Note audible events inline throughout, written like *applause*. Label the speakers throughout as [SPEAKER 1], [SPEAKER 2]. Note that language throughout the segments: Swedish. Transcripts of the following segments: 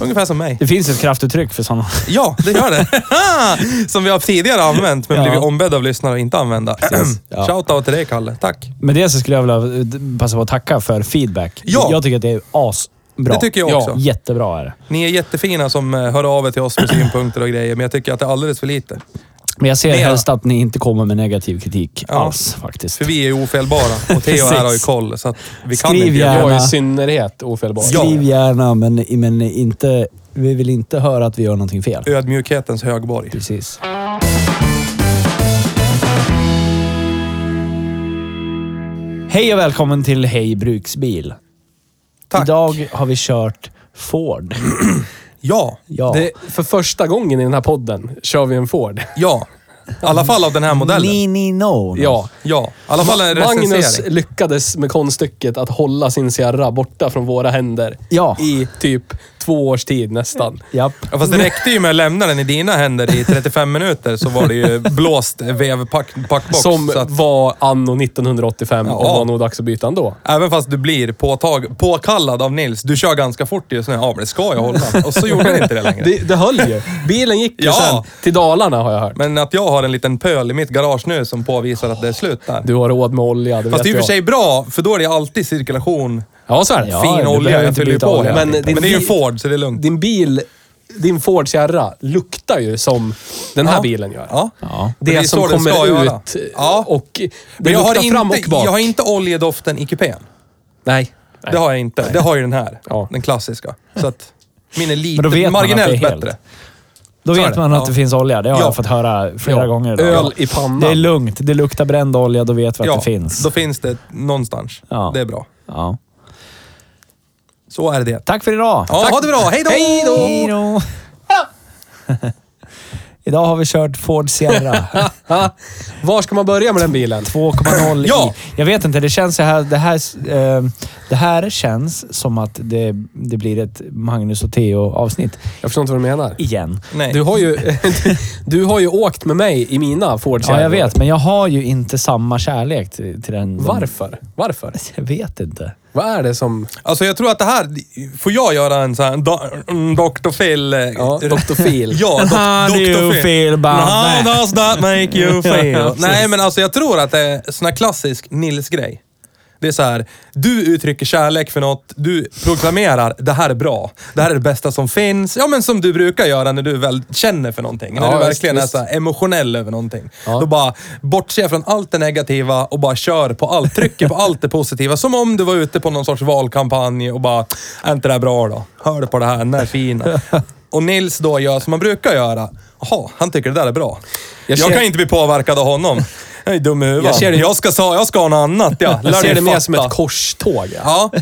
[SPEAKER 1] Ungefär som mig.
[SPEAKER 2] Det finns ett kraftuttryck för sådana.
[SPEAKER 1] Ja, det gör det. *laughs* som vi har tidigare använt, men
[SPEAKER 2] Ja.
[SPEAKER 1] blivit ombedda av lyssnare att
[SPEAKER 3] *clears throat*
[SPEAKER 1] inte använda.
[SPEAKER 2] Ja.
[SPEAKER 1] Shoutout till dig, Kalle. Tack.
[SPEAKER 2] Med det så skulle jag vilja eh, passa på att tacka för feedback.
[SPEAKER 1] Ja.
[SPEAKER 2] Jag tycker att det är asbra.
[SPEAKER 1] Det tycker jag
[SPEAKER 2] ja.
[SPEAKER 1] också.
[SPEAKER 2] Jättebra är det.
[SPEAKER 1] Ni är jättefina som eh, hör av er till oss med synpunkter och grejer, men jag tycker att det är alldeles för lite.
[SPEAKER 2] Men jag ser
[SPEAKER 1] Mera.
[SPEAKER 2] helst att ni inte kommer med negativ kritik
[SPEAKER 1] Ja.
[SPEAKER 2] alls faktiskt.
[SPEAKER 1] För vi är ju ofelbara och Theo här har ju
[SPEAKER 2] Precis.
[SPEAKER 1] koll, så att vi kan
[SPEAKER 2] Skriv
[SPEAKER 1] inte
[SPEAKER 2] gärna.
[SPEAKER 1] göra
[SPEAKER 4] Jag är i synnerhet ofelbar.
[SPEAKER 1] Ja.
[SPEAKER 2] Skriv gärna, men, men inte, vi vill inte höra att vi gör någonting fel.
[SPEAKER 1] ödmjukhetens högborg.
[SPEAKER 2] Precis. Hej och välkommen till Hej Bruksbil.
[SPEAKER 1] Tack.
[SPEAKER 2] Idag har vi kört Ford.
[SPEAKER 1] Ja,
[SPEAKER 2] Ja.
[SPEAKER 4] Det, för första gången i den här podden kör vi en Ford.
[SPEAKER 1] ja. I alla fall av den här modellen.
[SPEAKER 2] Nini No.
[SPEAKER 4] Ja.
[SPEAKER 1] Ja, i alla fall en
[SPEAKER 4] Magnus
[SPEAKER 1] recensering.
[SPEAKER 4] lyckades med konststycket att hålla sin Sierra borta från våra händer
[SPEAKER 2] Ja.
[SPEAKER 4] i typ två års tid nästan.
[SPEAKER 2] Japp.
[SPEAKER 1] Ja, fast det räckte ju med att lämna den i dina händer i 35 minuter så var det ju blåst vevpackbox. Pack,
[SPEAKER 4] Som
[SPEAKER 1] så att,
[SPEAKER 4] var anno 1985 och
[SPEAKER 1] Ja.
[SPEAKER 4] var nog dags att byta ändå.
[SPEAKER 1] även fast du blir påtag, påkallad av Nils, du kör ganska fort just nu. Ja, men det ska jag hålla. Och så gjorde den inte det längre.
[SPEAKER 4] Det, det höll ju. Bilen gick ju
[SPEAKER 1] Ja.
[SPEAKER 4] sen till Dalarna har jag hört.
[SPEAKER 1] Men att jag har en liten pöl i mitt garage nu som påvisar att det är slut där.
[SPEAKER 4] Du har råd med olja, det
[SPEAKER 1] Fast det är ju
[SPEAKER 4] vet
[SPEAKER 1] för
[SPEAKER 4] jag.
[SPEAKER 1] sig bra, för då är det alltid cirkulation.
[SPEAKER 4] Ja, så är det.
[SPEAKER 2] Ja,
[SPEAKER 1] fin
[SPEAKER 2] du
[SPEAKER 1] olja,
[SPEAKER 2] behöver
[SPEAKER 1] jag
[SPEAKER 2] inte
[SPEAKER 1] fyller ju
[SPEAKER 2] byta
[SPEAKER 1] på.
[SPEAKER 2] olja.
[SPEAKER 1] Men,
[SPEAKER 4] Men din
[SPEAKER 1] men det är ju en
[SPEAKER 4] bil-
[SPEAKER 1] Ford, så det är lugnt.
[SPEAKER 4] Din bil, din Ford Sierra, luktar ju som den här bilen gör.
[SPEAKER 1] Ja.
[SPEAKER 2] Ja.
[SPEAKER 4] Det,
[SPEAKER 1] Det är
[SPEAKER 4] som
[SPEAKER 1] så den
[SPEAKER 4] kommer
[SPEAKER 1] ska
[SPEAKER 4] ut eh,
[SPEAKER 1] göra. Ja.
[SPEAKER 4] och det
[SPEAKER 1] Men jag har,
[SPEAKER 4] luktar fram
[SPEAKER 1] inte,
[SPEAKER 4] och bak.
[SPEAKER 1] jag har inte oljedoften i kupén.
[SPEAKER 4] Nej.
[SPEAKER 1] Det har jag inte. Det har ju den här.
[SPEAKER 4] Ja.
[SPEAKER 1] Den klassiska. Så att min är
[SPEAKER 2] Men då vet
[SPEAKER 1] lite
[SPEAKER 2] man att det
[SPEAKER 1] marginellt
[SPEAKER 2] är helt.
[SPEAKER 1] bättre.
[SPEAKER 2] Då
[SPEAKER 1] Så är
[SPEAKER 2] vet
[SPEAKER 1] det.
[SPEAKER 2] man att
[SPEAKER 1] Ja.
[SPEAKER 2] det finns olja. Det har
[SPEAKER 1] Ja.
[SPEAKER 2] jag fått höra flera
[SPEAKER 4] Ja.
[SPEAKER 2] gånger.
[SPEAKER 4] Öl i pannan.
[SPEAKER 2] Det är lugnt. Det luktar bränd olja. Då vet vi att
[SPEAKER 1] Ja,
[SPEAKER 2] det finns.
[SPEAKER 1] då finns det någonstans.
[SPEAKER 2] Ja.
[SPEAKER 1] Det är bra.
[SPEAKER 2] Ja.
[SPEAKER 1] Så är det.
[SPEAKER 2] Tack för idag!
[SPEAKER 1] Ja, ha det bra. Hej då!
[SPEAKER 2] Hej då! *laughs* Idag har vi kört
[SPEAKER 1] *laughs*
[SPEAKER 2] Ford Sierra
[SPEAKER 4] Ha, *laughs* var ska man börja med den bilen?
[SPEAKER 2] 2.0
[SPEAKER 1] Ja.
[SPEAKER 2] i. Jag vet inte, det känns så här... Det här, eh, det här känns som att det, det blir ett Magnus och Theo-avsnitt
[SPEAKER 4] Jag förstår inte vad du menar.
[SPEAKER 2] igen.
[SPEAKER 1] Nej.
[SPEAKER 4] Du har, ju, *laughs* du har ju åkt med mig i mina Ford
[SPEAKER 2] Ja,
[SPEAKER 4] Sierra.
[SPEAKER 2] jag vet, men jag har ju inte samma kärlek till, till den.
[SPEAKER 4] Varför? Varför?
[SPEAKER 2] Jag vet inte.
[SPEAKER 4] Vad är det som...
[SPEAKER 1] Alltså jag tror att det här... Får jag göra en sån här do- mm, Dr. Phil... eh,
[SPEAKER 4] Ja, Dr. Phil.
[SPEAKER 1] Ja, dok,
[SPEAKER 2] How do you
[SPEAKER 1] Dr. Phil.
[SPEAKER 2] feel about
[SPEAKER 1] No,
[SPEAKER 2] that?
[SPEAKER 1] does that make you
[SPEAKER 2] *laughs* Ja,
[SPEAKER 1] feel? Nej,
[SPEAKER 2] precis.
[SPEAKER 1] men alltså jag tror att det är sån här klassisk Nils-grej. Det är så här, du uttrycker kärlek för något, du proklamerar det här är bra, det här är det bästa som finns. Ja, men som du brukar göra när du väl känner för någonting. när
[SPEAKER 4] Ja,
[SPEAKER 1] du
[SPEAKER 4] visst,
[SPEAKER 1] verkligen är
[SPEAKER 4] visst.
[SPEAKER 1] så här emotionell över någonting.
[SPEAKER 4] Ja.
[SPEAKER 1] Då bara bortser från allt det negativa och bara kör på allt, trycker på allt det positiva. Som om du var ute på någon sorts valkampanj och bara, är inte det här bra då? Hör du på det här, den här är fin.
[SPEAKER 4] *laughs*
[SPEAKER 1] Och Nils då gör som man brukar göra. Jaha, han tycker det där är bra. Jag,
[SPEAKER 4] Jag ser-
[SPEAKER 1] kan inte bli påverkad av honom. Jag är dum i huvudet.
[SPEAKER 4] Jag ser det-
[SPEAKER 1] jag, ska, sa- jag ska ha något annat, ja. Lär
[SPEAKER 4] Jag ser
[SPEAKER 1] dig
[SPEAKER 4] det mer
[SPEAKER 1] fatta.
[SPEAKER 4] som ett korståg. Ja.
[SPEAKER 1] Ja.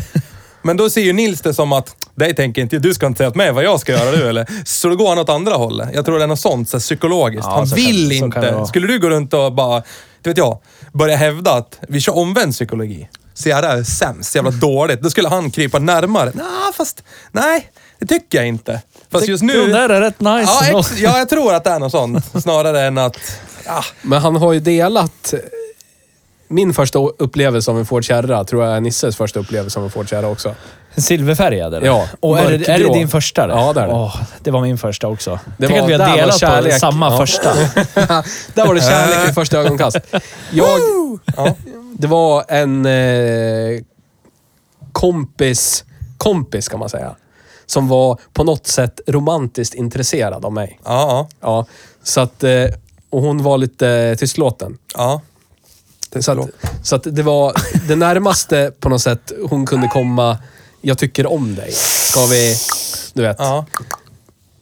[SPEAKER 1] Men då ser ju Nils det som att, dig tänker inte du ska inte säga åt mig vad jag ska göra du eller? Så då går han åt andra hållet. Jag tror det är något sånt så här, psykologiskt.
[SPEAKER 2] Ja,
[SPEAKER 1] han
[SPEAKER 2] så kan-
[SPEAKER 1] vill
[SPEAKER 2] så kan det
[SPEAKER 1] inte.
[SPEAKER 2] vara.
[SPEAKER 1] Skulle du gå runt och bara, du vet jag, börja hävda att vi kör omvänd psykologi. Så jävla är sämst, jävla dåligt. Då skulle han krypa närmare. Nej, fast nej, det tycker jag inte. Fast just nu...
[SPEAKER 2] Den där är rätt nice
[SPEAKER 1] ja,
[SPEAKER 2] ändå.
[SPEAKER 1] ex, ja, jag tror att det är något sånt. Snarare än att... Ja,
[SPEAKER 4] Men han har ju delat... eh, Min första upplevelse av en Ford Sierra tror jag är Nisses första upplevelse av en Ford Sierra också.
[SPEAKER 2] Silverfärgad eller?
[SPEAKER 4] Ja,
[SPEAKER 2] Och är det, är det
[SPEAKER 4] mörkgrå.
[SPEAKER 2] din första?
[SPEAKER 4] Ja, det är det.
[SPEAKER 2] Åh, det var min första också.
[SPEAKER 4] Det
[SPEAKER 2] Tänk
[SPEAKER 4] var-
[SPEAKER 2] att vi
[SPEAKER 4] där
[SPEAKER 2] har
[SPEAKER 4] var
[SPEAKER 2] delat på
[SPEAKER 4] kärlek.
[SPEAKER 2] samma
[SPEAKER 4] Ja.
[SPEAKER 2] första.
[SPEAKER 4] *laughs* Där var det kärlek i första ögonkast. Jag,
[SPEAKER 1] ja.
[SPEAKER 4] det var en eh, kompis, kompis kan man säga, som var på något sätt romantiskt intresserad av mig.
[SPEAKER 1] Ja, ja,
[SPEAKER 4] Ja, så att, eh, och hon var lite tystlåten.
[SPEAKER 1] ja. romantiskt.
[SPEAKER 4] Så att, så att det var det närmaste på något sätt hon kunde komma. Jag tycker om dig. Ska vi, du vet,
[SPEAKER 1] Ja.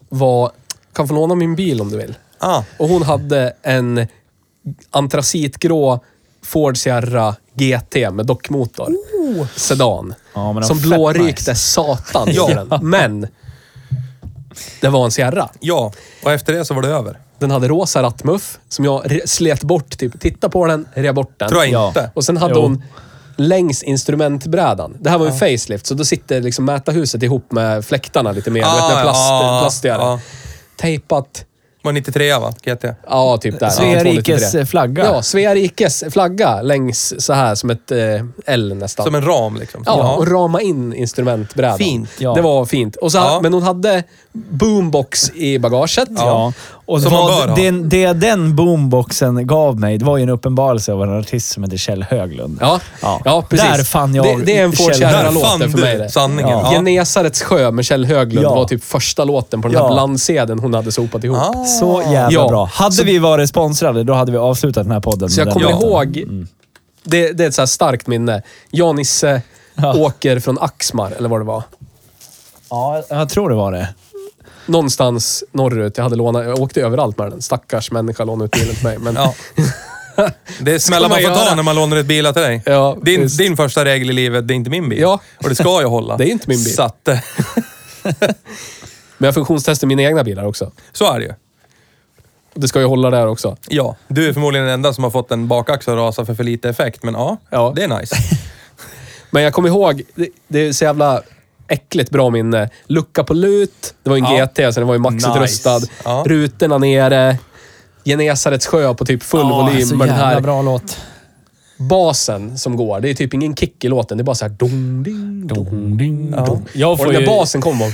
[SPEAKER 4] var, kan få låna min bil om du vill.
[SPEAKER 1] Ah.
[SPEAKER 4] Och hon hade en antracitgrå Ford Sierra GT med dockmotor. Sedan.
[SPEAKER 2] Ja, men den
[SPEAKER 4] som
[SPEAKER 2] var fett
[SPEAKER 4] blårykte
[SPEAKER 1] *laughs*
[SPEAKER 2] nice.
[SPEAKER 4] satan i
[SPEAKER 1] Ja.
[SPEAKER 4] den. Men det var en Sierra.
[SPEAKER 1] Ja, och efter det så var det över.
[SPEAKER 4] Den hade rosa rattmuff som jag re- slet bort. Typ. Titta på den, rea bort den.
[SPEAKER 1] Tror jag
[SPEAKER 2] Ja.
[SPEAKER 1] inte.
[SPEAKER 4] Och sen hade
[SPEAKER 2] Jo.
[SPEAKER 4] hon längs instrumentbrädan. Det här var ju facelift, så då sitter liksom mätarhuset ihop med fläktarna lite mer.
[SPEAKER 1] Ah,
[SPEAKER 4] du vet, med plast,
[SPEAKER 1] ja,
[SPEAKER 4] plastigare.
[SPEAKER 1] ja.
[SPEAKER 4] Tejpat.
[SPEAKER 1] Var 93 va? GT.
[SPEAKER 4] Ja, typ där.
[SPEAKER 2] Svea
[SPEAKER 4] Ja, två,
[SPEAKER 2] rikes
[SPEAKER 4] lite tre.
[SPEAKER 2] flagga.
[SPEAKER 4] Ja, Svea rikes flagga längs så här som ett eh, L nästan.
[SPEAKER 1] Som en ram liksom.
[SPEAKER 4] Ja, och rama in instrumentbrädan.
[SPEAKER 1] Fint.
[SPEAKER 2] Ja.
[SPEAKER 4] Det var fint. Och så,
[SPEAKER 1] Ja.
[SPEAKER 4] Men hon hade boombox i bagaget.
[SPEAKER 2] Ja. Och
[SPEAKER 1] Som man bör
[SPEAKER 2] vad
[SPEAKER 1] ha.
[SPEAKER 2] den, det den boomboxen gav mig, det var ju en uppenbarelse av en artist som heter Kjell Höglund.
[SPEAKER 4] Ja,
[SPEAKER 2] Ja.
[SPEAKER 4] ja. precis.
[SPEAKER 2] Där fann jag
[SPEAKER 4] det, det är en Ford
[SPEAKER 2] Kjell-
[SPEAKER 1] Där
[SPEAKER 4] Sierra-låt
[SPEAKER 1] fann
[SPEAKER 4] för
[SPEAKER 1] du
[SPEAKER 4] mig. Det.
[SPEAKER 1] sanningen.
[SPEAKER 4] Ja.
[SPEAKER 1] Ja.
[SPEAKER 4] Genesarets sjö med Kjell Höglund
[SPEAKER 2] Ja.
[SPEAKER 4] var typ första låten på den
[SPEAKER 2] Ja.
[SPEAKER 4] här blandsedeln hon hade sopat ihop.
[SPEAKER 1] Ah.
[SPEAKER 2] Så jävla
[SPEAKER 4] Ja.
[SPEAKER 2] bra. Hade
[SPEAKER 4] Så-
[SPEAKER 2] vi varit sponsrade, då hade vi avslutat den här podden.
[SPEAKER 4] Så jag
[SPEAKER 2] med
[SPEAKER 4] kommer
[SPEAKER 2] den låten.
[SPEAKER 4] ihåg,
[SPEAKER 2] Mm.
[SPEAKER 4] det, det är ett så här starkt minne. Jag Nisse
[SPEAKER 2] Ja.
[SPEAKER 4] åker från Axmar, eller vad det var.
[SPEAKER 2] Ja, jag tror det var det.
[SPEAKER 4] Någonstans norrut. Jag hade lånat, jag åkte överallt med den. Stackars människa lånade ut bilen till mig. Men *laughs*
[SPEAKER 1] Ja. Det är smällar man
[SPEAKER 4] man
[SPEAKER 1] får ta
[SPEAKER 4] göra.
[SPEAKER 1] när man lånar ett bil till dig.
[SPEAKER 4] Ja,
[SPEAKER 1] din,
[SPEAKER 4] visst.
[SPEAKER 1] din första regel i livet, det är inte min bil.
[SPEAKER 4] Ja.
[SPEAKER 1] Och det ska jag hålla.
[SPEAKER 4] *laughs* Det är inte min bil.
[SPEAKER 1] Så, att, eh,
[SPEAKER 4] Men jag funktionstestar mina egna bilar också.
[SPEAKER 1] så är det ju.
[SPEAKER 4] Och Det ska jag hålla där också.
[SPEAKER 1] Ja. Du är förmodligen den enda som har fått en bakaxel att rasa för för lite effekt, men ja,
[SPEAKER 4] Ja.
[SPEAKER 1] det är nice.
[SPEAKER 4] Men jag kommer ihåg, det, det är så jävla äckligt bra minne. Lucka på lut. Det var ju en
[SPEAKER 1] Ja.
[SPEAKER 4] GT, så den var ju maxutrustad.
[SPEAKER 1] Nice. Ja.
[SPEAKER 4] Rutorna nere. Genesarets sjö på typ full volym.
[SPEAKER 2] så
[SPEAKER 4] Men den
[SPEAKER 2] jävla
[SPEAKER 4] här
[SPEAKER 2] bra låt.
[SPEAKER 4] basen som går, det är typ ingen kick i låten. Det är bara så här dong, ding, dong.
[SPEAKER 1] Ja.
[SPEAKER 2] Jag
[SPEAKER 4] Och
[SPEAKER 2] får
[SPEAKER 4] den
[SPEAKER 2] ju...
[SPEAKER 4] där basen kommer.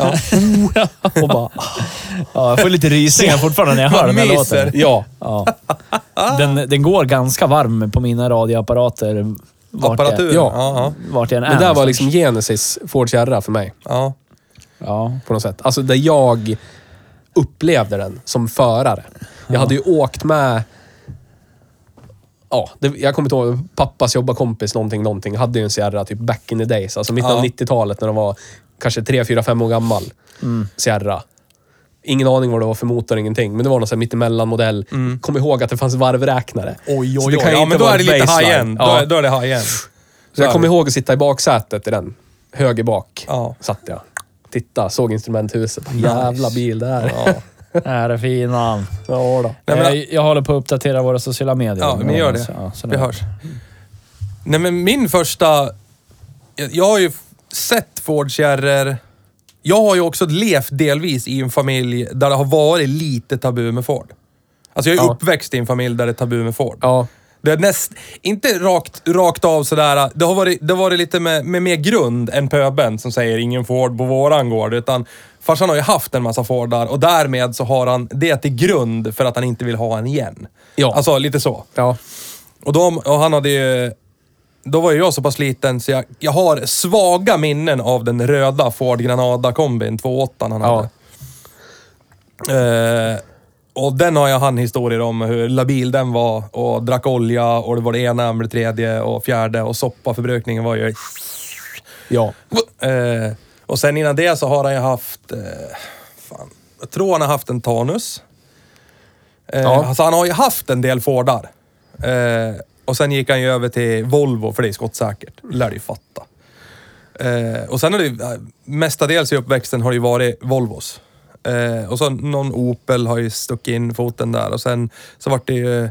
[SPEAKER 2] Oh,
[SPEAKER 4] Och bara,
[SPEAKER 2] ah. Ja, jag får lite rysningar fortfarande när jag hör den här låten.
[SPEAKER 4] ja.
[SPEAKER 2] Ja. Den, den går ganska varm på mina radioapparater. Vart
[SPEAKER 1] Apparatur.
[SPEAKER 4] Ja.
[SPEAKER 1] Ja,
[SPEAKER 2] Jag, vart jag än är.
[SPEAKER 4] Det där var
[SPEAKER 2] någonstans.
[SPEAKER 4] liksom Genesis Ford Sierra för mig.
[SPEAKER 1] ja.
[SPEAKER 2] Ja.
[SPEAKER 4] på något sätt. Alltså där jag upplevde den som förare. Jag hade ju åkt med... Ja, det, jag kommer inte ihåg. Pappas jobbarkompis någonting, någonting hade ju en Sierra typ back in the days. Alltså mitten
[SPEAKER 1] Ja.
[SPEAKER 4] av 90-talet när de var kanske 3, 4, 5 år gammal.
[SPEAKER 1] Mm.
[SPEAKER 4] Sierra. Ingen aning vad det var för motor, ingenting. Men det var någon sån här mittemellan-modell. Kom ihåg att det fanns varvräknare.
[SPEAKER 1] Mm. Oj,
[SPEAKER 4] Så
[SPEAKER 1] oj,
[SPEAKER 4] det
[SPEAKER 1] oj.
[SPEAKER 4] kan ju
[SPEAKER 1] Ja,
[SPEAKER 4] inte
[SPEAKER 1] men då
[SPEAKER 4] vara
[SPEAKER 1] är det lite
[SPEAKER 4] baseline.
[SPEAKER 1] high-end.
[SPEAKER 4] Ja.
[SPEAKER 1] Då, är- då är det high-end.
[SPEAKER 4] Så jag kommer ihåg att sitta i baksätet i den. Höger bak
[SPEAKER 1] Ja.
[SPEAKER 4] satt jag. Titta, såg instrumenthuset. Jävla bil det här. Ja,
[SPEAKER 2] Är det fina. Eh,
[SPEAKER 4] ja då.
[SPEAKER 1] Nej, men-
[SPEAKER 2] jag, jag håller på att uppdatera våra sociala medier.
[SPEAKER 1] Ja, men gör
[SPEAKER 4] alltså.
[SPEAKER 1] det.
[SPEAKER 2] Ja, sådär.
[SPEAKER 1] Vi hörs. Nej, men min första... Jag, jag har ju f- sett Ford Sierror. Jag har ju också levt delvis i en familj där det har varit lite tabu med Ford. Alltså jag är
[SPEAKER 4] Ja.
[SPEAKER 1] uppväxt i en familj där det är tabu med Ford.
[SPEAKER 4] Ja.
[SPEAKER 1] Det är näst, inte rakt, rakt av sådär, det har varit, det har varit lite med, med mer grund än pöben som säger ingen Ford på våran gård. Utan farsan har ju haft en massa Fordar och därmed så har han det till grund för att han inte vill ha en igen.
[SPEAKER 4] Ja.
[SPEAKER 1] Alltså lite så.
[SPEAKER 4] Ja.
[SPEAKER 1] Och, de, och han hade ju... Då var ju jag så pass liten så jag, jag har svaga minnen av den röda Ford Granada-kombin, 2.8 han hade.
[SPEAKER 4] Ja.
[SPEAKER 1] Eh, och den har jag han historier om, hur labil den var och drack olja och det var det ena med det tredje och fjärde och soppaförbrukningen var ju...
[SPEAKER 4] ja.
[SPEAKER 1] Eh, och sen innan det så har han ju haft... Eh, fan, jag tror han har haft en Tanus. Eh,
[SPEAKER 4] Ja.
[SPEAKER 1] Alltså han har ju haft en del Fordar. Eh, och sen gick han ju över till Volvo, för det är skottsäkert. lär du ju fatta. Eh, och sen har det ju, eh, mestadels i uppväxten har det ju varit Volvos. Eh, och så någon Opel har ju stuckit in foten där och sen så vart det ju eh,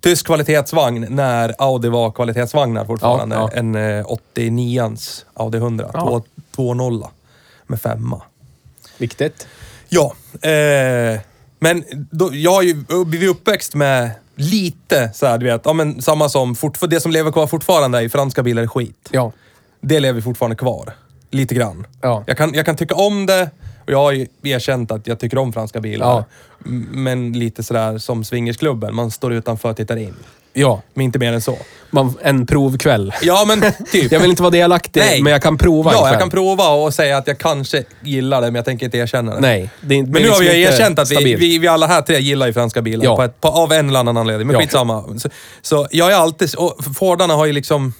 [SPEAKER 1] tysk kvalitetsvagn när Audi var kvalitetsvagnar fortfarande.
[SPEAKER 4] Ja, ja.
[SPEAKER 1] En eh, 89ans Audi 100, ja. 2.0 med femma.
[SPEAKER 4] Viktigt.
[SPEAKER 1] Ja, eh, men då, jag har ju blivit uppväxt med lite så här, du vet, ja, men samma som, fortfar- det som lever kvar fortfarande är ju franska bilar är skit.
[SPEAKER 4] Ja.
[SPEAKER 1] Det lever fortfarande kvar. Lite grann.
[SPEAKER 4] Ja.
[SPEAKER 1] Jag, kan, jag kan tycka om det och jag har ju erkänt att jag tycker om franska bilar.
[SPEAKER 4] Ja.
[SPEAKER 1] M- Men lite sådär som swingersklubben, man står utanför och tittar in. Ja, men inte mer än så.
[SPEAKER 4] Man, en provkväll.
[SPEAKER 1] Ja, men
[SPEAKER 4] *laughs*
[SPEAKER 1] typ.
[SPEAKER 4] Jag vill inte vara delaktig,
[SPEAKER 1] Nej.
[SPEAKER 4] men jag kan prova en
[SPEAKER 1] ja, jag
[SPEAKER 4] kväll.
[SPEAKER 1] kan prova och säga att jag kanske gillar det, men jag tänker inte erkänna det.
[SPEAKER 4] Nej. Det är, liksom
[SPEAKER 1] Men nu har vi ju erkänt att vi, vi, vi alla här tre gillar ju franska bilar
[SPEAKER 4] Ja.
[SPEAKER 1] på ett, på, av en eller annan anledning. Men
[SPEAKER 4] Ja.
[SPEAKER 1] skitsamma. Så, så jag är alltid... Och Fordarna har ju liksom...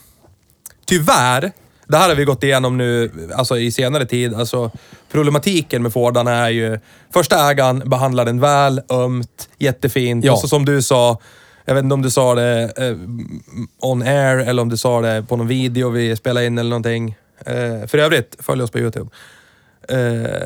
[SPEAKER 1] Tyvärr, det här har vi gått igenom nu alltså i senare tid. Alltså, problematiken med Fordarna är ju... Första ägaren behandlar den väl, ömt, jättefint.
[SPEAKER 4] Ja.
[SPEAKER 1] Och så som du sa, jag vet inte om du sa det eh, on air eller om du sa det på någon video vi spelade in eller någonting. Eh, för övrigt, följ oss på YouTube. Eh,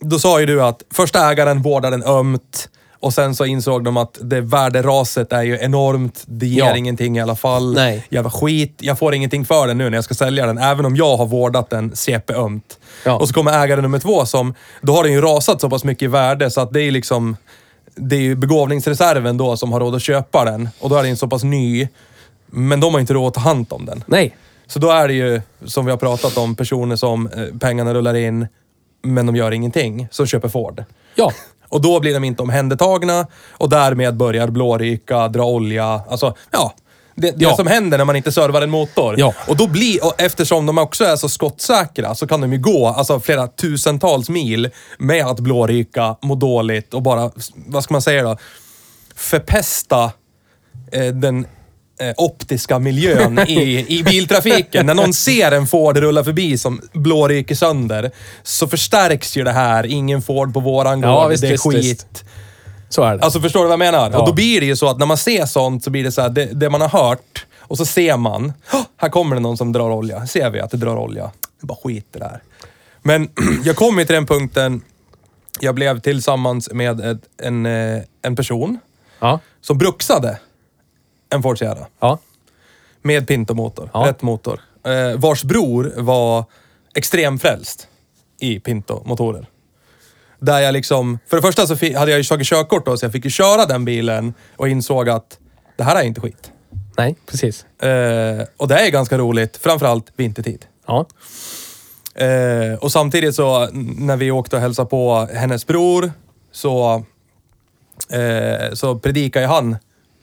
[SPEAKER 1] då sa ju du att första ägaren vårdar den ömt och sen så insåg de att det värderaset är ju enormt. Det ger
[SPEAKER 4] Ja.
[SPEAKER 1] ingenting i alla fall.
[SPEAKER 4] Nej.
[SPEAKER 1] Jävla skit. Jag får ingenting för den nu när jag ska sälja den, även om jag har vårdat den CP ömt.
[SPEAKER 4] Ja.
[SPEAKER 1] Och så kommer ägare nummer två som, då har den ju rasat så pass mycket i värde så att det är liksom, det är ju begåvningsreserven då som har råd att köpa den. Och då är den så pass ny, men de har inte råd att ta hand om den.
[SPEAKER 4] Nej.
[SPEAKER 1] Så då är det ju, som vi har pratat om, personer som eh, pengarna rullar in, men de gör ingenting, som köper Ford.
[SPEAKER 4] Ja.
[SPEAKER 1] Och då blir de inte omhändertagna och därmed börjar blåryka, dra olja, alltså ja. Det, det
[SPEAKER 4] Ja.
[SPEAKER 1] som händer när man inte servar en motor.
[SPEAKER 4] Ja.
[SPEAKER 1] Och då blir, och eftersom de också är så skottsäkra så kan de ju gå alltså, flera tusentals mil med att blåryka, må dåligt och bara, vad ska man säga då, förpesta eh, den eh, optiska miljön i, i biltrafiken. När någon ser en Ford rulla förbi som blåryker sönder så förstärks ju det här. Ingen Ford på våran gård.
[SPEAKER 4] Ja, visst,
[SPEAKER 1] det är
[SPEAKER 4] visst,
[SPEAKER 1] skit.
[SPEAKER 4] visst. Så är det.
[SPEAKER 1] Alltså förstår du vad jag menar?
[SPEAKER 4] Ja.
[SPEAKER 1] Och då blir det ju så att när man ser sånt så blir det så här, det, det man har hört och så ser man. "Hå! Här kommer det någon som drar olja. Här ser vi att det drar olja. Det är bara skit det där. Men *clears throat* jag kom ju till den punkten. Jag blev tillsammans med ett, en, eh, en person
[SPEAKER 4] ja.
[SPEAKER 1] som bruksade en Ford Sierra.
[SPEAKER 4] Ja.
[SPEAKER 1] Med Pinto-motor.
[SPEAKER 4] Ja.
[SPEAKER 1] Rätt motor. Eh, vars bror var extremfrälst i Pinto-motorer. Där jag liksom... För det första så fi- hade jag ju tagit körkort då, så jag fick ju köra den bilen och insåg att det här är inte skit.
[SPEAKER 4] Nej, precis.
[SPEAKER 1] Eh, och det är ganska roligt, framförallt vintertid.
[SPEAKER 4] Ja.
[SPEAKER 1] Eh, och samtidigt så n- när vi åkte och hälsade på hennes bror så, eh, så predikade ju han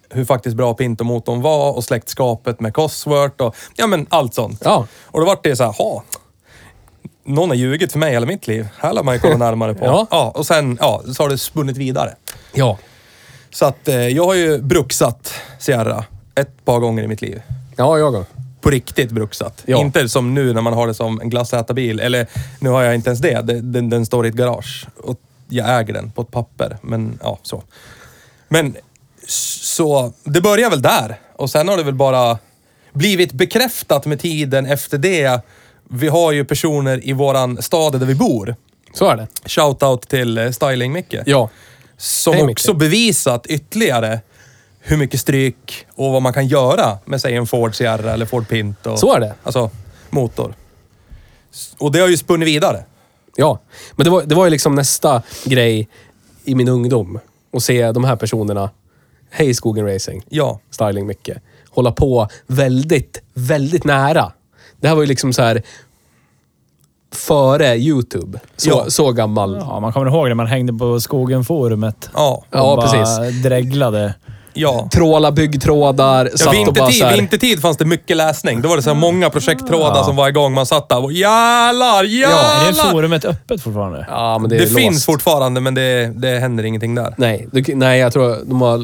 [SPEAKER 1] hur faktiskt bra Pinto-motorn var och släktskapet med Cosworth och ja men allt sånt.
[SPEAKER 4] Ja.
[SPEAKER 1] Och då vart det så här, ha. Någon har ljugit för mig hela mitt liv. Här lär man ju
[SPEAKER 4] *laughs*
[SPEAKER 1] komma närmare på.
[SPEAKER 4] Ja.
[SPEAKER 1] och sen ja, så har det spunnit vidare.
[SPEAKER 4] Ja.
[SPEAKER 1] Så att eh, jag har ju bruksat Sierra ett par gånger i mitt liv
[SPEAKER 4] Ja, jag går.
[SPEAKER 1] på riktigt bruksat.
[SPEAKER 4] Ja.
[SPEAKER 1] Inte som nu när man har det som en glassätarbil. Eller nu har jag inte ens det. Det- Den, den står i ett garage. Och jag äger den på ett papper. Men ja, så. Men s- så, det börjar väl där. Och sen har det väl bara blivit bekräftat med tiden efter det. Vi har ju personer i våran stad där vi bor.
[SPEAKER 4] Så är det.
[SPEAKER 1] Shoutout till eh, Styling-Micke.
[SPEAKER 4] Ja.
[SPEAKER 1] Som
[SPEAKER 4] Hej, Micke.
[SPEAKER 1] också bevisat ytterligare hur mycket stryk och vad man kan göra med säg en Ford Sierra eller Ford Pinto.
[SPEAKER 4] Så är det.
[SPEAKER 1] Alltså, motor. S- Och det har ju spunnit vidare.
[SPEAKER 4] Ja, men det var, det var ju liksom nästa grej i min ungdom. Att se de här personerna, hej Skogen Racing,
[SPEAKER 1] Ja.
[SPEAKER 4] Styling Micke, hålla på väldigt, väldigt nära. Det här var ju liksom så här före YouTube. Så,
[SPEAKER 1] Ja.
[SPEAKER 4] så gammal.
[SPEAKER 2] Ja, man kommer ihåg när man hängde på Skogen-forumet.
[SPEAKER 1] Ja.
[SPEAKER 2] och
[SPEAKER 4] Ja,
[SPEAKER 2] bara
[SPEAKER 4] precis.
[SPEAKER 2] dreglade.
[SPEAKER 1] Ja.
[SPEAKER 4] Tråla byggtrådar,
[SPEAKER 1] Ja,
[SPEAKER 4] satt och bara
[SPEAKER 1] vintertid,
[SPEAKER 4] så här,
[SPEAKER 1] vintertid fanns det mycket läsning. Då var det så här många projekttrådar som var igång. Man satt där och jävlar,
[SPEAKER 2] Är det
[SPEAKER 1] jävlar!
[SPEAKER 2] forumet öppet fortfarande?
[SPEAKER 4] Ja, men det
[SPEAKER 1] det
[SPEAKER 4] är låst.
[SPEAKER 1] finns fortfarande, men det, det händer ingenting där.
[SPEAKER 4] Nej, du, nej, jag tror de har eh,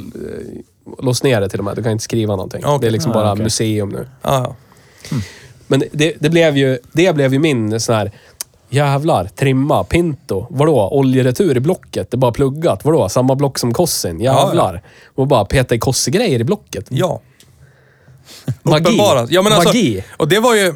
[SPEAKER 4] låst ner det till och med. Du kan inte skriva någonting.
[SPEAKER 1] Okej.
[SPEAKER 4] Det är liksom
[SPEAKER 2] Ah,
[SPEAKER 4] bara
[SPEAKER 2] okej.
[SPEAKER 4] museum nu.
[SPEAKER 1] Ja, ja.
[SPEAKER 4] Men det, det, blev ju, det blev ju min sån här... Jävlar, trimma, pinto. Vadå? Oljeretur i blocket. Det är bara pluggat. Vadå? Samma block som Kossin. Jävlar. Och bara peta i Kosse-grejer i blocket.
[SPEAKER 1] ja.
[SPEAKER 4] Magi.
[SPEAKER 1] uppenbara. Ja, men alltså,
[SPEAKER 4] Magi.
[SPEAKER 1] Och det var ju...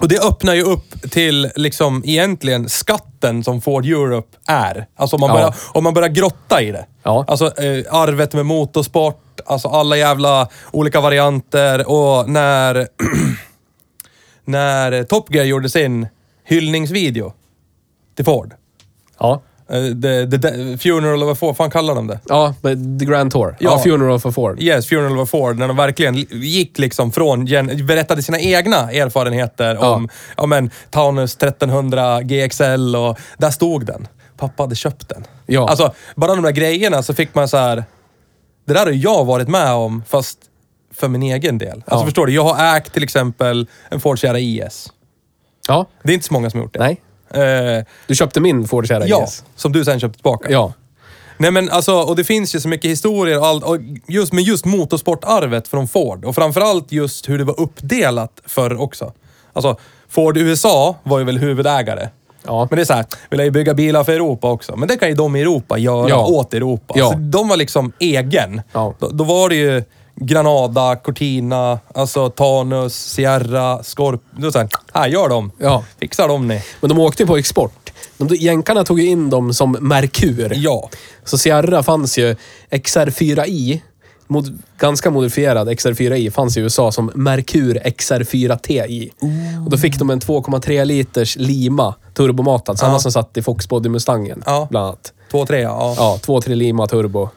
[SPEAKER 1] Och det öppnar ju upp till liksom egentligen skatten som Ford Europe är. Alltså om man,
[SPEAKER 4] Ja.
[SPEAKER 1] börjar, om man börjar grotta i det.
[SPEAKER 4] Ja.
[SPEAKER 1] Alltså eh, arvet med motorsport, alltså alla jävla olika varianter och när... *clears throat* när Top Gear gjorde sin hyllningsvideo till Ford.
[SPEAKER 4] Ja.
[SPEAKER 1] Eh, the, the, the Funeral of a Ford, fan kallar de det?
[SPEAKER 4] Ja, men The Grand Tour. Ja,
[SPEAKER 1] Ja.
[SPEAKER 4] Funeral for Ford.
[SPEAKER 1] Yes, Funeral of a Ford, när de verkligen li- gick liksom från, gen- berättade sina egna erfarenheter
[SPEAKER 4] Ja.
[SPEAKER 1] om, ja men, Taunus 1300 GXL och där stod den. Pappa hade köpt den.
[SPEAKER 4] Ja.
[SPEAKER 1] Alltså, bara de där grejerna så fick man så här. Det där har jag varit med om, fast för min egen del. Alltså
[SPEAKER 4] Ja.
[SPEAKER 1] förstår du? Jag har ägt till exempel en Ford Sierra IS.
[SPEAKER 4] Ja.
[SPEAKER 1] Det är inte så många som har gjort det.
[SPEAKER 4] Nej.
[SPEAKER 1] Eh,
[SPEAKER 4] Du köpte min Ford Sierra
[SPEAKER 1] ja,
[SPEAKER 4] GS.
[SPEAKER 1] som du sen köpte tillbaka.
[SPEAKER 4] Ja.
[SPEAKER 1] Nej men alltså, och det finns ju så mycket historier och allt, och just, men just motorsportarvet från Ford. Och framförallt just hur det var uppdelat förr också. Alltså, Ford USA var ju väl huvudägare.
[SPEAKER 4] Ja.
[SPEAKER 1] Men det är så här, vi lär ju bygga bilar för Europa också. Men det kan ju de i Europa göra
[SPEAKER 4] Ja.
[SPEAKER 1] åt Europa.
[SPEAKER 4] Ja.
[SPEAKER 1] Så de var liksom egen.
[SPEAKER 4] Ja.
[SPEAKER 1] Då, då var det ju Granada, Cortina, alltså Tanus, Sierra, Scorp... Det var så här, här gör de.
[SPEAKER 4] Ja.
[SPEAKER 1] Fixar de ni.
[SPEAKER 4] Men de åkte ju på export. De, jänkarna tog ju in dem som Merkur.
[SPEAKER 1] Ja.
[SPEAKER 4] Så Sierra fanns ju, XR4i, mod, ganska modifierad XR4i, fanns i USA som Merkur XR4TI. Och då fick de en 2,3 liters Lima turbomatad, samma
[SPEAKER 1] Ja.
[SPEAKER 4] som satt i Fox Body Mustangen,
[SPEAKER 1] Ja.
[SPEAKER 4] bland annat.
[SPEAKER 1] Två, tre, ja. ja.
[SPEAKER 4] Ja, 2,3 Lima turbo.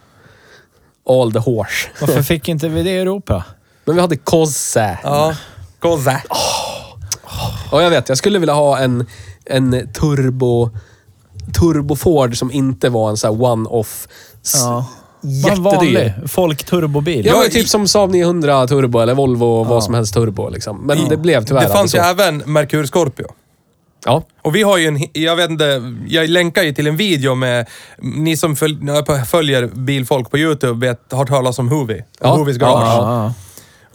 [SPEAKER 4] All the horse.
[SPEAKER 2] Varför fick inte vi det i Europa?
[SPEAKER 4] Men vi hade Cozze.
[SPEAKER 1] ja. Cosa.
[SPEAKER 4] Ja, jag vet. Jag skulle vilja ha en, en turbo... Turbo Ford som inte var en sån här one-off. s-
[SPEAKER 2] Ja. En vanlig
[SPEAKER 4] Jättedyr.
[SPEAKER 2] folkturbobil.
[SPEAKER 4] Ja,
[SPEAKER 1] Ja,
[SPEAKER 4] men
[SPEAKER 1] i-
[SPEAKER 4] typ som Saab 900 turbo eller Volvo, vad som helst turbo liksom. Men det blev tyvärr
[SPEAKER 1] Det fanns ju
[SPEAKER 4] aldrig så.
[SPEAKER 1] även Mercur Scorpio.
[SPEAKER 4] Ja.
[SPEAKER 1] Och vi har ju en, he- jag vet inte, jag länkar ju till en video med, ni som följ, när- följer bilfolk på YouTube vet, har hört talas om Hoovy. Om
[SPEAKER 4] Ja.
[SPEAKER 1] Hoovies garage.
[SPEAKER 4] Ja,
[SPEAKER 2] Ja.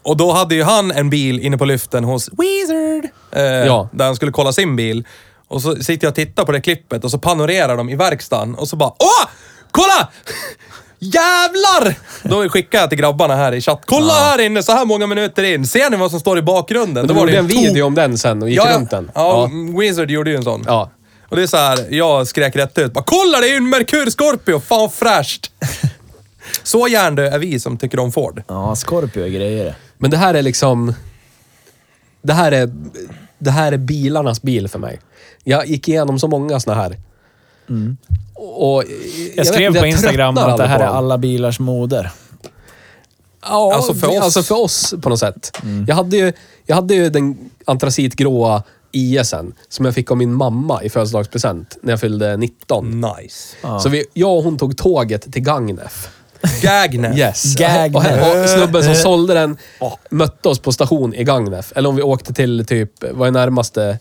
[SPEAKER 1] Och då hade ju han en bil inne på lyften hos Wizard. Eh,
[SPEAKER 4] Ja.
[SPEAKER 1] Där han skulle kolla sin bil. Och så sitter jag och tittar på det klippet och så panorerar de i verkstaden och så bara Åh! Kolla! *laughs* Jävlar! Då skickar jag till grabbarna här i chatt. Kolla här inne, så här många minuter in. Ser ni vad som står i bakgrunden?
[SPEAKER 4] Men de
[SPEAKER 1] Då var det
[SPEAKER 4] gjorde
[SPEAKER 1] ju
[SPEAKER 4] en
[SPEAKER 1] tok-
[SPEAKER 4] video om den sen och gick
[SPEAKER 1] Ja, ja.
[SPEAKER 4] runt den.
[SPEAKER 1] Ja, Wizard gjorde ju en sån.
[SPEAKER 4] Ja.
[SPEAKER 1] Och det är så här, jag skrek rätt ut. Bara, kolla det är ju en Merkur Scorpio! Fan vad
[SPEAKER 4] *laughs*
[SPEAKER 1] fräscht! så hjärndö är vi som tycker om Ford.
[SPEAKER 2] ja, Scorpio är grejer.
[SPEAKER 4] Men det här är liksom... Det här är, det här är bilarnas bil för mig. Jag gick igenom så många såna här.
[SPEAKER 1] Mm.
[SPEAKER 4] Och, och-
[SPEAKER 2] Jag
[SPEAKER 4] vet
[SPEAKER 2] skrev
[SPEAKER 4] inte,
[SPEAKER 2] på
[SPEAKER 4] jag
[SPEAKER 2] Instagram
[SPEAKER 4] tröttnar
[SPEAKER 2] att det här
[SPEAKER 4] aldrig
[SPEAKER 2] är
[SPEAKER 4] på dem.
[SPEAKER 2] alla bilars moder.
[SPEAKER 4] Ja,
[SPEAKER 1] Alltså för
[SPEAKER 4] vi-
[SPEAKER 1] oss. Mm.
[SPEAKER 4] alltså för oss på något sätt. Jag, hade ju, jag hade ju den antracitgråa ISen som jag fick av min mamma i födelsedagspresent när jag fyllde
[SPEAKER 1] Mm.
[SPEAKER 4] 19.
[SPEAKER 1] Nice.
[SPEAKER 4] Så vi, jag och hon tog tåget till Gagnef.
[SPEAKER 1] Gagnef.
[SPEAKER 4] *laughs* Yes.
[SPEAKER 2] Gagnef.
[SPEAKER 4] Och, här- och snubben som sålde den mötte oss på station i Gagnef. Eller om vi åkte till typ, vad är närmaste?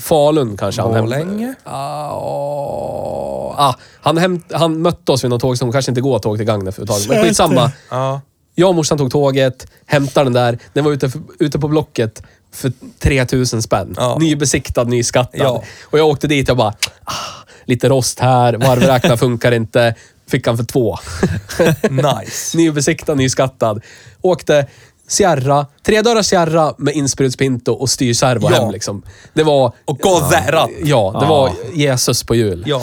[SPEAKER 4] Falun kanske han hämtade.
[SPEAKER 1] Borlänge?
[SPEAKER 4] Ah, åh. ah, han, hämt, han mötte oss vid något tåg som kanske inte går tåg till Gagnef överhuvudtaget. Men skitsamma.
[SPEAKER 1] Ja.
[SPEAKER 4] Jag och morsan tog tåget, hämtade den där. Den var ute, för, ute på Blocket för 3000 spänn.
[SPEAKER 1] Ja.
[SPEAKER 4] Nybesiktad, nyskattad.
[SPEAKER 1] Ja.
[SPEAKER 4] Och jag åkte dit och bara, ah, lite rost här,
[SPEAKER 1] *laughs*
[SPEAKER 4] varvräknaren funkar inte. Fick han för två. *laughs*
[SPEAKER 1] Nice.
[SPEAKER 4] Nybesiktad, nyskattad. Åkte Sierra, tredörrars Sierra med insprutspinto Pinto och styrservo
[SPEAKER 1] Ja.
[SPEAKER 4] hem liksom. Det var...
[SPEAKER 1] Och Gozerra.
[SPEAKER 4] Ja, det
[SPEAKER 2] Ja.
[SPEAKER 4] var Jesus på jul.
[SPEAKER 1] Ja.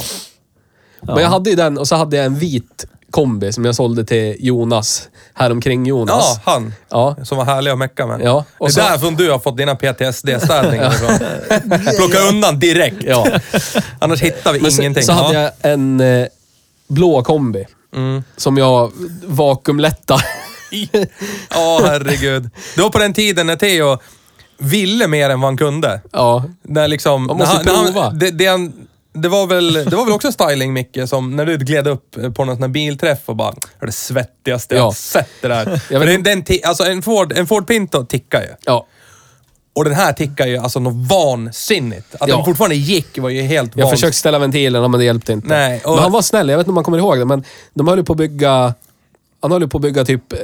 [SPEAKER 4] Men jag hade ju den och så hade jag en vit kombi som jag sålde till Jonas, häromkring Jonas.
[SPEAKER 1] ja, han.
[SPEAKER 4] Ja.
[SPEAKER 1] Som var härlig att mecka med.
[SPEAKER 4] Ja, och
[SPEAKER 1] det är
[SPEAKER 4] så-
[SPEAKER 1] därifrån du har fått dina
[SPEAKER 4] *laughs*
[SPEAKER 1] PTSD-städningar ifrån. Plocka undan direkt.
[SPEAKER 4] Ja.
[SPEAKER 1] Annars hittar vi
[SPEAKER 4] Men sen-
[SPEAKER 1] ingenting.
[SPEAKER 4] Så hade
[SPEAKER 1] ja. Mm.
[SPEAKER 4] jag en eh, blå kombi. Som jag vakuumlättar. *laughs*
[SPEAKER 1] Ja, herregud. Det var på den tiden när Theo ville mer än vad han kunde.
[SPEAKER 4] ja.
[SPEAKER 1] När liksom...
[SPEAKER 4] Man måste
[SPEAKER 1] när när
[SPEAKER 4] prova.
[SPEAKER 1] det, det, han, det, var väl, det var väl också styling, Micke, som när du gled upp på någon sån här bilträff och bara "Det är det svettigaste jag
[SPEAKER 4] Ja.
[SPEAKER 1] har sett det där.
[SPEAKER 4] *laughs* Jag
[SPEAKER 1] Jag
[SPEAKER 4] vet-
[SPEAKER 1] den, den, ti- alltså en, Ford, en Ford Pinto tickar ju.
[SPEAKER 4] ja.
[SPEAKER 1] Och den här tickar ju alltså något vansinnigt. Att
[SPEAKER 4] Ja.
[SPEAKER 1] den fortfarande gick var ju helt
[SPEAKER 4] Jag
[SPEAKER 1] vans-
[SPEAKER 4] försökte ställa ventilen men det hjälpte inte.
[SPEAKER 1] Nej, och-
[SPEAKER 4] Men han var snäll. Jag vet inte om man kommer ihåg det, men de höll ju på att bygga... Han höll ju på att bygga typ eh,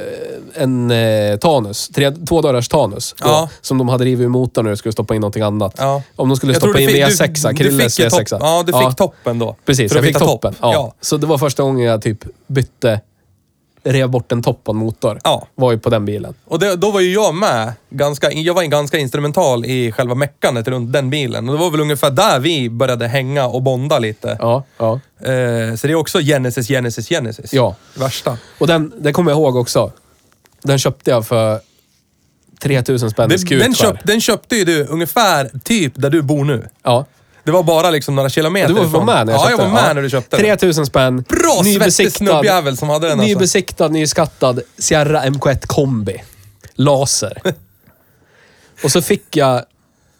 [SPEAKER 4] en eh, Tanus. Tre, två dörrars Tanus. Då,
[SPEAKER 1] Ja.
[SPEAKER 4] Som de hade rivit ur motorn när de skulle stoppa in någonting annat.
[SPEAKER 1] Ja.
[SPEAKER 4] Om de skulle
[SPEAKER 1] Jag tror
[SPEAKER 4] stoppa
[SPEAKER 1] du
[SPEAKER 4] in
[SPEAKER 1] fick- du-
[SPEAKER 4] V6,
[SPEAKER 1] du
[SPEAKER 4] Krilles
[SPEAKER 1] fick ju
[SPEAKER 4] V6.
[SPEAKER 1] topp- ja, du fick toppen då.
[SPEAKER 4] Precis,
[SPEAKER 1] För
[SPEAKER 4] jag
[SPEAKER 1] att
[SPEAKER 4] fick
[SPEAKER 1] hitta
[SPEAKER 4] toppen.
[SPEAKER 1] toppen.
[SPEAKER 4] Ja.
[SPEAKER 1] Ja.
[SPEAKER 4] Så det var första gången jag typ bytte, rev bort en topp på en motor.
[SPEAKER 1] Ja.
[SPEAKER 4] Var ju på den bilen.
[SPEAKER 1] Och det, då var ju jag med. Ganska, jag var en ganska instrumental i själva meckandet runt den bilen. Och det var väl ungefär där vi började hänga och bonda lite.
[SPEAKER 4] Ja, ja.
[SPEAKER 1] Eh, så det är också Genesis, Genesis, Genesis.
[SPEAKER 4] Ja.
[SPEAKER 1] Det Värsta.
[SPEAKER 4] Och den, den kommer jag ihåg också. Den köpte jag för 3000 spänn i
[SPEAKER 1] Den,
[SPEAKER 4] skutskär.
[SPEAKER 1] den, köp, den köpte ju du ungefär typ där du bor nu.
[SPEAKER 4] Ja.
[SPEAKER 1] Det var bara liksom några kilometer
[SPEAKER 4] Du var, var
[SPEAKER 1] ifrån.
[SPEAKER 4] med när jag
[SPEAKER 1] Ja,
[SPEAKER 4] köpte
[SPEAKER 1] jag var
[SPEAKER 4] den.
[SPEAKER 1] med när du köpte den.
[SPEAKER 4] 3000 spänn.
[SPEAKER 1] Bra svettig snubbjävel som hade den alltså.
[SPEAKER 4] Nybesiktad, nyskattad Sierra MK1 kombi.
[SPEAKER 1] *laughs*
[SPEAKER 4] Laser. och så fick jag,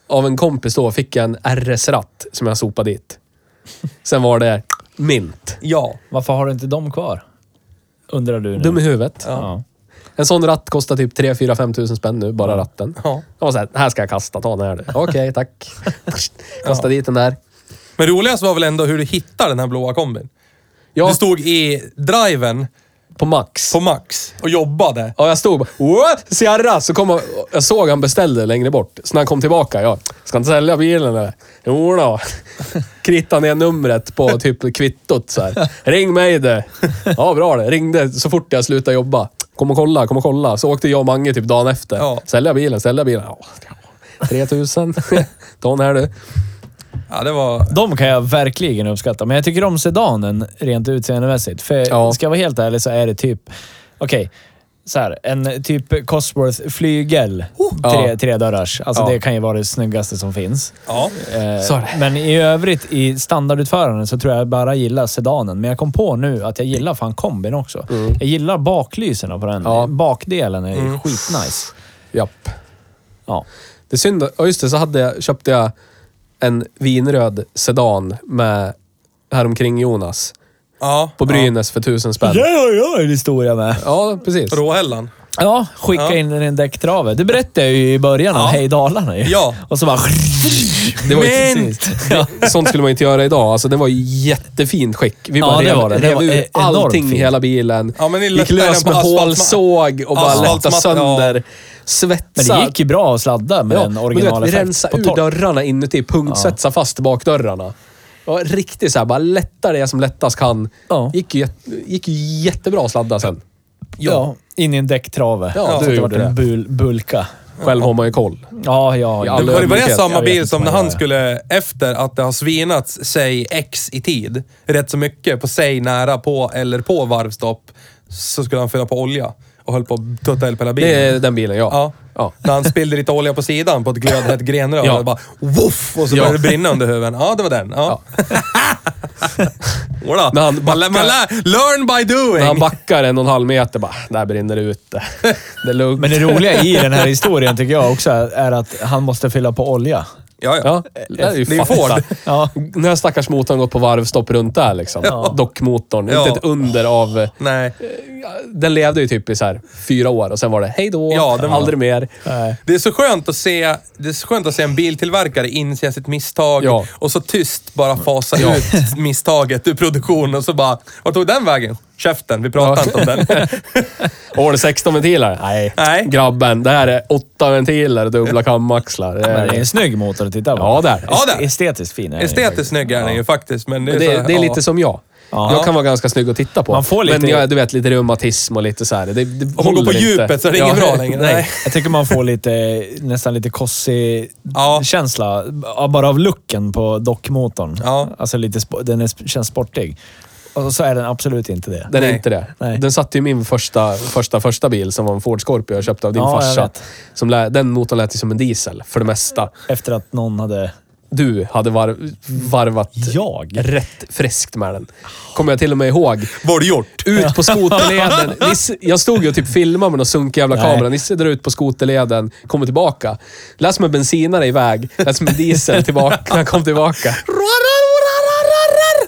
[SPEAKER 4] av en kompis då, fick jag en RS-ratt som jag sopade dit. Sen var det mint.
[SPEAKER 1] Ja.
[SPEAKER 2] Varför har du inte dem kvar? Undrar du nu?
[SPEAKER 4] Dum i
[SPEAKER 1] Mm.
[SPEAKER 4] huvudet.
[SPEAKER 2] ja.
[SPEAKER 4] En sån ratt kostar typ 3 4 5 tusen spänn nu, bara ratten.
[SPEAKER 1] Ja.
[SPEAKER 4] Jag var såhär, här ska jag kasta, ta den
[SPEAKER 1] *laughs*
[SPEAKER 4] här du. Okej, tack. Kasta dit den där.
[SPEAKER 1] Men roligast var väl ändå hur du hittar den här blåa kombin.
[SPEAKER 4] Ja,
[SPEAKER 1] Du stod i driven
[SPEAKER 4] på max.
[SPEAKER 1] på max och jobbade.
[SPEAKER 4] Ja, jag stod bara What? Sierra! Så kom han, jag såg han beställde längre bort. Så när han kom tillbaka, jag ska inte sälja bilen eller? Jo då. *laughs* Krittade ner numret på typ kvittot så här. Ring mig du. Ja, bra det. Ringde så fort jag slutade jobba. Kom och kolla, kom och kolla. Så åkte jag och Mange typ dagen efter.
[SPEAKER 1] Ja.
[SPEAKER 4] Sälja bilen, sälja bilen. Ja, 3000. *laughs* Ta den här du.
[SPEAKER 1] Ja, det var...
[SPEAKER 2] De kan jag verkligen uppskatta, men jag tycker om sedanen rent utseendemässigt. För
[SPEAKER 4] Ja.
[SPEAKER 2] ska jag vara helt ärlig så är det typ... Okej, så här. En typ Cosworth flygel. Tre,
[SPEAKER 4] Oh. Ja.
[SPEAKER 2] Tredörrars. Alltså
[SPEAKER 4] Ja.
[SPEAKER 2] det kan ju vara det snyggaste som finns.
[SPEAKER 1] Ja.
[SPEAKER 2] Eh,
[SPEAKER 4] Så är det.
[SPEAKER 2] men i övrigt i standardutföranden så tror jag bara gillar sedanen. Men jag kom på nu att jag gillar fan kombin också. Jag gillar baklyserna på den.
[SPEAKER 4] Ja.
[SPEAKER 2] Bakdelen är skitnice.
[SPEAKER 4] Japp.
[SPEAKER 2] Ja.
[SPEAKER 4] Det är synd. Ja, just det. Så hade jag, köpte jag en vinröd sedan med häromkring Jonas.
[SPEAKER 1] Ja.
[SPEAKER 4] På Brynäs för tusen spänn.
[SPEAKER 2] ja, en historia med.
[SPEAKER 4] Ja, precis.
[SPEAKER 1] Ja. Råhällan.
[SPEAKER 2] Ja, skicka
[SPEAKER 1] Ja.
[SPEAKER 2] in den i en däcktrave. Det berättade jag ju i början om
[SPEAKER 1] Ja.
[SPEAKER 2] Hej Dalarna ju.
[SPEAKER 1] Ja.
[SPEAKER 2] Och så bara...
[SPEAKER 4] Det var ju
[SPEAKER 1] Men-
[SPEAKER 2] *laughs*
[SPEAKER 4] precis. Sånt skulle man inte göra idag. Alltså, den var i jättefint skick. Vi
[SPEAKER 2] Ja,
[SPEAKER 4] bara
[SPEAKER 2] det
[SPEAKER 4] rev,
[SPEAKER 2] var det. Det
[SPEAKER 4] rev
[SPEAKER 2] var
[SPEAKER 4] ut
[SPEAKER 2] e-
[SPEAKER 4] allting
[SPEAKER 2] enormt
[SPEAKER 4] i
[SPEAKER 2] fint.
[SPEAKER 4] hela bilen.
[SPEAKER 1] Ja, men ni
[SPEAKER 4] gick
[SPEAKER 1] lättade
[SPEAKER 4] lös
[SPEAKER 1] den
[SPEAKER 4] med
[SPEAKER 1] på
[SPEAKER 4] hålsåg och bara lättade
[SPEAKER 1] asfaltmatta,
[SPEAKER 4] sönder.
[SPEAKER 1] ja.
[SPEAKER 2] Men
[SPEAKER 4] Svetsade.
[SPEAKER 2] det gick ju bra att sladda med
[SPEAKER 4] Ja,
[SPEAKER 2] den
[SPEAKER 4] men du vet, vi
[SPEAKER 2] originaleffekt
[SPEAKER 4] rensade
[SPEAKER 2] på
[SPEAKER 4] ur
[SPEAKER 2] torr.
[SPEAKER 4] dörrarna inuti, punktsetsa fast bakdörrarna. Ja, riktigt så här, bara lätta det som lättast kan.
[SPEAKER 2] Ja.
[SPEAKER 4] Gick, ju, jätte- gick ju jättebra att sladda sen.
[SPEAKER 2] Ja, in i en däcktrave.
[SPEAKER 4] Ja,
[SPEAKER 2] så
[SPEAKER 4] du
[SPEAKER 2] att det
[SPEAKER 4] gjorde
[SPEAKER 2] vart en bul Bulka.
[SPEAKER 4] Själv har man ju koll.
[SPEAKER 2] Ja, ja.
[SPEAKER 4] Ja,
[SPEAKER 2] ja.
[SPEAKER 1] Var
[SPEAKER 4] All
[SPEAKER 1] det, var det
[SPEAKER 4] ödmjukhet,
[SPEAKER 1] samma
[SPEAKER 2] jag vet
[SPEAKER 1] bil
[SPEAKER 2] inte
[SPEAKER 1] som
[SPEAKER 2] vad
[SPEAKER 1] när
[SPEAKER 2] jag
[SPEAKER 1] han
[SPEAKER 2] gör.
[SPEAKER 1] skulle, efter att det har svinats, säg X i tid, rätt så mycket, på säg nära på eller på varvstopp, så skulle han fylla på olja och höll på att tutta eld på hela bilen.
[SPEAKER 4] Det är Eh, den bilen, ja.
[SPEAKER 1] Ja.
[SPEAKER 4] Ja.
[SPEAKER 1] När han spillde lite olja på sidan på ett glödhett grenrör.
[SPEAKER 4] Ja.
[SPEAKER 1] Och bara woof! Och så
[SPEAKER 4] Ja.
[SPEAKER 1] började det brinna under huven. Ja, det var den. Ja. *laughs* Jodå.
[SPEAKER 4] När han
[SPEAKER 1] man, lär- man lär, learn by
[SPEAKER 4] När han
[SPEAKER 1] doing!
[SPEAKER 4] backar en och en halv meter, bara, där brinner det ute. *laughs* Det är lugnt.
[SPEAKER 2] Men det roliga i den här historien tycker jag också är att han måste fylla på olja.
[SPEAKER 1] Ja, ja.
[SPEAKER 4] Ja, det är ju
[SPEAKER 1] Det är ju
[SPEAKER 4] fatta.
[SPEAKER 1] Ford.
[SPEAKER 2] Ja.
[SPEAKER 4] Den här stackars motorn gått på varvstopp runt där liksom. Dockmotorn.
[SPEAKER 1] Ja.
[SPEAKER 4] Inte ett under av... eh,
[SPEAKER 1] Nej.
[SPEAKER 4] Den levde ju typ i så här fyra år och sen var det hej då,
[SPEAKER 1] Ja, den var-
[SPEAKER 4] aldrig mer.
[SPEAKER 2] Nej.
[SPEAKER 1] Det är så skönt att se, det är så skönt att se en biltillverkare inse sitt misstag
[SPEAKER 4] Ja.
[SPEAKER 1] och så tyst bara fasa ut misstaget ur produktion och så bara, vart tog den vägen? Käften, vi pratar
[SPEAKER 4] Ja.
[SPEAKER 1] inte om
[SPEAKER 4] *laughs*
[SPEAKER 1] den.
[SPEAKER 4] Åh, det är 16 ventiler? Nej.
[SPEAKER 1] Nej.
[SPEAKER 4] Grabben, det här är åtta ventiler och dubbla kamaxlar. Det
[SPEAKER 2] Men det är
[SPEAKER 4] är,
[SPEAKER 2] en snygg motor att titta på.
[SPEAKER 4] Ja, det är det.
[SPEAKER 1] Ja, det är det.
[SPEAKER 2] Estetiskt fin. är den
[SPEAKER 1] *laughs*
[SPEAKER 2] ju
[SPEAKER 1] Estetiskt
[SPEAKER 2] faktiskt.
[SPEAKER 1] snygg är den ju faktiskt, men det är,
[SPEAKER 4] det
[SPEAKER 1] så här,
[SPEAKER 4] är, det är
[SPEAKER 1] ja.
[SPEAKER 4] lite som jag.
[SPEAKER 2] Ja.
[SPEAKER 4] Jag kan vara ganska snygg att titta på.
[SPEAKER 2] Man får lite-
[SPEAKER 4] Men jag, du vet, lite reumatism och lite så här. Det, det
[SPEAKER 1] Om man går
[SPEAKER 4] håller
[SPEAKER 1] på
[SPEAKER 4] inte.
[SPEAKER 1] djupet så är det
[SPEAKER 4] Ja.
[SPEAKER 1] inget bra
[SPEAKER 4] *laughs*
[SPEAKER 1] längre. Nej.
[SPEAKER 2] Jag tycker man får lite, nästan lite
[SPEAKER 1] Ja.
[SPEAKER 2] Kossi-känsla. Bara av looken på dockmotorn.
[SPEAKER 1] Ja.
[SPEAKER 2] Alltså lite, spo- den är, sp- känns sportig. Och så är den absolut inte det.
[SPEAKER 4] Den är
[SPEAKER 1] Nej.
[SPEAKER 4] inte det.
[SPEAKER 2] Nej.
[SPEAKER 4] Den satt ju i min första, första, första bil som var en Ford Scorpio jag köpte av din
[SPEAKER 2] Ja, jag
[SPEAKER 4] farsa.
[SPEAKER 2] vet.
[SPEAKER 4] Som lä, den motorn lät ju som en diesel, för det mesta.
[SPEAKER 2] Efter att någon hade...
[SPEAKER 4] Du hade varv, varvat
[SPEAKER 2] Jag?
[SPEAKER 4] rätt friskt med den. Kommer jag till och med ihåg.
[SPEAKER 1] Vad har du gjort?
[SPEAKER 4] Ut på skoterleden. Nisse, jag stod ju och typ filmade med någon sunkig jävla
[SPEAKER 2] Nej.
[SPEAKER 4] kamera. Nisse drar ut på skoterleden, kommer tillbaka. Lät som en bensinare iväg, lät som en diesel tillbaka när han kom tillbaka.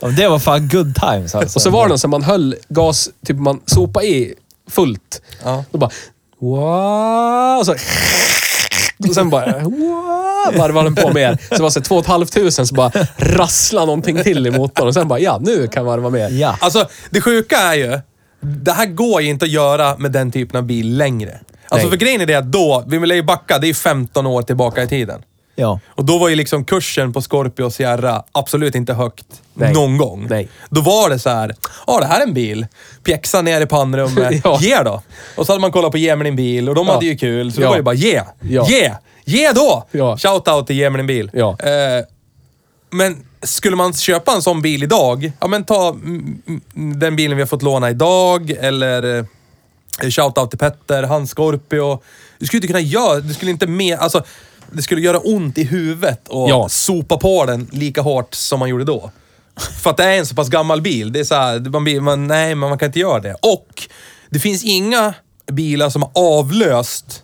[SPEAKER 2] Ja, Det var fan good times alltså.
[SPEAKER 4] Och så var det någon som man höll gas, typ man sopa i fullt.
[SPEAKER 1] Ja.
[SPEAKER 4] Då bara... Wow! Och så... Och sen bara... Wow! Varvade den på mer. Så det var så två och ett halvt tusen, så bara rassla någonting till i motorn. Och sen bara, ja, nu kan jag varva mer.
[SPEAKER 2] Ja.
[SPEAKER 1] Alltså, det sjuka är ju, det här går ju inte att göra med den typen av bil längre. Alltså
[SPEAKER 4] Nej.
[SPEAKER 1] för grejen är det att då, vi vill ju backa, det är 15 år tillbaka i tiden.
[SPEAKER 2] Ja.
[SPEAKER 1] Och då var ju liksom kursen på Scorpio och Sierra absolut inte högt
[SPEAKER 4] Nej.
[SPEAKER 1] någon gång.
[SPEAKER 4] Nej.
[SPEAKER 1] Då var det så här, ja det här är en bil. Pjäxa ner i pannrummet,
[SPEAKER 4] *laughs* Ja.
[SPEAKER 1] ge då. Och så hade man kollat på Ge mig din bil och de
[SPEAKER 4] Ja.
[SPEAKER 1] hade ju kul. Så
[SPEAKER 4] Ja.
[SPEAKER 1] då var det bara ge,
[SPEAKER 4] Ja.
[SPEAKER 1] ge, ge då!
[SPEAKER 4] Ja.
[SPEAKER 1] Shoutout till Ge mig din bil.
[SPEAKER 4] Ja.
[SPEAKER 1] Eh, men skulle man köpa en sån bil idag, ja men ta mm, mm, den bilen vi har fått låna idag eller eh, shoutout till Petter, hans Scorpio. Du skulle inte kunna göra, du skulle inte med, alltså det skulle göra ont i huvudet och
[SPEAKER 4] Ja.
[SPEAKER 1] sopa på den lika hårt som man gjorde då. För att det är en så pass gammal bil. Det är så här, man, blir- man, nej, men man kan inte göra det. Och det finns inga bilar som har avlöst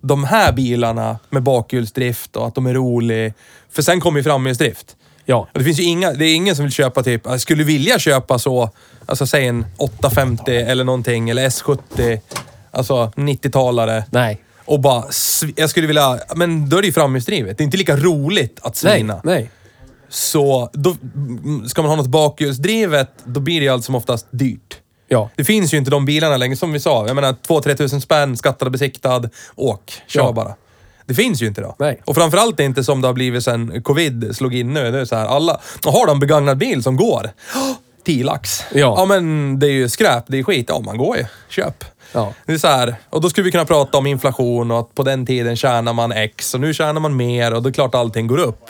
[SPEAKER 1] de här bilarna med bakhjulsdrift och att de är rolig. För sen kommer ju framhjulsdrift.
[SPEAKER 4] Ja.
[SPEAKER 1] Det finns ju inga, det är ingen som vill köpa typ, jag skulle vilja köpa så, alltså säg en 850 eller någonting, eller S70, alltså 90-talare.
[SPEAKER 4] Nej.
[SPEAKER 1] Och bara, sv- jag skulle vilja, men då är det ju framhjulsdrivet. Det är inte lika roligt att
[SPEAKER 4] Nej,
[SPEAKER 1] svina.
[SPEAKER 4] nej.
[SPEAKER 1] Så då, mm, ska man ha något bakhjulsdrivet, då blir det ju allt som oftast dyrt.
[SPEAKER 4] Ja.
[SPEAKER 1] Det finns ju inte de bilarna längre, som vi sa. Jag menar, 2-3 tusen spänn, skattad och besiktad, åk, kör
[SPEAKER 4] Ja.
[SPEAKER 1] bara. Det finns ju inte då.
[SPEAKER 4] Nej.
[SPEAKER 1] Och framförallt är inte som det har blivit sen covid slog in nu. Det är så här, alla... Och har de en begagnad bil som går, *gasps* 10 lax.
[SPEAKER 4] Ja.
[SPEAKER 1] ja, men det är ju skräp, det är skit. Ja, man går ju. Köp.
[SPEAKER 4] Ja.
[SPEAKER 1] Det är så här, och då skulle vi kunna prata om inflation och att på den tiden tjänar man X och nu tjänar man mer och det är klart allting går upp.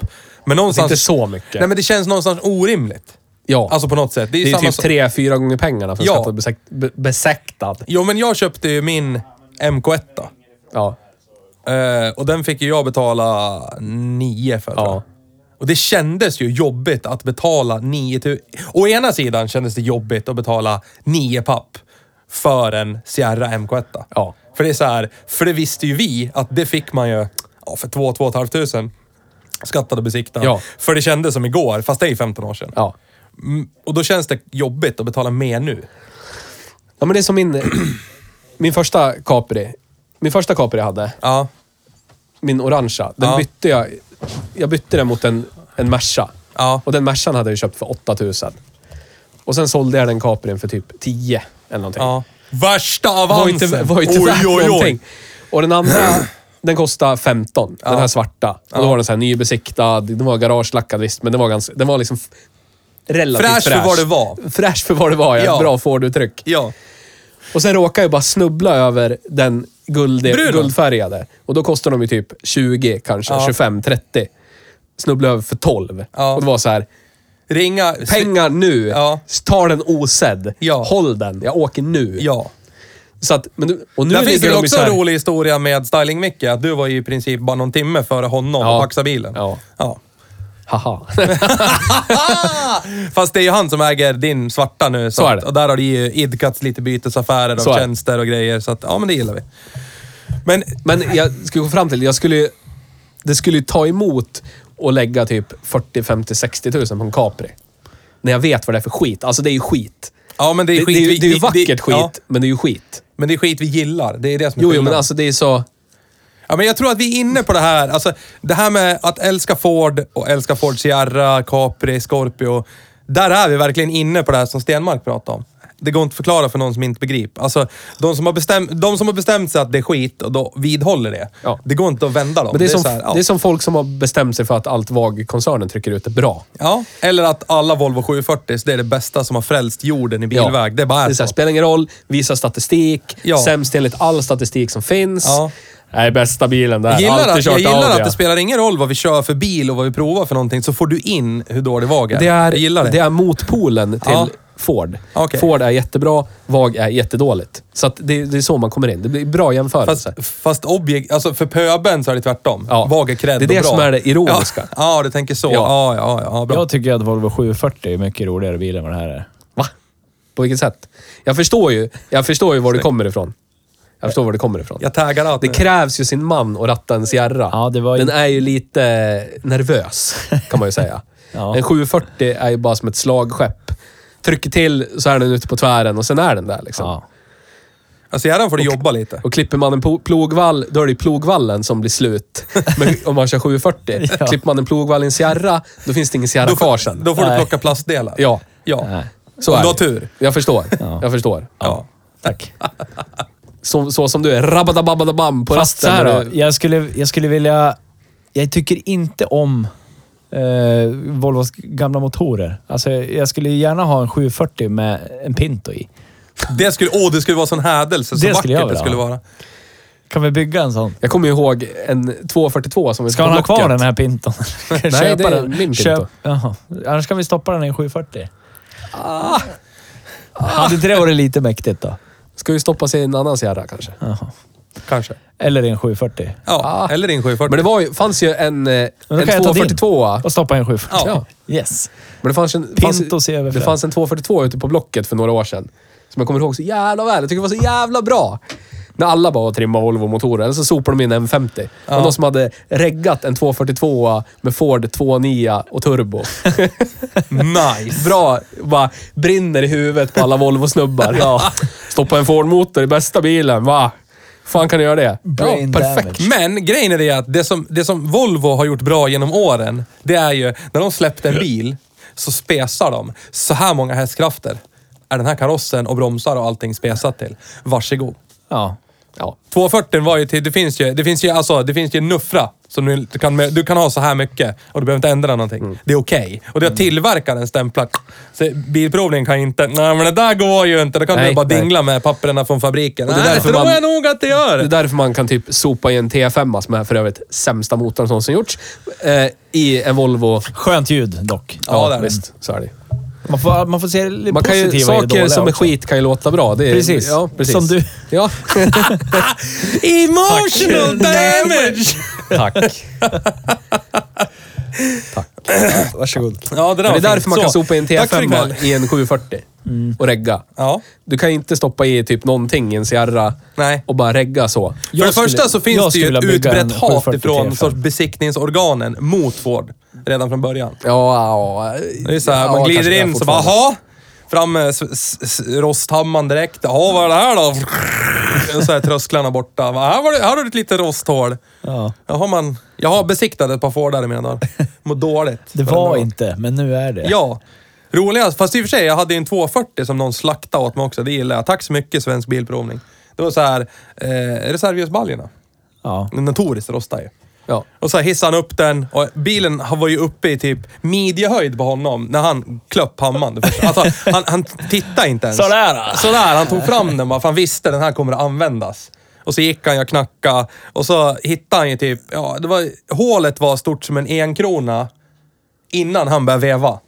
[SPEAKER 1] Men någonstans...
[SPEAKER 4] Inte så mycket.
[SPEAKER 1] Nej, men det känns någonstans orimligt.
[SPEAKER 4] ja.
[SPEAKER 1] Alltså på något sätt. Det är,
[SPEAKER 4] det är
[SPEAKER 1] samma
[SPEAKER 4] typ
[SPEAKER 1] som-
[SPEAKER 4] tre, fyra gånger pengarna för en
[SPEAKER 1] Ja.
[SPEAKER 4] skattad besekt- be- besektad.
[SPEAKER 1] Jo, men jag köpte ju min MK1. då.
[SPEAKER 4] Ja.
[SPEAKER 1] Eh, och den fick ju jag betala 9 för. tror
[SPEAKER 4] Ja.
[SPEAKER 1] jag. Och det kändes ju jobbigt att betala 9 tu- Å ena sidan kändes det jobbigt att betala 9 papp för en Sierra MK1.
[SPEAKER 4] Ja.
[SPEAKER 1] För det är så här, för det visste ju vi att det fick man ju ja, för 2-2,5 tusen. Skattad och besiktad.
[SPEAKER 4] Ja.
[SPEAKER 1] För det kändes som igår, fast det är 15 år sedan.
[SPEAKER 4] ja.
[SPEAKER 1] Mm, och då känns det jobbigt att betala mer nu.
[SPEAKER 4] Ja, men det är som min, *clears throat* min första Capri. Min första Capri jag hade,
[SPEAKER 1] Ja,
[SPEAKER 4] min orangea, den
[SPEAKER 1] Ja.
[SPEAKER 4] bytte jag... Jag bytte den mot en, en Merca.
[SPEAKER 1] Ja.
[SPEAKER 4] Och den Mercan hade jag ju köpt för 8000. Och sen sålde jag den Caprin för typ 10 eller någonting.
[SPEAKER 1] ja. Värsta
[SPEAKER 4] Var
[SPEAKER 1] avansen!
[SPEAKER 4] inte, var inte värt någonting. Och den andra, den kostade 15. Den här svarta. Och då var den så här nybesiktad. Den var garagelackad visst, men den var, ganska, den var liksom f- relativt
[SPEAKER 1] Fräsch
[SPEAKER 4] fräsch.
[SPEAKER 1] för vad det var.
[SPEAKER 4] Fräsch för vad det var, ja.
[SPEAKER 1] Ja.
[SPEAKER 4] Bra Ford-uttryck.
[SPEAKER 1] Ja.
[SPEAKER 4] Och sen råkar jag bara snubbla över den guld,
[SPEAKER 1] Bruna.
[SPEAKER 4] guldfärgade. Och då kostar de ju typ 20 kanske, 25-30. Snubblade över för 12.
[SPEAKER 1] Ja.
[SPEAKER 4] Och det var så här,
[SPEAKER 1] Ringa...
[SPEAKER 4] pengar nu.
[SPEAKER 1] Ja.
[SPEAKER 4] Ta den osedd.
[SPEAKER 1] Ja.
[SPEAKER 4] Håll den. Jag åker nu.
[SPEAKER 1] Ja.
[SPEAKER 4] Så att, men, du- och nu
[SPEAKER 1] Där finns
[SPEAKER 4] ligger
[SPEAKER 1] det
[SPEAKER 4] de ju
[SPEAKER 1] också
[SPEAKER 4] så här-
[SPEAKER 1] en rolig historia med Styling-Micke. Att du var ju i princip bara någon timme före honom
[SPEAKER 4] Ja.
[SPEAKER 1] och paxade bilen.
[SPEAKER 4] Ja. Haha.
[SPEAKER 1] *laughs*
[SPEAKER 4] *laughs*
[SPEAKER 1] Fast det är ju han som äger din svarta nu. Så,
[SPEAKER 4] Så är
[SPEAKER 1] att-
[SPEAKER 4] det.
[SPEAKER 1] Och där har det ju idkats lite bytesaffärer
[SPEAKER 4] Så är
[SPEAKER 1] och
[SPEAKER 4] det.
[SPEAKER 1] tjänster och grejer. Så att, ja men det gillar vi. Men
[SPEAKER 4] Men jag skulle gå fram till, jag skulle ju- det skulle ju ta emot att lägga typ 40, 50, 60 tusen på en Capri. När jag vet vad det är för skit. Alltså det är ju skit.
[SPEAKER 1] Ja, men det är
[SPEAKER 4] det,
[SPEAKER 1] skit
[SPEAKER 4] Det,
[SPEAKER 1] vi-
[SPEAKER 4] det är ju
[SPEAKER 1] det-
[SPEAKER 4] vackert
[SPEAKER 1] det-
[SPEAKER 4] skit,
[SPEAKER 1] ja.
[SPEAKER 4] men det är ju skit.
[SPEAKER 1] Men det är skit vi gillar. Det är det som är
[SPEAKER 4] Jo, jo,
[SPEAKER 1] skillnaden.
[SPEAKER 4] men alltså det är så...
[SPEAKER 1] Ja, men jag tror att vi är inne på det här. Alltså, det här med att älska Ford och älska Ford Sierra, Capri, Scorpio. Där är vi verkligen inne på det här som Stenmark pratade om. Det går inte att förklara för någon som inte begriper. Alltså, de som har bestämt, de som har bestämt sig att det är skit och då vidhåller det.
[SPEAKER 4] Ja.
[SPEAKER 1] Det går inte att vända dem.
[SPEAKER 4] Men det är, som,
[SPEAKER 1] så här, ja.
[SPEAKER 4] det är som folk som har bestämt sig för att allt VAG-koncernen trycker ut är bra.
[SPEAKER 1] ja. Eller att alla Volvo 740 det är det bästa som har frälst jorden i bilväg.
[SPEAKER 4] Ja.
[SPEAKER 1] Det bara är
[SPEAKER 4] det är så här, spelar ingen roll, visa statistik,
[SPEAKER 1] Ja.
[SPEAKER 4] sämst enligt all statistik som finns.
[SPEAKER 1] Ja.
[SPEAKER 4] Nej, bästa bilen där.
[SPEAKER 1] Jag gillar,
[SPEAKER 4] Alltid
[SPEAKER 1] att, jag
[SPEAKER 4] kört
[SPEAKER 1] gillar
[SPEAKER 4] Audi.
[SPEAKER 1] att det spelar ingen roll vad vi kör för bil och vad vi provar för någonting, så får du in hur dålig VAG är.
[SPEAKER 4] Det är,
[SPEAKER 1] jag gillar det.
[SPEAKER 4] är motpolen till
[SPEAKER 1] Ja.
[SPEAKER 4] Ford.
[SPEAKER 1] Okej.
[SPEAKER 4] Ford är jättebra, VAG är jättedåligt. Så att det, det är så man kommer in. Det blir bra jämförelse.
[SPEAKER 1] Fast, fast objekt, alltså för pöben så är det tvärtom.
[SPEAKER 4] Ja.
[SPEAKER 1] Vag är cred
[SPEAKER 4] Det är det
[SPEAKER 1] och bra.
[SPEAKER 4] som är det ironiska.
[SPEAKER 1] Ja, ja du tänker så.
[SPEAKER 4] Ja.
[SPEAKER 1] Ja, ja, ja. ja bra.
[SPEAKER 2] Jag tycker att Volvo 740 är mycket roligare bil än vad det här är.
[SPEAKER 4] Va? På vilket sätt? Jag förstår ju, jag förstår ju var det kommer ifrån. Jag förstår var det kommer ifrån.
[SPEAKER 1] Jag taggar allt
[SPEAKER 4] Det
[SPEAKER 1] nu.
[SPEAKER 4] krävs ju sin man att ratta en Sierra.
[SPEAKER 2] Eh. Ja, det var ju-
[SPEAKER 4] Den är ju lite nervös, kan man ju säga.
[SPEAKER 2] *laughs* Ja.
[SPEAKER 4] En 740 är ju bara som ett slagskepp. Trycker till så är den ute på tvären och sen är den där liksom.
[SPEAKER 2] Ja.
[SPEAKER 1] Alltså gärna får du jobba lite.
[SPEAKER 4] Och klipper man en po- plogvall, då är det ju plogvallen som blir
[SPEAKER 2] *laughs*
[SPEAKER 4] slut. Men om man kör 740.
[SPEAKER 2] Ja.
[SPEAKER 4] Klipper man en plogvall i en Sierra, då finns det ingen Sierra
[SPEAKER 1] Då
[SPEAKER 4] kvar
[SPEAKER 1] får,
[SPEAKER 4] sen.
[SPEAKER 1] då får du
[SPEAKER 2] Nej.
[SPEAKER 1] plocka plastdelar.
[SPEAKER 4] Ja,
[SPEAKER 1] Ja.
[SPEAKER 2] Nej.
[SPEAKER 4] så
[SPEAKER 1] Om
[SPEAKER 4] är
[SPEAKER 1] du har
[SPEAKER 4] det.
[SPEAKER 1] tur.
[SPEAKER 4] Jag förstår.
[SPEAKER 2] Ja.
[SPEAKER 4] Jag förstår.
[SPEAKER 1] Ja.
[SPEAKER 2] Tack.
[SPEAKER 4] Så, så som du är rabadababadabam på
[SPEAKER 2] Fast så
[SPEAKER 4] rasten.
[SPEAKER 2] här
[SPEAKER 4] när
[SPEAKER 2] då,
[SPEAKER 4] du-
[SPEAKER 2] jag skulle, jag skulle vilja... Jag tycker inte om eh, Volvos gamla motorer. Alltså, jag skulle gärna ha en 740 med en Pinto i.
[SPEAKER 1] Det skulle, åh, det skulle vara sån hädelse. Så
[SPEAKER 2] Det skulle jag
[SPEAKER 1] vackert det
[SPEAKER 2] vilja
[SPEAKER 1] skulle
[SPEAKER 2] ha.
[SPEAKER 1] vara.
[SPEAKER 2] Kan vi bygga en sån?
[SPEAKER 4] Jag kommer ju ihåg en 242 som vi
[SPEAKER 2] Ska
[SPEAKER 4] på
[SPEAKER 2] han ha kvar
[SPEAKER 4] Blocket.
[SPEAKER 2] den här Pinton? *laughs* Kan jag
[SPEAKER 4] Nej,
[SPEAKER 2] köpa
[SPEAKER 4] det är
[SPEAKER 2] den?
[SPEAKER 4] min Pinto.
[SPEAKER 2] Jaha. Annars kan vi stoppa den i en 740. Ah. Hade inte det varit lite mäktigt då?
[SPEAKER 4] Ska ju stoppa sig i en annan Sierra kanske.
[SPEAKER 2] Jaha.
[SPEAKER 1] Kanske.
[SPEAKER 2] Eller i en 740.
[SPEAKER 1] Ja,
[SPEAKER 4] Ah.
[SPEAKER 1] eller din 740.
[SPEAKER 4] Men det var ju, fanns ju en, eh,
[SPEAKER 2] Men då
[SPEAKER 4] en
[SPEAKER 2] kan jag ta din.
[SPEAKER 4] 242.
[SPEAKER 2] Och stoppa i en 740.
[SPEAKER 4] Ja.
[SPEAKER 2] Yes.
[SPEAKER 4] Men det fanns en, fanns,
[SPEAKER 2] Pinto ser över
[SPEAKER 4] det
[SPEAKER 2] fram.
[SPEAKER 4] fanns en 242 ute på Blocket för några år sedan. Som jag kommer ihåg så jävla väl. Jag tycker det var så jävla bra. När alla bara trimmade Volvo-motorer, eller så sopade de in en 50 Det var någon som hade reggat en 242 med Ford 2.9 och turbo.
[SPEAKER 1] Nice!
[SPEAKER 4] Bra, bara brinner i huvudet på alla Volvo-snubbar. Ja. Stoppa en Ford-motor i bästa bilen, va? fan kan du göra det?
[SPEAKER 2] Brain
[SPEAKER 4] ja, perfekt.
[SPEAKER 2] damage.
[SPEAKER 1] Men grejen är det att det som, det som Volvo har gjort bra genom åren, det är ju när de släppte en bil så spesar de. Så här många hästkrafter är den här karossen och bromsar och allting spesat till. Varsågod.
[SPEAKER 2] Ja.
[SPEAKER 4] Ja.
[SPEAKER 1] 240 var ju till, det finns ju, det finns ju, alltså, det finns ju en nuffra. Som du, du, kan, du kan ha så här mycket och du behöver inte ändra någonting.
[SPEAKER 4] Mm.
[SPEAKER 1] Det är okej. Och det har tillverkaren stämplat. Så bilprovningen kan ju inte, nej men det där går ju inte. Då kan du
[SPEAKER 4] Nej,
[SPEAKER 1] bara
[SPEAKER 4] nej.
[SPEAKER 1] dingla med papperna från fabriken.
[SPEAKER 4] det är
[SPEAKER 1] nej, det
[SPEAKER 4] därför
[SPEAKER 1] tror
[SPEAKER 4] man-
[SPEAKER 1] jag nog att det
[SPEAKER 4] Det är
[SPEAKER 1] gör.
[SPEAKER 4] därför man kan typ sopa i en T5, som är för övrigt sämsta motorn som någonsin gjorts, eh, i en Volvo.
[SPEAKER 2] Skönt ljud dock.
[SPEAKER 1] Ja, det är det.
[SPEAKER 4] visst. Så är det.
[SPEAKER 2] Man får, man får se det lite
[SPEAKER 4] Man kan ju,
[SPEAKER 2] positiva i det
[SPEAKER 4] saker
[SPEAKER 2] dåliga
[SPEAKER 4] som är
[SPEAKER 2] också.
[SPEAKER 4] skit kan ju låta bra. Det är,
[SPEAKER 2] Precis.
[SPEAKER 4] Ja, precis.
[SPEAKER 2] Som du.
[SPEAKER 1] *laughs*
[SPEAKER 4] Ja.
[SPEAKER 1] Emotional *laughs* damage!
[SPEAKER 4] *laughs* Tack.
[SPEAKER 2] Varsågod.
[SPEAKER 1] Ja, det, där var
[SPEAKER 4] Men det är
[SPEAKER 1] fint.
[SPEAKER 4] därför man kan
[SPEAKER 1] Så,
[SPEAKER 4] sopa i en
[SPEAKER 1] tack för ikväll. Mm.
[SPEAKER 4] T5 i en 740 och regga.
[SPEAKER 1] Ja.
[SPEAKER 4] Du kan ju inte stoppa i typ någonting i en Sierra
[SPEAKER 1] Nej.
[SPEAKER 4] och bara regga så.
[SPEAKER 1] För det
[SPEAKER 2] skulle-
[SPEAKER 1] första så
[SPEAKER 2] jag
[SPEAKER 1] finns det
[SPEAKER 2] skulle
[SPEAKER 1] ju ett
[SPEAKER 2] vilja bygga en
[SPEAKER 1] utbrett hat
[SPEAKER 2] 740
[SPEAKER 1] ifrån
[SPEAKER 2] TFM.
[SPEAKER 1] sorts besiktningsorganen mot Ford redan från början.
[SPEAKER 4] Ja, ja.
[SPEAKER 1] Det är så här,
[SPEAKER 4] Ja,
[SPEAKER 1] man glider
[SPEAKER 4] kanske det
[SPEAKER 1] in så bara,
[SPEAKER 4] fortfarande.
[SPEAKER 1] jaha? Fram med s- s- s- rosthammaren direkt. Jaha, vad är det här då? *laughs* Och så är trösklarna borta. Va, Här, var det, här har du ett litet rosthål.
[SPEAKER 2] Ja.
[SPEAKER 1] Jag har, man, jag har besiktat ett par Fordar i mina dagar. Mår dåligt.
[SPEAKER 2] Det var inte, men nu är det.
[SPEAKER 1] Ja. Roligast, fast i och för sig, jag hade ju en 240 som någon slaktade åt mig också. Det gillar jag. Tack så mycket Svensk Bilprovning. Det var så här, eh, reservhjulsbaljorna.
[SPEAKER 2] Ja.
[SPEAKER 1] Notoriskt rostade ju.
[SPEAKER 4] Ja.
[SPEAKER 1] Och så här hissade han upp den och bilen var ju uppe i typ midjehöjd på honom när han klöpp hammaren. Alltså, han, han tittade inte ens.
[SPEAKER 2] Sådär, då.
[SPEAKER 1] Sådär, han tog fram den bara för han visste den här kommer att användas. Och så gick han, jag knackade och så hittade han ju typ, ja, det var, hålet var stort som en enkrona innan han började veva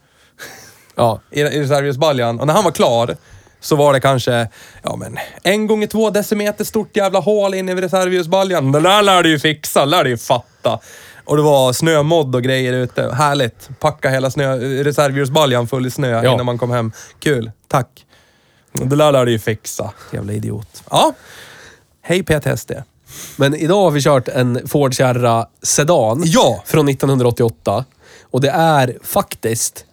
[SPEAKER 4] Ja.
[SPEAKER 1] i, i reservhjulsbaljan. Och när han var klar så var det kanske, ja men, en gånger två decimeter stort jävla hål inne i reservhjulsbaljan. Det där lär du ju fixa, lär du ju fatta. Och det var snömodd och grejer ute. Härligt. Packa hela snö, reservhjulsbaljan full i snö
[SPEAKER 4] Ja.
[SPEAKER 1] innan man kom hem. Kul. Tack. Det där lär du ju fixa. Jävla idiot. Ja. Hej PTSD.
[SPEAKER 4] Men idag har vi kört en Ford Kärra Sedan.
[SPEAKER 1] Ja.
[SPEAKER 4] Från 1988. Och det är faktiskt...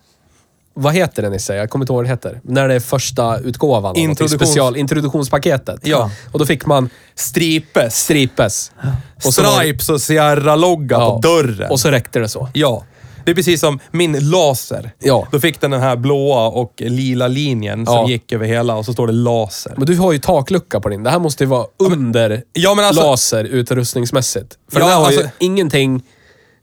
[SPEAKER 4] Vad heter den Nisse? Jag kommer inte ihåg vad det heter. När det är första utgåvan. av något
[SPEAKER 1] Introduktions-
[SPEAKER 4] Special, introduktionspaketet.
[SPEAKER 1] Ja.
[SPEAKER 4] Och då fick man
[SPEAKER 1] Stripes.
[SPEAKER 4] stripes.
[SPEAKER 1] Och
[SPEAKER 4] så var det-
[SPEAKER 1] Stripes och Sierra-logga på dörren.
[SPEAKER 4] Och så räckte det så.
[SPEAKER 1] Ja. Det är precis som min laser.
[SPEAKER 4] Ja.
[SPEAKER 1] Då fick den den här blåa och lila linjen som
[SPEAKER 4] Ja.
[SPEAKER 1] gick över hela och så står det laser.
[SPEAKER 4] Men du har ju taklucka på din. Det här måste ju vara under
[SPEAKER 1] Ja, men alltså-
[SPEAKER 4] laser utrustningsmässigt. För
[SPEAKER 1] Ja,
[SPEAKER 4] den här har ju
[SPEAKER 1] alltså-
[SPEAKER 4] ingenting...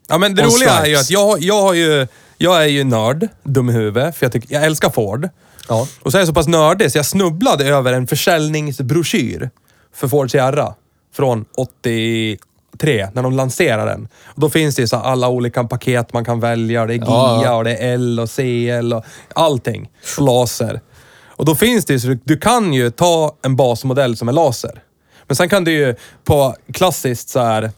[SPEAKER 1] Ja, men det
[SPEAKER 4] Och
[SPEAKER 1] roliga är ju
[SPEAKER 4] stripes.
[SPEAKER 1] att jag, jag har ju... Jag är ju nörd, dum i huvudet, för jag, tycker, jag älskar Ford.
[SPEAKER 4] Ja.
[SPEAKER 1] Och så är jag så pass nördig så jag snubblade över en försäljningsbroschyr för Ford Sierra från 83, när de lanserade den. Och då finns det ju så här alla olika paket man kan välja. Det är
[SPEAKER 4] Ja,
[SPEAKER 1] GIA
[SPEAKER 4] ja.
[SPEAKER 1] och det är L och CL och allting. Och laser. Och då finns det ju, så du, du kan ju ta en basmodell som är laser. Men sen kan du ju på klassiskt så här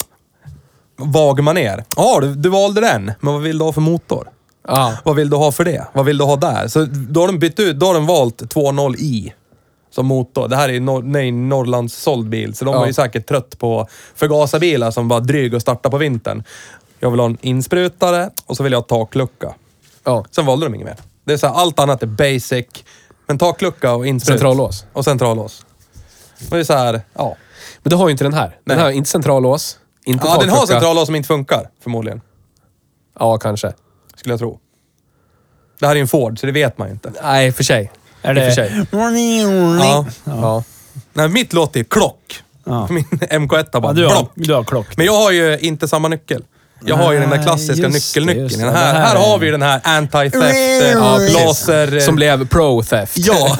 [SPEAKER 1] vag manér. Ja, du, du valde den, men vad vill du ha för motor?
[SPEAKER 4] Ja.
[SPEAKER 1] Vad vill du ha för det? Vad vill du ha där? Så då har de bytt ut, då har de valt 2.0i som motor. Det här är ju nor- nej, Norrlands såld bil, så de
[SPEAKER 4] Ja.
[SPEAKER 1] var ju säkert trött på förgasarbilar som var dryg och starta på vintern. Jag vill ha en insprutare och så vill jag ha taklucka.
[SPEAKER 4] ja.
[SPEAKER 1] Sen valde de inget mer. Det är så här, allt annat är basic, men taklucka och insprut.
[SPEAKER 4] Centrallås.
[SPEAKER 1] Och centrallås. Och det är så här, ja.
[SPEAKER 4] Men det har ju inte den här. Den
[SPEAKER 1] Nej.
[SPEAKER 4] här har inte centrallås. Inte
[SPEAKER 1] Ja, den har
[SPEAKER 4] taklucka.
[SPEAKER 1] centrallås som inte funkar, förmodligen.
[SPEAKER 4] Ja, kanske.
[SPEAKER 1] Skulle jag tro. Det här är ju en Ford, så det vet man ju inte.
[SPEAKER 4] Nej, i och för sig.
[SPEAKER 2] Är
[SPEAKER 4] I och för
[SPEAKER 2] det...
[SPEAKER 4] sig.
[SPEAKER 1] Ja.
[SPEAKER 4] Ja.
[SPEAKER 1] Nej, mitt låter ju klock.
[SPEAKER 2] Ja.
[SPEAKER 1] Min MK1 bara
[SPEAKER 2] Ja, du, har,
[SPEAKER 1] block.
[SPEAKER 2] du har klock.
[SPEAKER 1] Men jag har ju inte samma nyckel. Jag har ju den där
[SPEAKER 2] Nej,
[SPEAKER 1] klassiska
[SPEAKER 2] just det,
[SPEAKER 1] nyckelnyckeln.
[SPEAKER 2] just det.
[SPEAKER 1] Den här,
[SPEAKER 2] Det
[SPEAKER 1] här
[SPEAKER 2] här är-
[SPEAKER 1] har vi ju den här anti-theft, eh,
[SPEAKER 4] Ja, precis.
[SPEAKER 1] laser... eh,
[SPEAKER 4] Som blev pro-theft.
[SPEAKER 1] Ja,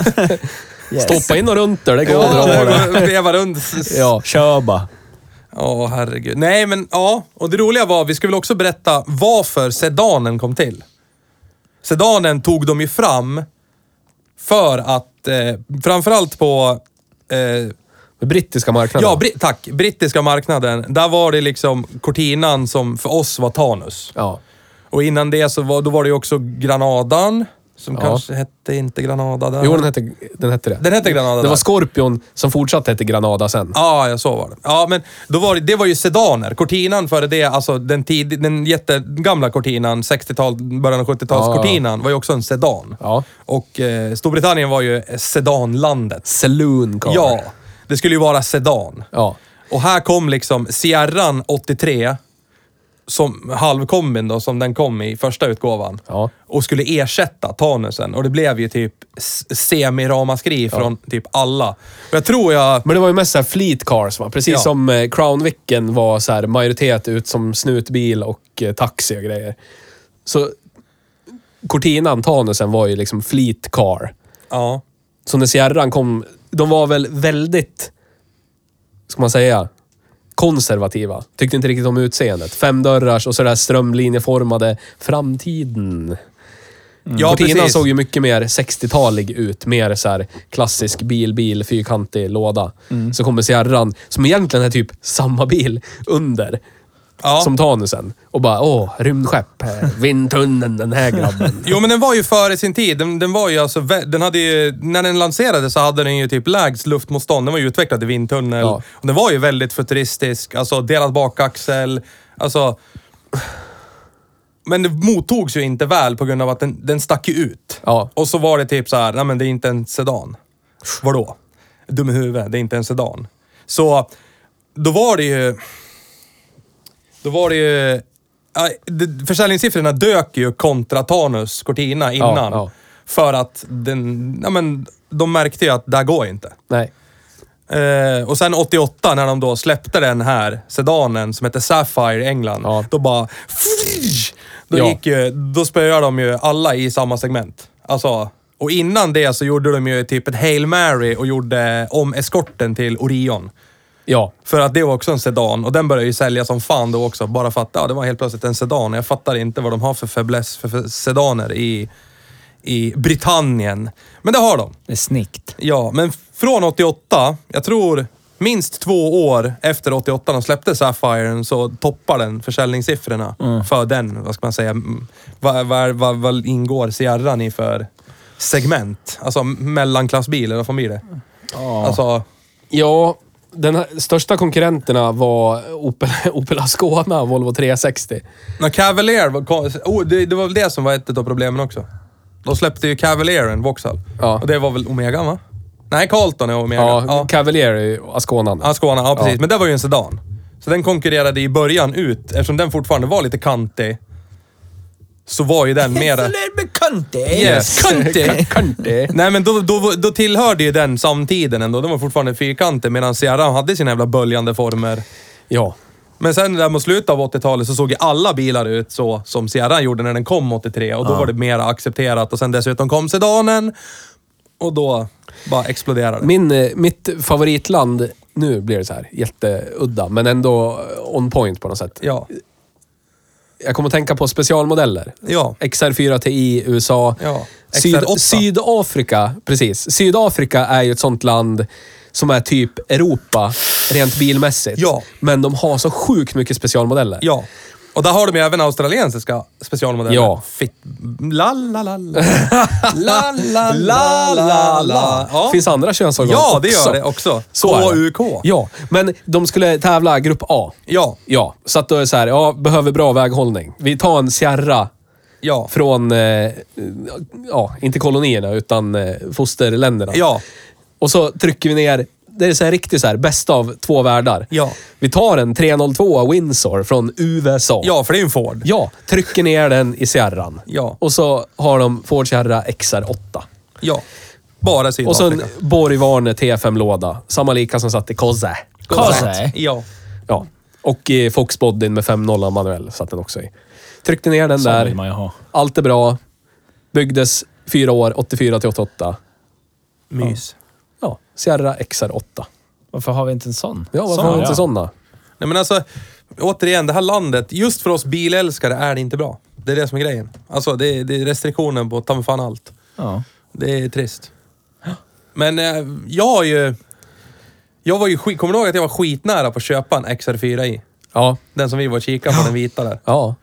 [SPEAKER 2] Yes.
[SPEAKER 4] Stoppa in och runt där, det går
[SPEAKER 1] ja *laughs*
[SPEAKER 4] bra. det.
[SPEAKER 1] det vevar runt. s- s-
[SPEAKER 4] Ja.
[SPEAKER 2] Kör bara.
[SPEAKER 1] Ja, herregud. Nej, men ja. Och det roliga var, vi skulle väl också berätta varför sedanen kom till. Sedanen tog de ju fram för att, eh, framförallt på eh,
[SPEAKER 4] Den brittiska marknaden.
[SPEAKER 1] Ja, bri- tack. Brittiska marknaden. Där var det liksom Cortinan som för oss var Tanus.
[SPEAKER 4] ja.
[SPEAKER 1] Och innan det så var, då var det ju också Granadan, Som
[SPEAKER 4] Ja.
[SPEAKER 1] kanske hette inte Granada där.
[SPEAKER 4] Jo, den hette, den hette det.
[SPEAKER 1] Den hette Granada
[SPEAKER 4] Det
[SPEAKER 1] där.
[SPEAKER 4] var Scorpion som fortsatt hette Granada sen.
[SPEAKER 1] Ja, ja, så var det. Ja, men då var det, det var ju sedaner. Cortinan före det, alltså den, tid, den jättegamla Cortinan, 60-tal, början av 70-tals
[SPEAKER 4] Ja.
[SPEAKER 1] Cortinan, var ju också en sedan.
[SPEAKER 4] Ja.
[SPEAKER 1] Och eh, Storbritannien var ju sedanlandet.
[SPEAKER 4] Saloon car.
[SPEAKER 1] Ja, det skulle ju vara sedan.
[SPEAKER 4] Ja.
[SPEAKER 1] Och här kom liksom Sierran 83, som halvkombin då, som den kom i första utgåvan.
[SPEAKER 4] Ja.
[SPEAKER 1] Och skulle ersätta Tanusen. Och det blev ju typ s- semiramaskri från typ alla. Och jag tror jag...
[SPEAKER 4] Men det var ju mest så här fleet cars va? Precis
[SPEAKER 1] Ja.
[SPEAKER 4] som eh, Crown Vicken var så här majoritet ut som snutbil och eh, taxi och grejer. Så Cortinan, Tanusen var ju liksom fleet car.
[SPEAKER 1] Ja.
[SPEAKER 4] Så när Sierran kom, de var väl väldigt, ska man säga, konservativa. Tyckte inte riktigt om utseendet. Femdörrars och sådär strömlinjeformade framtiden.
[SPEAKER 1] Ja,
[SPEAKER 4] Cortinan
[SPEAKER 1] precis.
[SPEAKER 4] Mm. såg ju mycket mer 60-talig ut. Mer så här klassisk bil, bil, fyrkantig låda.
[SPEAKER 1] Mm.
[SPEAKER 4] Så kommer Sierran, som egentligen är typ samma bil under.
[SPEAKER 1] Ja.
[SPEAKER 4] Som Tanusen. Och bara, åh, rymdskepp. eh, Vindtunneln, den
[SPEAKER 1] *laughs*
[SPEAKER 4] här grabben.
[SPEAKER 1] Jo, men den var ju före sin tid. Den, den var ju alltså... vä- Den hade ju, när den lanserades så hade den ju typ lägst luftmotstånd. Den var ju utvecklad i vindtunnel.
[SPEAKER 4] Ja.
[SPEAKER 1] Och den var ju väldigt futuristisk. Alltså delad bakaxel. Alltså... Men det mottogs ju inte väl på grund av att den, den stack ju ut.
[SPEAKER 4] Ja.
[SPEAKER 1] Och så var det typ så här, nej men det är inte en sedan. Vadå? Dum i huvudet, det är inte en sedan. Så då var det ju... Då var det ju... ja, det- Försäljningssiffrorna dök ju kontra Tanus Cortina innan.
[SPEAKER 4] ja.
[SPEAKER 1] För att den, ja, men, de märkte ju att det här går inte.
[SPEAKER 4] Nej.
[SPEAKER 1] Eh, och sen 88 när de då släppte den här sedanen som hette Sapphire i England.
[SPEAKER 4] Ja.
[SPEAKER 1] Då bara... Då,
[SPEAKER 4] Ja.
[SPEAKER 1] gick ju, då spöade de ju alla i samma segment. Alltså, och innan det så gjorde de ju typ ett Hail Mary och gjorde om eskorten till Orion.
[SPEAKER 4] Ja.
[SPEAKER 1] För att det var också en sedan och den började ju sälja som fan då också. Bara för att ja, det var helt plötsligt en sedan. Jag fattar inte vad de har för fäbless för, för sedaner i, i Britannien. Men det har de.
[SPEAKER 2] Det är snyggt.
[SPEAKER 1] Ja, men från 88, jag tror minst två år efter 88 de släppte Sapphire så toppar den försäljningssiffrorna för den, vad ska man säga, mm, vad, vad, vad, vad ingår Sierran i för segment? Alltså mellanklassbil, eller vad fan blir det? Alltså,
[SPEAKER 4] Ja, den här, största konkurrenterna var Opel, *laughs* Opel Ascona, Volvo 360.
[SPEAKER 1] när Cavalier var, kom- oh, det, det var väl det som var ett av problemen också. De släppte ju Cavalieren, Vauxhall.
[SPEAKER 4] Ja.
[SPEAKER 1] Och det var väl Omega va? Nej, Carlton är Omega.
[SPEAKER 4] Ja,
[SPEAKER 1] Ja.
[SPEAKER 4] Cavalier är ju Asconan.
[SPEAKER 1] Ja, Skåne, ja precis.
[SPEAKER 4] Ja.
[SPEAKER 1] Men det var ju en sedan. Så den konkurrerade i början ut, eftersom den fortfarande var lite kantig. Så var ju den mera... Yes.
[SPEAKER 4] Kanti!
[SPEAKER 2] *laughs*
[SPEAKER 4] Kanti!
[SPEAKER 1] Nej men då, då, då tillhörde ju den samtiden ändå. Den var fortfarande fyrkantig medan Sierra hade sina jävla böljande former.
[SPEAKER 4] Ja.
[SPEAKER 1] Men sen där mot slutet av 80-talet så såg ju alla bilar ut så som Sierra gjorde när den kom 83 och då var det mera accepterat. Och sen dessutom kom sedanen och då bara exploderade det.
[SPEAKER 4] Min, eh, mitt favoritland, nu blir det så här jätteudda, men ändå on point på något sätt.
[SPEAKER 1] Ja.
[SPEAKER 4] Jag kommer att tänka på specialmodeller.
[SPEAKER 1] Ja.
[SPEAKER 4] XR4 TI, USA.
[SPEAKER 1] Ja.
[SPEAKER 4] Syd,
[SPEAKER 1] XR8.
[SPEAKER 4] Sydafrika, precis. Sydafrika är ju ett sånt land som är typ Europa, rent bilmässigt.
[SPEAKER 1] Ja.
[SPEAKER 4] Men de har så sjukt mycket specialmodeller.
[SPEAKER 1] Ja. Och där har de ju även australiensiska specialmodeller.
[SPEAKER 4] Ja.
[SPEAKER 1] Fitt... La, la, la, la. La,
[SPEAKER 4] *laughs*
[SPEAKER 1] la, Ah, la, la, la.
[SPEAKER 4] Ja. Finns andra könsorgan
[SPEAKER 1] Ja,
[SPEAKER 4] också.
[SPEAKER 1] det gör det också.
[SPEAKER 4] Så är det.
[SPEAKER 1] KUK.
[SPEAKER 4] Ja, men de skulle tävla grupp A.
[SPEAKER 1] Ja.
[SPEAKER 4] Ja, så att då är det så här, ja, behöver bra väghållning. Vi tar en Sierra
[SPEAKER 1] Ja.
[SPEAKER 4] från, eh, ja, inte kolonierna, utan eh, fosterländerna.
[SPEAKER 1] Ja.
[SPEAKER 4] Och så trycker vi ner, det är så här riktigt så här, bäst av två världar.
[SPEAKER 1] Ja.
[SPEAKER 4] Vi tar en 302 Windsor från USA.
[SPEAKER 1] Ja, för det är ju en Ford.
[SPEAKER 4] Ja, trycker ner den i Sierran.
[SPEAKER 1] Ja.
[SPEAKER 4] Och så har de Ford Sierra XR8.
[SPEAKER 1] Ja. Bara
[SPEAKER 4] Och så
[SPEAKER 1] Sydafrika.
[SPEAKER 4] en Borgvarne T5-låda. Samma lika som satt i Koze.
[SPEAKER 2] Kose.
[SPEAKER 1] Ja.
[SPEAKER 4] Ja. Och eh, Fox Bodin med 5.0 manuell satt den också i. Tryckte ner den
[SPEAKER 2] Sån
[SPEAKER 4] där.
[SPEAKER 2] vill man ju ha.
[SPEAKER 4] Allt är bra. Byggdes fyra år, 84 till 88.
[SPEAKER 1] Mys.
[SPEAKER 4] Ja, Sierra XR8.
[SPEAKER 2] Varför har vi inte en sån?
[SPEAKER 4] Ja, varför
[SPEAKER 2] Sån,
[SPEAKER 4] har vi inte
[SPEAKER 2] ja.
[SPEAKER 4] sådana?
[SPEAKER 1] Nej men alltså, återigen, det här landet, just för oss bilälskare är det inte bra. Det är det som är grejen. Alltså, det är, det är restriktionen på ta mig fan allt.
[SPEAKER 2] Ja.
[SPEAKER 1] Det är trist. Men eh, jag har ju... Jag var ju skit, kommer du ihåg att jag var skitnära på att köpa en XR4 i?
[SPEAKER 4] Ja.
[SPEAKER 1] Den som vi var och kikade på, den vita där.
[SPEAKER 4] Ja.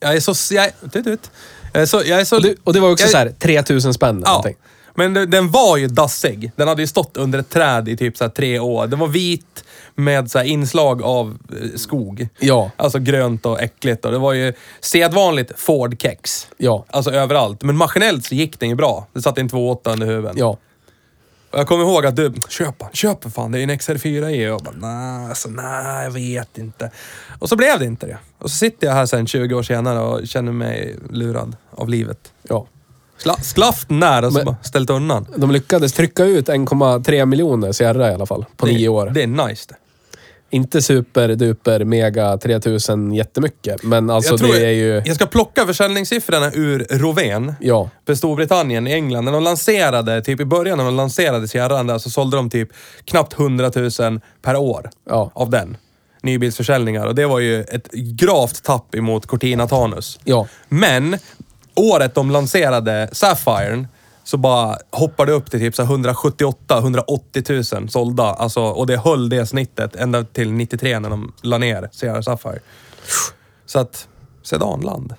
[SPEAKER 1] Jag är så... Jag, tut, tut. Jag är så, jag är så,
[SPEAKER 4] Och det, och det var också
[SPEAKER 1] jag-
[SPEAKER 4] så här 3000 spänn eller
[SPEAKER 1] Ja.
[SPEAKER 4] någonting.
[SPEAKER 1] Men den- den var ju dassig. Den hade ju stått under ett träd i typ så här tre år. Den var vit med så här inslag av eh, skog.
[SPEAKER 4] Ja.
[SPEAKER 1] Alltså grönt och äckligt. Och det var ju sedvanligt Ford-kex.
[SPEAKER 4] Ja.
[SPEAKER 1] Alltså överallt. Men maskinellt så gick den ju bra. Det satt en 2.8 under huven.
[SPEAKER 4] Ja.
[SPEAKER 1] Och jag kommer ihåg att du, köp den, köp den fan, det är en XR4 i. E." Och jag bara, nej, alltså, nej, jag vet inte. Och så blev det inte det. Och så sitter jag här sen 20 år senare och känner mig lurad av livet.
[SPEAKER 4] ja.
[SPEAKER 1] Sla, sklaft när och så
[SPEAKER 4] Men-
[SPEAKER 1] bara ställt undan.
[SPEAKER 4] De lyckades trycka ut 1,3 miljoner Sierra i alla fall på nio år.
[SPEAKER 1] Det är nice det.
[SPEAKER 4] Inte super, duper, mega 3000 jättemycket, men alltså
[SPEAKER 1] jag, tror
[SPEAKER 4] det är ju...
[SPEAKER 1] jag, jag ska plocka försäljningssiffrorna ur Roven.
[SPEAKER 4] Ja.
[SPEAKER 1] För Storbritannien i England. När de lanserade, typ i början när de lanserade Sierran där så sålde de typ knappt 100 000 per år
[SPEAKER 4] Ja.
[SPEAKER 1] av den. Nybilsförsäljningar. Och det var ju ett gravt tapp emot Cortina Tanus.
[SPEAKER 4] Ja.
[SPEAKER 1] Men året de lanserade Sapphiren så bara hoppade det upp till typ 178-180 000 sålda. Alltså, och det höll det snittet ända till 93 när de la ner Sierra Sapphire. Så att, sedanland.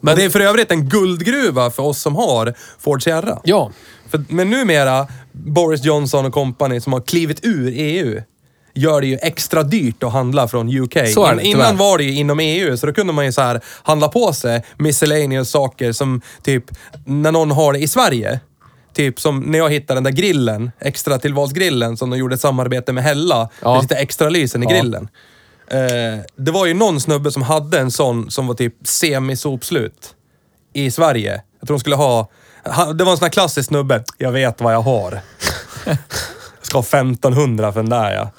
[SPEAKER 1] Men det är för övrigt en guldgruva för oss som har Ford Sierra.
[SPEAKER 4] Ja.
[SPEAKER 1] För, men numera, Boris Johnson och company som har klivit ur EU, gör det ju extra dyrt att handla från UK.
[SPEAKER 4] Så är det,
[SPEAKER 1] innan
[SPEAKER 4] tyvärr.
[SPEAKER 1] var det ju inom EU, så då kunde man ju så här handla på sig miscellaneous saker som typ, när någon har det i Sverige. Typ som när jag hittade den där grillen, extra tillvalsgrillen som de gjorde ett samarbete med Hella.
[SPEAKER 4] Ja.
[SPEAKER 1] Det sitter extra lysen i
[SPEAKER 4] Ja.
[SPEAKER 1] grillen. Eh, det var ju någon snubbe som hade en sån som var typ semi-sopslut i Sverige. Jag tror de skulle ha... han- Det var en sån här klassisk snubbe. Jag vet vad jag
[SPEAKER 4] *laughs*
[SPEAKER 1] har. Jag ska ha 1500 för den där ja.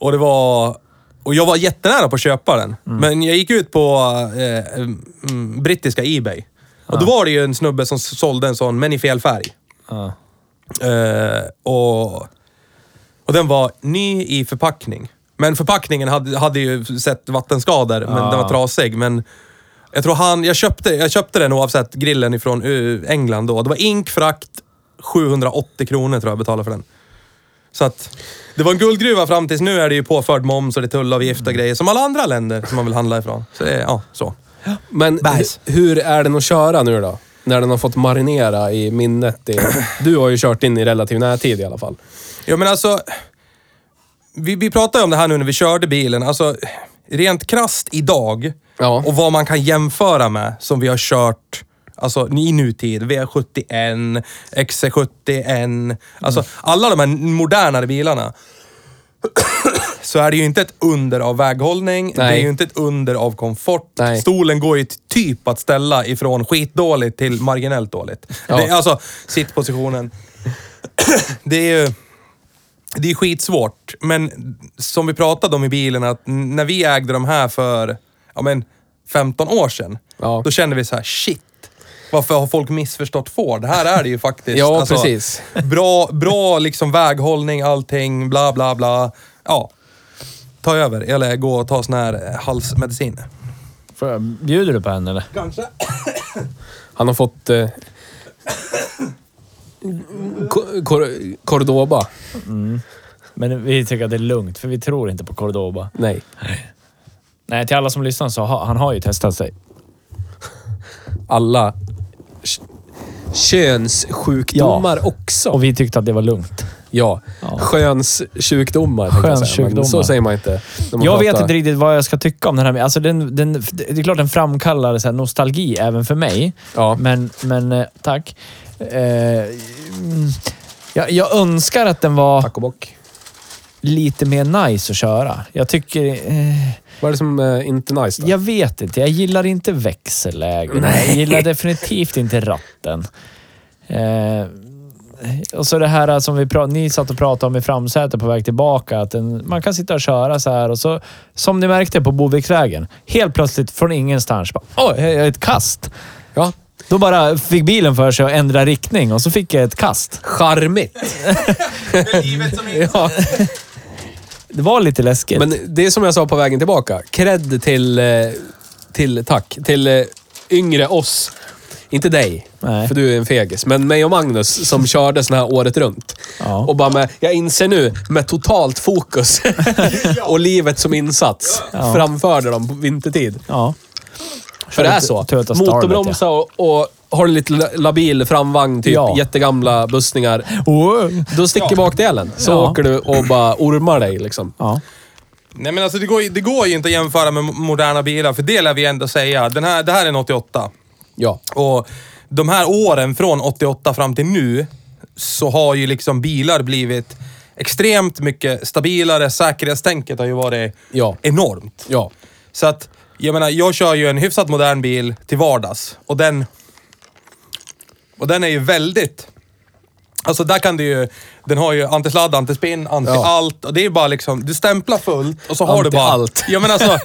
[SPEAKER 1] Och det var... Och jag var jättenära på att köpa den. Men jag gick ut på eh, mm, brittiska Ebay. Och då var det ju en snubbe som sålde en sån, men i fel färg.
[SPEAKER 2] Ja.
[SPEAKER 1] Eh, och, och den var ny i förpackning. Men förpackningen hade, hade ju sett vattenskador, men
[SPEAKER 2] Ja.
[SPEAKER 1] den var trasig. Men jag tror han, jag köpte, jag köpte den oavsett grillen ifrån eh, England då. Det var inkfrakt, 780 kronor tror jag jag betalade för den. Så att, det var en guldgruva fram tills nu är det ju påförd moms och det är tullavgift och grejer som alla andra länder som man vill handla ifrån. Så det är, ja, så.
[SPEAKER 4] Men
[SPEAKER 1] Bajs.
[SPEAKER 4] hu- hur är den att köra nu då? När den har fått marinera i minnet. I, du har ju kört in i relativ närtid i alla fall.
[SPEAKER 1] Ja, men alltså... Vi, vi pratade om det här nu när vi körde bilen. Alltså, rent krast idag
[SPEAKER 4] Ja.
[SPEAKER 1] och vad man kan jämföra med som vi har kört alltså, i nutid. V71, XC71. Alltså, alla de här modernare bilarna. så är det ju inte ett under av väghållning. Det är
[SPEAKER 4] Nej.
[SPEAKER 1] ju inte ett under av komfort.
[SPEAKER 4] Nej.
[SPEAKER 1] Stolen går ju t- typ att ställa ifrån skitdåligt till marginellt dåligt.
[SPEAKER 4] Ja.
[SPEAKER 1] Det, är alltså, sittpositionen. det är ju... Det är skitsvårt, men som vi pratade om i bilen, att n- när vi ägde de här för ja, men 15 år sedan,
[SPEAKER 4] Ja.
[SPEAKER 1] då kände vi så här: shit, varför har folk missförstått Ford? Här är det ju faktiskt...
[SPEAKER 4] *laughs*
[SPEAKER 1] Alltså,
[SPEAKER 4] Ja, precis.
[SPEAKER 1] Bra, bra liksom väghållning, allting, bla bla bla. Ja. Ta över, eller gå och ta sån här eh, halsmedicin.
[SPEAKER 2] Får jag- Bjuder du på en eller?
[SPEAKER 1] Kanske.
[SPEAKER 4] Han har fått... Eh, Ko- Cor- Cordoba.
[SPEAKER 2] Men vi tycker att det är lugnt, för vi tror inte på Cordoba.
[SPEAKER 4] Nej.
[SPEAKER 2] Nej, till alla som lyssnar så har han har ju testat sig.
[SPEAKER 4] Alla k- könssjukdomar också.
[SPEAKER 2] Och vi tyckte att det var lugnt.
[SPEAKER 4] Ja.
[SPEAKER 2] Ja.
[SPEAKER 4] Skönssjukdomar. tänkte jag säga, men
[SPEAKER 2] Skönssjukdomar.
[SPEAKER 4] Så säger man inte. när man
[SPEAKER 2] Jag vet
[SPEAKER 4] pratar-
[SPEAKER 2] inte riktigt vad jag ska tycka om den här. Alltså den, den, det är klart den framkallar så här nostalgi även för mig.
[SPEAKER 4] Ja.
[SPEAKER 2] Men, men eh, tack. Eh, mm, jag, jag önskar att den var
[SPEAKER 4] Tack och bock.
[SPEAKER 2] lite mer nice att köra. Jag tycker... Eh,
[SPEAKER 4] Vad är det som eh, inte är nice då?
[SPEAKER 2] jag vet inte. Jag gillar inte växellägen. Jag gillar definitivt inte ratten. Eh, och så det här som vi pra- ni satt och pratade om i framsätet på väg tillbaka. Att en, man kan sitta och köra så här och så, som ni märkte på Boviksvägen, helt plötsligt från ingenstans bara oj, jag gör ett kast.
[SPEAKER 4] Ja.
[SPEAKER 2] Då bara fick bilen för sig att ändra riktning och så fick jag ett kast.
[SPEAKER 4] Charmigt.
[SPEAKER 1] Livet som
[SPEAKER 4] Ja.
[SPEAKER 2] Det var lite läskigt.
[SPEAKER 4] Men det är som jag sa på vägen tillbaka. Cred till, eh, till tack, till eh, yngre oss. Inte dig,
[SPEAKER 2] Nej.
[SPEAKER 4] för du är en fegis, men mig och Magnus som körde såna här året runt.
[SPEAKER 2] Ja.
[SPEAKER 4] Och bara med, jag inser nu, med totalt fokus *laughs* och livet som insats, framförde dem på vintertid.
[SPEAKER 2] ja.
[SPEAKER 4] För det är så.
[SPEAKER 2] Toyota Starlet,
[SPEAKER 4] Motorbromsa och, och har en lite la- labil framvagn, typ
[SPEAKER 2] Ja.
[SPEAKER 4] jättegamla bussningar.
[SPEAKER 2] Oh.
[SPEAKER 4] Då sticker bakdelen. Så
[SPEAKER 2] Ja.
[SPEAKER 4] åker du och bara ormar dig liksom.
[SPEAKER 2] Ja.
[SPEAKER 1] Nej men alltså det går, ju- det går ju inte att jämföra med mo- moderna bilar, för det lär vi ändå säga. Den här, det här är en 88.
[SPEAKER 4] Ja.
[SPEAKER 1] Och de här åren från 88 fram till nu så har ju liksom bilar blivit extremt mycket stabilare. Säkerhetstänket har ju varit
[SPEAKER 4] Ja.
[SPEAKER 1] enormt.
[SPEAKER 4] Ja.
[SPEAKER 1] Så att, jag menar, jag kör ju en hyfsat modern bil till vardags och den... Och den är ju väldigt... Alltså där kan du ju... Den har ju antisladd, antispinn, anti-allt. Och det är ju bara liksom, du stämplar fullt och så har du bara...
[SPEAKER 4] Anti-allt.
[SPEAKER 1] Ja men alltså,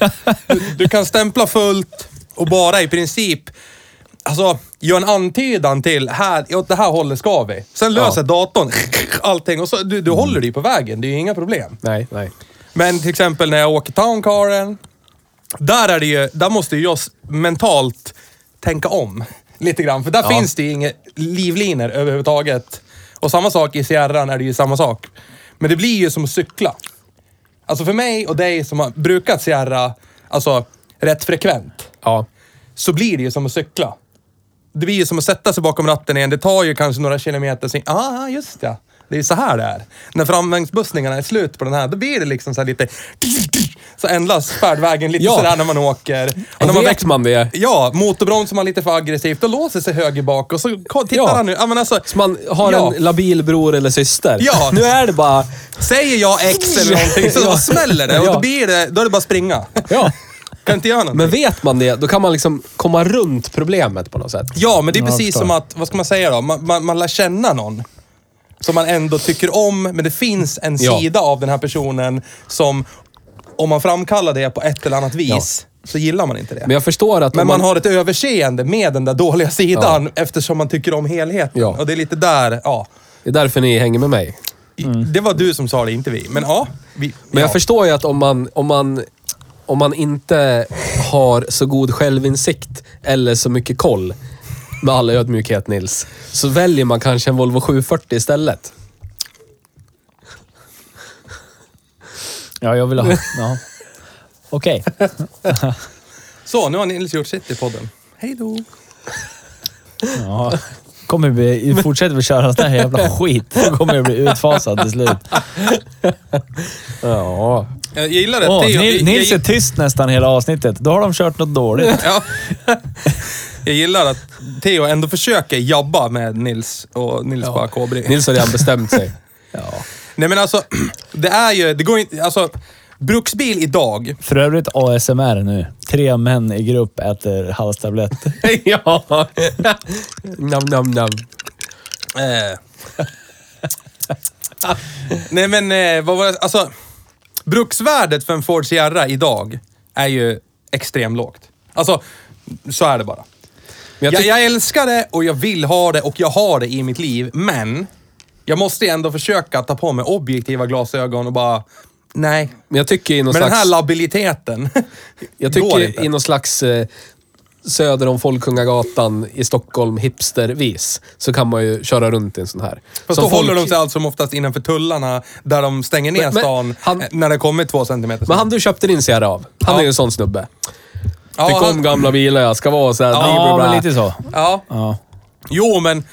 [SPEAKER 1] du, du kan stämpla fullt och bara i princip... Alltså, gör en antydan till här, åt det här hållet ska vi. Sen löser datorn *laughs* allting och så, du, du håller dig på vägen. Det är ju inga problem.
[SPEAKER 4] Nej, nej.
[SPEAKER 1] Men till exempel när jag åker towncaren. Där är det ju, där måste ju jag s- mentalt tänka om lite grann. För där finns det ju inga livlinor överhuvudtaget. Och samma sak i Sierran är det ju samma sak. Men det blir ju som att cykla. Alltså för mig och dig som har brukat Sierra, alltså rätt frekvent,
[SPEAKER 4] Ja.
[SPEAKER 1] så blir det ju som att cykla. Det blir ju som att sätta sig bakom ratten igen. Det tar ju kanske några kilometer, sen, ah just ja. Det är så här det är. När framvagnsbussningarna är slut på den här, då blir det liksom så här lite... Så ändras färdvägen lite
[SPEAKER 4] Ja.
[SPEAKER 1] sådär när man åker.
[SPEAKER 4] Och
[SPEAKER 1] när
[SPEAKER 4] vet man det.
[SPEAKER 1] Ja, motorbromsar man lite för aggressivt, då låser sig höger bak och så ko- tittar
[SPEAKER 4] Ja.
[SPEAKER 1] han nu. Ja, men alltså,
[SPEAKER 4] Så man har
[SPEAKER 1] Ja.
[SPEAKER 4] en labil bror eller syster.
[SPEAKER 1] Ja.
[SPEAKER 4] Nu är det bara...
[SPEAKER 1] säger jag X eller någonting så
[SPEAKER 4] Ja.
[SPEAKER 1] smäller det och
[SPEAKER 4] Ja.
[SPEAKER 1] då, blir det, då är det bara att springa.
[SPEAKER 4] Ja.
[SPEAKER 1] Kan inte göra någonting.
[SPEAKER 4] Men vet man det, då kan man liksom komma runt problemet på något sätt.
[SPEAKER 1] Ja, men det är
[SPEAKER 2] Ja, jag
[SPEAKER 1] precis
[SPEAKER 2] förstår.
[SPEAKER 1] som att, vad ska man säga då? Man, man, man lär känna någon. Som man ändå tycker om, men det finns en
[SPEAKER 4] Ja.
[SPEAKER 1] sida av den här personen som, om man framkallar det på ett eller annat vis, så gillar man inte det.
[SPEAKER 4] Men jag förstår att...
[SPEAKER 1] Men
[SPEAKER 4] om
[SPEAKER 1] man har ett överseende med den där dåliga sidan eftersom man tycker om helheten.
[SPEAKER 4] Ja.
[SPEAKER 1] Och det är lite där, ja.
[SPEAKER 4] Det är därför ni hänger med mig.
[SPEAKER 1] I- Det var du som sa det, inte vi. Men ja. Vi,
[SPEAKER 4] Mm. Men
[SPEAKER 1] ja.
[SPEAKER 4] jag förstår ju att om man, om, man, om man inte har så god självinsikt eller så mycket koll, med all ödmjukhet Nils, så väljer man kanske en Volvo 740 istället.
[SPEAKER 2] ja, jag vill ha... Ja. Okej.
[SPEAKER 1] Så, nu har Nils gjort sitt i podden. Hej då.
[SPEAKER 2] Ja. *laughs* Kommer vi, fortsätter vi köra sån här jävla skit, då kommer jag bli utfasad till slut.
[SPEAKER 4] Ja.
[SPEAKER 1] Jag gillar det.
[SPEAKER 2] Åh,
[SPEAKER 1] Theo,
[SPEAKER 2] Nil-
[SPEAKER 1] jag-
[SPEAKER 2] Nils är tyst nästan hela avsnittet. Då har de kört
[SPEAKER 1] *laughs*
[SPEAKER 2] något dåligt.
[SPEAKER 1] Ja. Jag gillar att Theo ändå försöker jobba med Nils och Nils bara kobri.
[SPEAKER 4] Nils har redan bestämt sig.
[SPEAKER 1] Nej men alltså, *clears throat* det är ju, det går inte, alltså bruksbil
[SPEAKER 2] *laughs*
[SPEAKER 1] idag.
[SPEAKER 2] För övrigt ASMR nu. Tre män i grupp äter halstablett.
[SPEAKER 4] ja. nam, nam, nam.
[SPEAKER 1] Eh. Nej men eh, vad var det, alltså bruksvärdet för en Ford Sierra idag är ju extremt lågt. Alltså, så är det bara.
[SPEAKER 4] Men jag
[SPEAKER 1] Jag,
[SPEAKER 4] tycker-
[SPEAKER 1] jag älskar det och jag vill ha det och jag har det i mitt liv, men jag måste ändå försöka ta på mig objektiva glasögon och bara, nej.
[SPEAKER 4] Men jag tycker i någon
[SPEAKER 1] Men den
[SPEAKER 4] slags...
[SPEAKER 1] här labiliteten
[SPEAKER 4] *laughs* Jag
[SPEAKER 1] går
[SPEAKER 4] tycker
[SPEAKER 1] inte.
[SPEAKER 4] i någon slags eh, söder om Folkungagatan i Stockholm hipstervis så kan man ju köra runt i en sån här.
[SPEAKER 1] Fast
[SPEAKER 4] Som
[SPEAKER 1] då
[SPEAKER 4] folk-
[SPEAKER 1] håller de sig allt som oftast innanför tullarna där de stänger ner
[SPEAKER 4] Men- men
[SPEAKER 1] stan
[SPEAKER 4] han-
[SPEAKER 1] eh, när det kommer två centimeter.
[SPEAKER 4] Men han du köpte din Sierra av, han
[SPEAKER 1] Ja.
[SPEAKER 4] är ju en sån snubbe.
[SPEAKER 1] ja,
[SPEAKER 4] Tycker om
[SPEAKER 1] han,
[SPEAKER 4] gamla bilar, jag ska vara såhär...
[SPEAKER 2] Ja, men lite så.
[SPEAKER 1] ja.
[SPEAKER 2] Ja.
[SPEAKER 1] Jo, men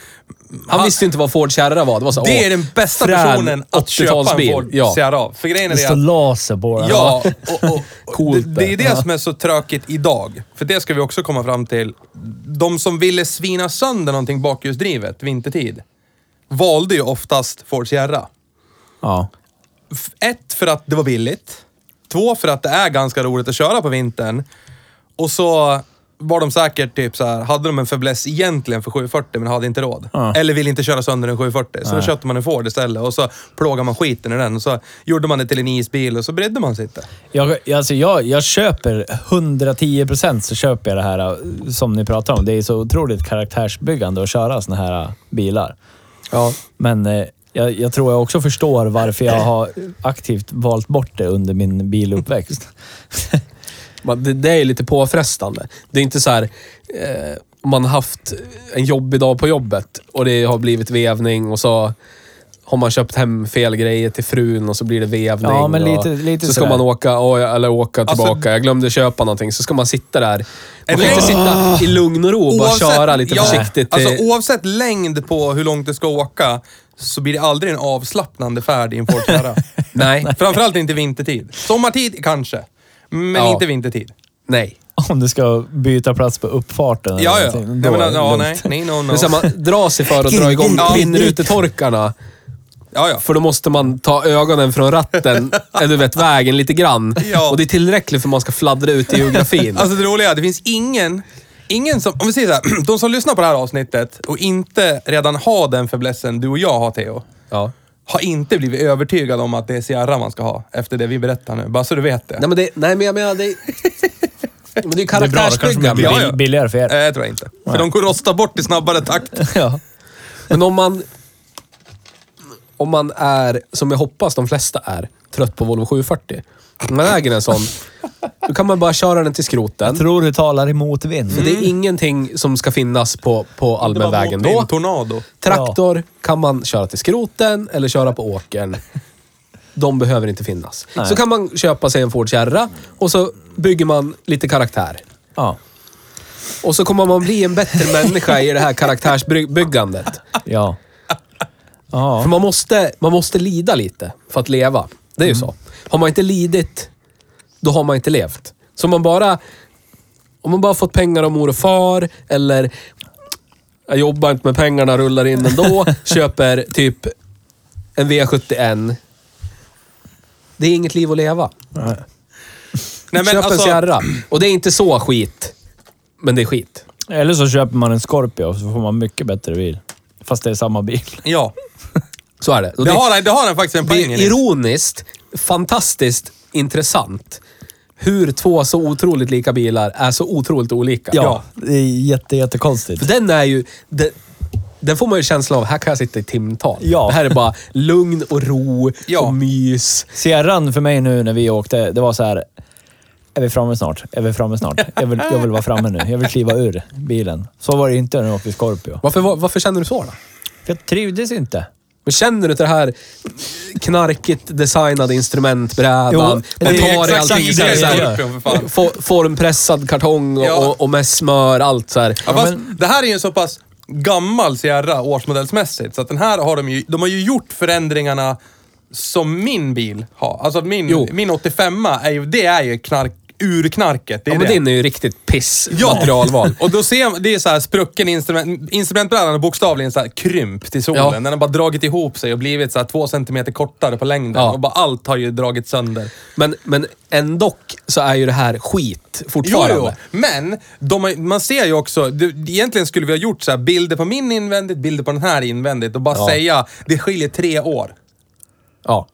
[SPEAKER 4] Han, visste inte vad Ford Sierra var. Det var så,
[SPEAKER 1] det
[SPEAKER 4] åh,
[SPEAKER 1] är den bästa
[SPEAKER 4] frän
[SPEAKER 1] personen att köpa en
[SPEAKER 4] 80-talsbil.
[SPEAKER 1] Ford
[SPEAKER 4] Ja.
[SPEAKER 1] Sierra av. För grejen är
[SPEAKER 2] Det
[SPEAKER 1] det
[SPEAKER 2] står
[SPEAKER 1] att
[SPEAKER 2] laser på den.
[SPEAKER 1] Ja, och, och, och
[SPEAKER 4] Coolt
[SPEAKER 1] det, det är
[SPEAKER 4] det.
[SPEAKER 1] det som är så tråkigt idag. För det ska vi också komma fram till. De som ville svina sönder någonting bakhjulsdrivet vintertid valde ju oftast Ford Sierra.
[SPEAKER 2] Ja.
[SPEAKER 1] F- Ett, för att det var billigt. Två, för att det är ganska roligt att köra på vintern. Och så var de säkert typ så här, hade de en fäbless egentligen för 740 men hade inte råd.
[SPEAKER 2] Ja.
[SPEAKER 1] Eller ville inte köra sönder en 740. Så då köpte man en Ford istället och så plågade man skiten i den. Och så gjorde man det till en isbil och så bredde man sig inte.
[SPEAKER 2] Jag, jag- alltså jag, jag köper 110 procent så köper jag det här eh, som ni pratar om. Det är så otroligt karaktärsbyggande att köra såna här eh, bilar.
[SPEAKER 4] Ja.
[SPEAKER 2] Men eh, jag, jag tror jag också förstår varför jag har aktivt valt bort det under min biluppväxt. *laughs*
[SPEAKER 4] Man, det, det är lite påfrestande. Det är inte så här... Eh, man har haft en jobbig dag på jobbet och det har blivit vevning och så har man köpt hem fel grejer till frun och så blir det vevning.
[SPEAKER 2] Ja, men lite-
[SPEAKER 4] och
[SPEAKER 2] lite
[SPEAKER 4] så ska
[SPEAKER 2] sådär.
[SPEAKER 4] man åka, och- eller åka
[SPEAKER 1] Alltså-
[SPEAKER 4] tillbaka. jag glömde köpa någonting. Så ska man sitta där. Man kan
[SPEAKER 1] Eller-
[SPEAKER 4] inte sitta i lugn och ro och bara köra lite
[SPEAKER 1] ja,
[SPEAKER 4] försiktigt. Till,
[SPEAKER 1] Alltså oavsett längd på hur långt du ska åka så blir det aldrig en avslappnande färd i en Ford Ferrari.
[SPEAKER 4] *laughs* nej,
[SPEAKER 1] Framförallt inte vintertid. Sommartid kanske, men
[SPEAKER 4] Ja.
[SPEAKER 1] inte vintertid.
[SPEAKER 4] nej.
[SPEAKER 2] Om du ska byta plats på uppfarten eller
[SPEAKER 1] Ja, ja.
[SPEAKER 2] någonting,
[SPEAKER 1] Jag
[SPEAKER 2] då är
[SPEAKER 1] menar,
[SPEAKER 2] det
[SPEAKER 1] ja,
[SPEAKER 2] lugnt.
[SPEAKER 1] nej, nej, no, no.
[SPEAKER 4] Det är så här, man drar sig för att dra igång
[SPEAKER 1] Ja.
[SPEAKER 4] vindrutetorkarna.
[SPEAKER 1] Ja, ja.
[SPEAKER 4] För då måste man ta ögonen från ratten, eller du vet vägen lite grann.
[SPEAKER 1] Ja.
[SPEAKER 4] Och det är tillräckligt för att man ska fladdra ut i geografin.
[SPEAKER 1] Alltså det roliga är att det finns ingen, ingen som, om vi säger så här, *clears throat* de som lyssnar på det här avsnittet och inte redan har den fäblessen du och jag har Theo,
[SPEAKER 4] ja.
[SPEAKER 1] har inte blivit övertygade om att det är Sierra man ska ha efter det vi berättar nu. Bara så du vet det.
[SPEAKER 4] Nej men, det, nej men jag menar, det, men det är ju
[SPEAKER 2] Det är bra, då kanske det
[SPEAKER 4] karaktärsbyggande.
[SPEAKER 2] blir
[SPEAKER 1] alltså, Ja, Eh.
[SPEAKER 2] bill-
[SPEAKER 1] ja.
[SPEAKER 2] billigare för er.
[SPEAKER 1] Nej, jag tror jag inte. För de går rosta bort i snabbare takt.
[SPEAKER 2] Ja.
[SPEAKER 4] Men om man... Om man är, som jag hoppas de flesta är, trött på Volvo 740. Om man äger en sån, då kan man bara köra den till skroten.
[SPEAKER 2] Tror du talar emot vind?
[SPEAKER 1] Mm.
[SPEAKER 4] För det är ingenting som ska finnas på, på allmänvägen då.
[SPEAKER 1] Tornado.
[SPEAKER 4] Traktor kan man köra till skroten eller köra på åkern. De behöver inte finnas.
[SPEAKER 2] Nej.
[SPEAKER 4] Så kan man köpa sig en Ford Kärra och så bygger man lite karaktär.
[SPEAKER 2] Ja.
[SPEAKER 4] Och så kommer man bli en bättre människa i det här karaktärsbyggandet.
[SPEAKER 2] Ja.
[SPEAKER 4] För
[SPEAKER 2] ja.
[SPEAKER 4] man måste, man måste lida lite för att leva. Det är ju så. Har man inte lidit, då har man inte levt. Så om man bara... Om man bara fått pengar av mor och far eller... Jag jobbar inte med pengarna, rullar in *laughs* ändå. köper typ en V71. Det är inget liv att leva.
[SPEAKER 1] Nej, men
[SPEAKER 4] Köp en
[SPEAKER 1] alltså,
[SPEAKER 4] Sierra. Och det är inte så skit. Men det är skit.
[SPEAKER 2] Eller så köper man en Scorpio så får man mycket bättre bil. Fast det är samma bil.
[SPEAKER 1] Ja.
[SPEAKER 4] Så är det. Och
[SPEAKER 1] Det
[SPEAKER 4] det-
[SPEAKER 1] har, han- det har han faktiskt en
[SPEAKER 4] Det
[SPEAKER 1] poäng
[SPEAKER 4] är
[SPEAKER 1] i.
[SPEAKER 4] ironiskt, fantastiskt intressant hur två så otroligt lika bilar är så otroligt olika.
[SPEAKER 2] Det är jätte, jättekonstigt.
[SPEAKER 4] För den är ju... Den, den får man ju känslan av, här kan jag sitta i timtal.
[SPEAKER 2] Ja.
[SPEAKER 4] Det här är bara lugn och ro
[SPEAKER 1] Ja.
[SPEAKER 4] och mys.
[SPEAKER 2] Sierran för mig nu när vi åkte, det var så här. Är vi framme snart? Är vi framme snart? Jag vill, jag vill vara framme nu. Jag vill kliva ur bilen. Så var det inte när jag åkte Scorpio.
[SPEAKER 4] Varför, var, varför känner du så då?
[SPEAKER 2] För jag trivdes inte.
[SPEAKER 4] Men känner du inte det här knarkigt designade instrumentbrädan?
[SPEAKER 2] Jo,
[SPEAKER 4] man
[SPEAKER 2] det är
[SPEAKER 4] tar i
[SPEAKER 2] exakt samma
[SPEAKER 4] allting så här,
[SPEAKER 2] grej
[SPEAKER 4] så
[SPEAKER 2] jag
[SPEAKER 4] här,
[SPEAKER 1] gör, för fan.
[SPEAKER 4] for- formpressad kartong och,
[SPEAKER 1] Ja.
[SPEAKER 4] och, och med smör, allt så här.
[SPEAKER 1] Ja, fast Det här är ju en så pass gammal Sierra årsmodellsmässigt, så att den här har de ju, de har ju gjort förändringarna som min bil har. Alltså att min,
[SPEAKER 4] Jo.
[SPEAKER 1] min 85 är ju, det är ju knark, urknarket. Det är
[SPEAKER 4] Ja, men
[SPEAKER 1] det.
[SPEAKER 4] din är ju riktigt piss
[SPEAKER 1] Ja.
[SPEAKER 4] materialval.
[SPEAKER 1] *laughs* Och då ser man, det är så här sprucken instrument, instrumentbrädan är bokstavligen så här krympt i solen.
[SPEAKER 4] Ja.
[SPEAKER 1] Den har bara dragit ihop sig och blivit så här två centimeter kortare på längden.
[SPEAKER 4] Ja.
[SPEAKER 1] Och bara allt har ju dragit sönder.
[SPEAKER 4] Men, men ändå så är ju det här skit
[SPEAKER 1] Jo,
[SPEAKER 4] fortfarande.
[SPEAKER 1] jo, men de, har- man ser ju också, det, egentligen skulle vi ha gjort så här bilder på min invändigt, bilder på den här invändigt och bara säga, det skiljer tre år.
[SPEAKER 4] Ja.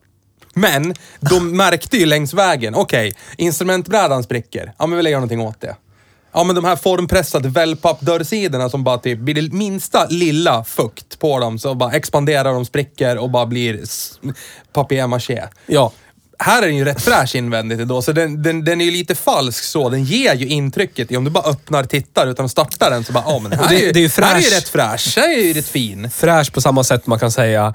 [SPEAKER 1] Men de märkte ju längs vägen, okej, instrumentbrädan spricker. Ja, men vi lägger någonting åt det. Ja, men de här formpressade wellpapp-dörrsidorna som bara typ, blir det minsta lilla fukt på dem så bara expanderar de, spricker och bara blir s- papier-maché.
[SPEAKER 4] Ja.
[SPEAKER 1] Här är den ju rätt fräsch invändigt ändå, så den, den, den är ju lite falsk så. Den ger ju intrycket, i- om du bara öppnar, tittar utan att starta den så bara, ja men här,
[SPEAKER 4] Och det-
[SPEAKER 1] är, ju,
[SPEAKER 4] det är ju
[SPEAKER 1] här är ju
[SPEAKER 4] fräsch.
[SPEAKER 1] rätt fräsch, här är ju rätt fin.
[SPEAKER 4] Fräsch på samma sätt man kan säga,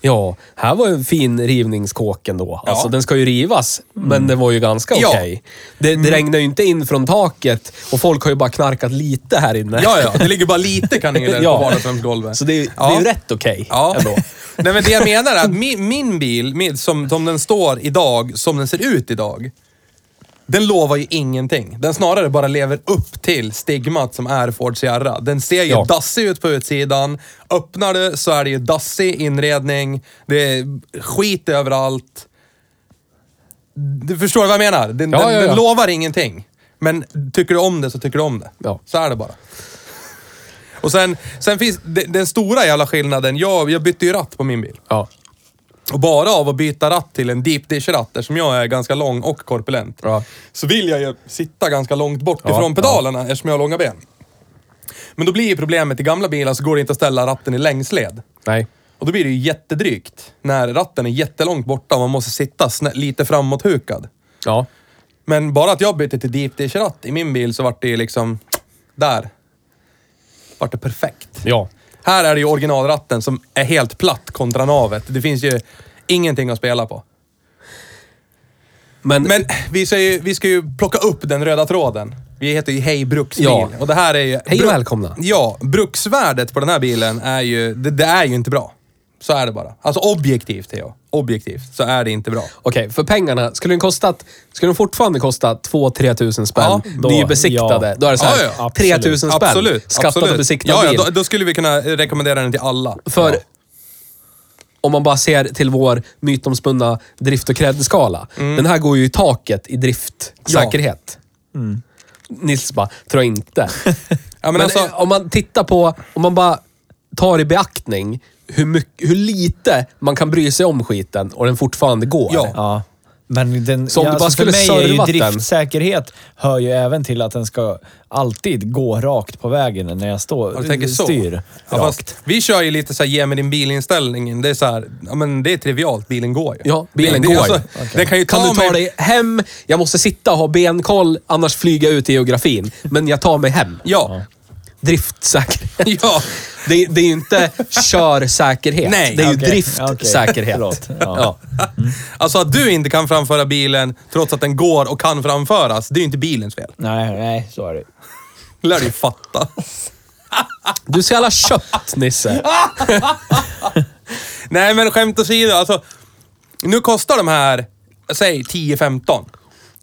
[SPEAKER 4] ja, här var ju en fin rivningskåk ändå. Alltså
[SPEAKER 1] Ja. Mm.
[SPEAKER 4] den ska ju rivas, men den var ju ganska
[SPEAKER 1] Ja. Mm.
[SPEAKER 4] okej. Det, det regnar ju inte in från taket och folk har ju bara knarkat lite här inne.
[SPEAKER 1] Ja, ja, det ligger bara lite
[SPEAKER 4] *laughs*
[SPEAKER 1] kanel
[SPEAKER 4] Ja.
[SPEAKER 1] på vardagsrumsgolvet.
[SPEAKER 4] Så det, är-
[SPEAKER 1] Ja.
[SPEAKER 4] det är ju rätt okej
[SPEAKER 1] Ja.
[SPEAKER 4] ändå.
[SPEAKER 1] *laughs* Nej, men det jag menar är att min, min bil, min, som, som den står idag, som den ser ut idag, den lovar ju ingenting. Den snarare bara lever upp till stigmat som är Ford Sierra. Den ser ju
[SPEAKER 4] Ja.
[SPEAKER 1] dassig ut på utsidan. Öppnar du så är det ju dassig inredning. Det är skit överallt. Du förstår vad jag menar? Den,
[SPEAKER 4] Ja,
[SPEAKER 1] den,
[SPEAKER 4] ja, ja.
[SPEAKER 1] den lovar ingenting. Men tycker du om det så tycker du om det.
[SPEAKER 4] Ja.
[SPEAKER 1] Så är det bara. Och sen, sen finns de- den stora jävla skillnaden. Jag, jag bytte ju ratt på min bil.
[SPEAKER 4] Ja.
[SPEAKER 1] Och bara av att byta ratt till en deep dish-ratt, eftersom jag är ganska lång och korpulent,
[SPEAKER 4] Ja.
[SPEAKER 1] så vill jag ju sitta ganska långt bort
[SPEAKER 4] Ja,
[SPEAKER 1] ifrån
[SPEAKER 4] ja.
[SPEAKER 1] pedalerna eftersom jag har långa ben. Men då blir ju problemet i gamla bilar så går det inte att ställa ratten i längsled.
[SPEAKER 4] Nej.
[SPEAKER 1] Och då blir det ju jättedrygt när ratten är jättelångt borta och man måste sitta snä- lite framåthukad.
[SPEAKER 4] Ja.
[SPEAKER 1] Men bara att jag bytte till deep dish-ratt i min bil så vart det ju liksom... Där. Vart det perfekt.
[SPEAKER 4] Ja.
[SPEAKER 1] Här är det ju originalratten som är helt platt kontra navet. Det finns ju ingenting att spela på.
[SPEAKER 4] Men,
[SPEAKER 1] Men vi ska ju, vi ska ju plocka upp den röda tråden. Vi heter ju Hej Bruksbil.
[SPEAKER 4] Ja.
[SPEAKER 1] Och det här är ju...
[SPEAKER 4] Hej och
[SPEAKER 1] Bru-
[SPEAKER 4] välkomna.
[SPEAKER 1] Ja, bruksvärdet på den här bilen är ju... Det, det är ju inte bra. Så är det bara. Alltså objektivt, Theo. Objektivt så är det inte bra.
[SPEAKER 4] okej, för pengarna. Skulle den, kostat, skulle den fortfarande kosta 2-3 tusen spänn,
[SPEAKER 1] Ja,
[SPEAKER 4] ja,
[SPEAKER 2] då-
[SPEAKER 4] nybesiktade,
[SPEAKER 2] ja.
[SPEAKER 4] då är det så här,
[SPEAKER 1] Ja, ja,
[SPEAKER 2] absolut.
[SPEAKER 4] 3 000 spänn.
[SPEAKER 1] Absolut.
[SPEAKER 4] Skattad
[SPEAKER 1] absolut.
[SPEAKER 4] och besiktad
[SPEAKER 1] ja,
[SPEAKER 4] bil.
[SPEAKER 1] Ja, då, då skulle vi kunna rekommendera den till alla.
[SPEAKER 4] För
[SPEAKER 1] Ja.
[SPEAKER 4] om man bara ser till vår mytomspunna drift och kreditskala.
[SPEAKER 1] Mm.
[SPEAKER 4] Den här går ju i taket i driftsäkerhet. Mm. Nils bara, tror jag inte.
[SPEAKER 1] *laughs* Ja, men
[SPEAKER 4] men
[SPEAKER 1] alltså,
[SPEAKER 4] eh, om man tittar på, om man bara tar i beaktning hur, mycket, hur lite man kan bry sig om skiten och den fortfarande går.
[SPEAKER 1] Ja.
[SPEAKER 2] Ja. Men den,
[SPEAKER 4] Så om
[SPEAKER 2] ja,
[SPEAKER 4] du bara
[SPEAKER 2] alltså för
[SPEAKER 4] skulle
[SPEAKER 2] mig är ju
[SPEAKER 4] servat den-
[SPEAKER 2] driftsäkerhet hör ju även till att den ska alltid gå rakt på vägen när jag står,
[SPEAKER 1] Ja, du tänker så.
[SPEAKER 2] styr
[SPEAKER 1] Ja,
[SPEAKER 2] rakt.
[SPEAKER 1] fast vi kör ju lite så här, ge mig din bilinställningen. Det är så här, ja men det är trivialt. Bilen går ju.
[SPEAKER 4] Ja, bilen
[SPEAKER 1] det,
[SPEAKER 4] går.
[SPEAKER 1] Den kan ju ta
[SPEAKER 4] Kan du ta
[SPEAKER 1] mig...
[SPEAKER 4] dig hem? Jag måste sitta och ha benkoll, annars flyger jag ut i geografin. Men jag tar mig hem.
[SPEAKER 1] Ja.
[SPEAKER 4] Driftsäkerhet.
[SPEAKER 1] *laughs* Ja.
[SPEAKER 4] Det, det är ju inte körsäkerhet.
[SPEAKER 1] Nej,
[SPEAKER 4] det är ju
[SPEAKER 2] okej. Okej,
[SPEAKER 4] driftsäkerhet.
[SPEAKER 2] förlåt. Ja.
[SPEAKER 4] Ja.
[SPEAKER 1] Alltså att du inte kan framföra bilen trots att den går och kan framföras, det är ju inte bilens fel.
[SPEAKER 2] Nej, nej, så är det.
[SPEAKER 1] Det lär du ju
[SPEAKER 4] *laughs*
[SPEAKER 1] fatta.
[SPEAKER 4] Du är så jävla kött, Nisse.
[SPEAKER 1] Nej, men skämt åsido. Alltså, nu kostar de här, säg 10-15.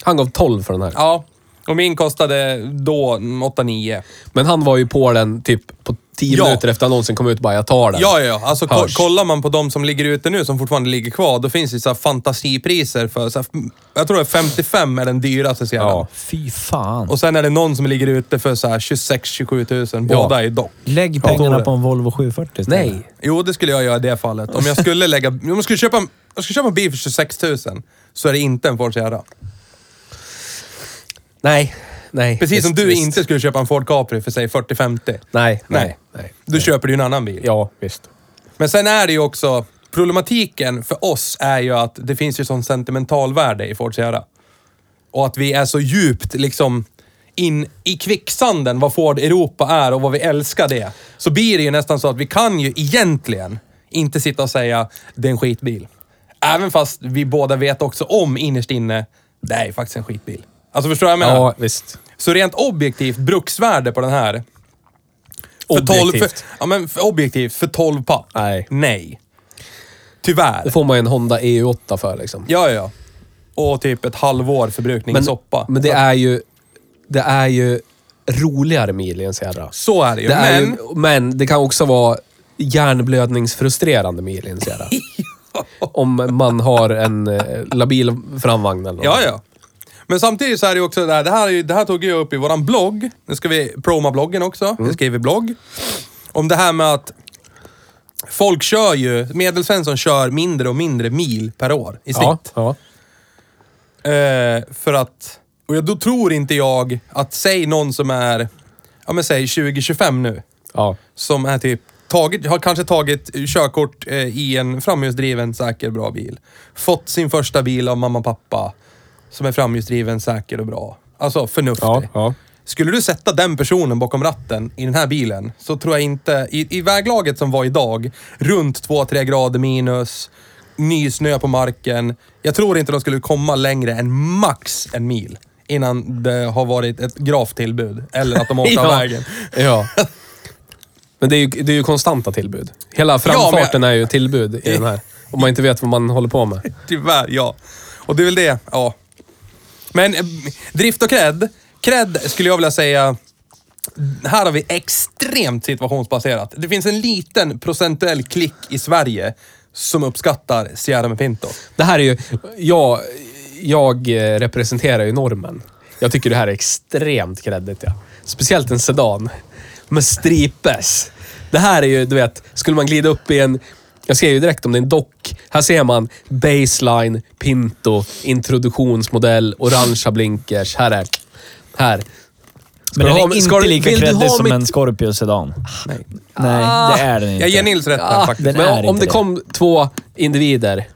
[SPEAKER 4] Han gav 12 för den här.
[SPEAKER 1] Ja. Och min kostade då mm, 8-9.
[SPEAKER 4] Men han var ju på den typ på 10
[SPEAKER 1] Ja.
[SPEAKER 4] minuter efter annonsen kom ut och bara, jag tar den.
[SPEAKER 1] Ja, ja, ja. Alltså, ko-
[SPEAKER 4] Hörs.
[SPEAKER 1] kollar man på de som ligger ute nu, som fortfarande ligger kvar, då finns det så här fantasipriser för... Så här, f- jag tror att 55 är den dyraste sedan.
[SPEAKER 4] Ja.
[SPEAKER 2] Fy fan.
[SPEAKER 1] Och sen är det någon som ligger ute för så här 26-27 tusen.
[SPEAKER 4] Ja.
[SPEAKER 1] Båda är dock.
[SPEAKER 2] Lägg
[SPEAKER 1] Ja, då är
[SPEAKER 2] pengarna
[SPEAKER 1] det.
[SPEAKER 2] på en Volvo 740 istället.
[SPEAKER 4] Nej.
[SPEAKER 1] Jo, det skulle jag göra i det fallet. Om jag skulle lägga... Om jag skulle köpa, en- jag skulle köpa en bil för 26 000 så är det inte en Ford Sierra.
[SPEAKER 4] Nej. Nej.
[SPEAKER 1] Precis som
[SPEAKER 4] Visst,
[SPEAKER 1] du
[SPEAKER 4] visst.
[SPEAKER 1] inte skulle köpa en Ford Capri för säg 40-50.
[SPEAKER 4] Nej, nej,
[SPEAKER 1] Nej.
[SPEAKER 4] nej.
[SPEAKER 1] Då köper du ju en annan bil.
[SPEAKER 4] Ja, visst.
[SPEAKER 1] Men sen är det ju också... Problematiken för oss är ju att det finns ju sån sentimentalvärde i Ford Sierra. Och att vi är så djupt liksom in i kvicksanden vad Ford Europa är och vad vi älskar det. Så blir det ju nästan så att vi kan ju egentligen inte sitta och säga det är en skitbil. Även fast vi båda vet också om innerst inne, det är ju faktiskt en skitbil. Alltså förstår du vad jag menar?
[SPEAKER 4] Ja, visst.
[SPEAKER 1] Så rent objektivt bruksvärde på den här. För 12, för,
[SPEAKER 4] Objektivt.
[SPEAKER 1] ja, men för objektivt, för 12 papp.
[SPEAKER 4] Nej.
[SPEAKER 1] Nej. Tyvärr.
[SPEAKER 4] Det får man ju en Honda EU8 för liksom.
[SPEAKER 1] Ja, ja, ja. Och typ ett halvår förbrukning i soppa.
[SPEAKER 4] men det är ju... Det är ju roligare med Alien Sierra.
[SPEAKER 1] Så är det ju.
[SPEAKER 4] Det är
[SPEAKER 1] men... *laughs*
[SPEAKER 4] men... Ju, men det kan också vara hjärnblödningsfrustrerande med Alien Sierra.
[SPEAKER 1] *laughs*
[SPEAKER 4] Om man har en eh, labil framvagn eller något.
[SPEAKER 1] Ja, ja. Men samtidigt så är det ju också det här. Det här, är ju, det här tog jag upp i våran blogg. Nu ska vi proma bloggen också.
[SPEAKER 4] Mm.
[SPEAKER 1] Jag skriver blogg. Om det här med att folk kör ju, medelsvensson kör mindre och mindre mil per år i snitt.
[SPEAKER 4] Ja, ja.
[SPEAKER 1] Eh, för att... Och jag, då tror inte jag att, säg någon som är, ja men säg 20-25 nu,
[SPEAKER 4] ja.
[SPEAKER 1] som är typ tagit, har kanske tagit körkort eh, i en framhjulsdriven, säker, bra bil. Fått sin första bil av mamma och pappa, som är framhjulsdriven, säker och bra. Alltså förnuftig.
[SPEAKER 4] Ja, ja.
[SPEAKER 1] Skulle du sätta den personen bakom ratten i den här bilen så tror jag inte, i, i väglaget som var idag, runt 2-3 grader minus, ny snö på marken. Jag tror inte de skulle komma längre än max en mil innan det har varit ett gravt tillbud. Eller att de
[SPEAKER 4] *laughs*
[SPEAKER 1] åkte av vägen.
[SPEAKER 4] Ja. Men det är, ju, det är ju konstanta tillbud. Hela framfarten är ju tillbud i den här. Om man inte vet vad man håller på med.
[SPEAKER 1] Tyvärr, ja. Och det är väl det, ja. Men eh, drift och cred. Cred skulle jag vilja säga, här har vi extremt situationsbaserat. Det finns en liten procentuell klick i Sverige som uppskattar Sierra med Pinto.
[SPEAKER 4] Det här är ju... Jag, jag eh, representerar ju normen. Jag tycker det här är extremt kreddigt. Ja. Speciellt en sedan. Med stripes. Det här är ju, du vet, skulle man glida upp i en... Jag ser ju direkt om det är en dock. Här ser man baseline, pinto, introduktionsmodell, orangea blinkers. Här är... Här.
[SPEAKER 2] Men
[SPEAKER 4] du
[SPEAKER 2] den
[SPEAKER 4] ha-
[SPEAKER 2] är
[SPEAKER 4] ska
[SPEAKER 2] inte
[SPEAKER 4] du-
[SPEAKER 2] lika
[SPEAKER 4] vill du ha
[SPEAKER 2] kreddig som
[SPEAKER 4] mitt-
[SPEAKER 2] en Scorpio Sedan. Nej. det är den inte.
[SPEAKER 1] Jag ger Nils rätt där
[SPEAKER 4] Ah,
[SPEAKER 1] faktiskt.
[SPEAKER 2] den är
[SPEAKER 4] men om
[SPEAKER 2] inte
[SPEAKER 4] det
[SPEAKER 2] det.
[SPEAKER 4] kom två individer,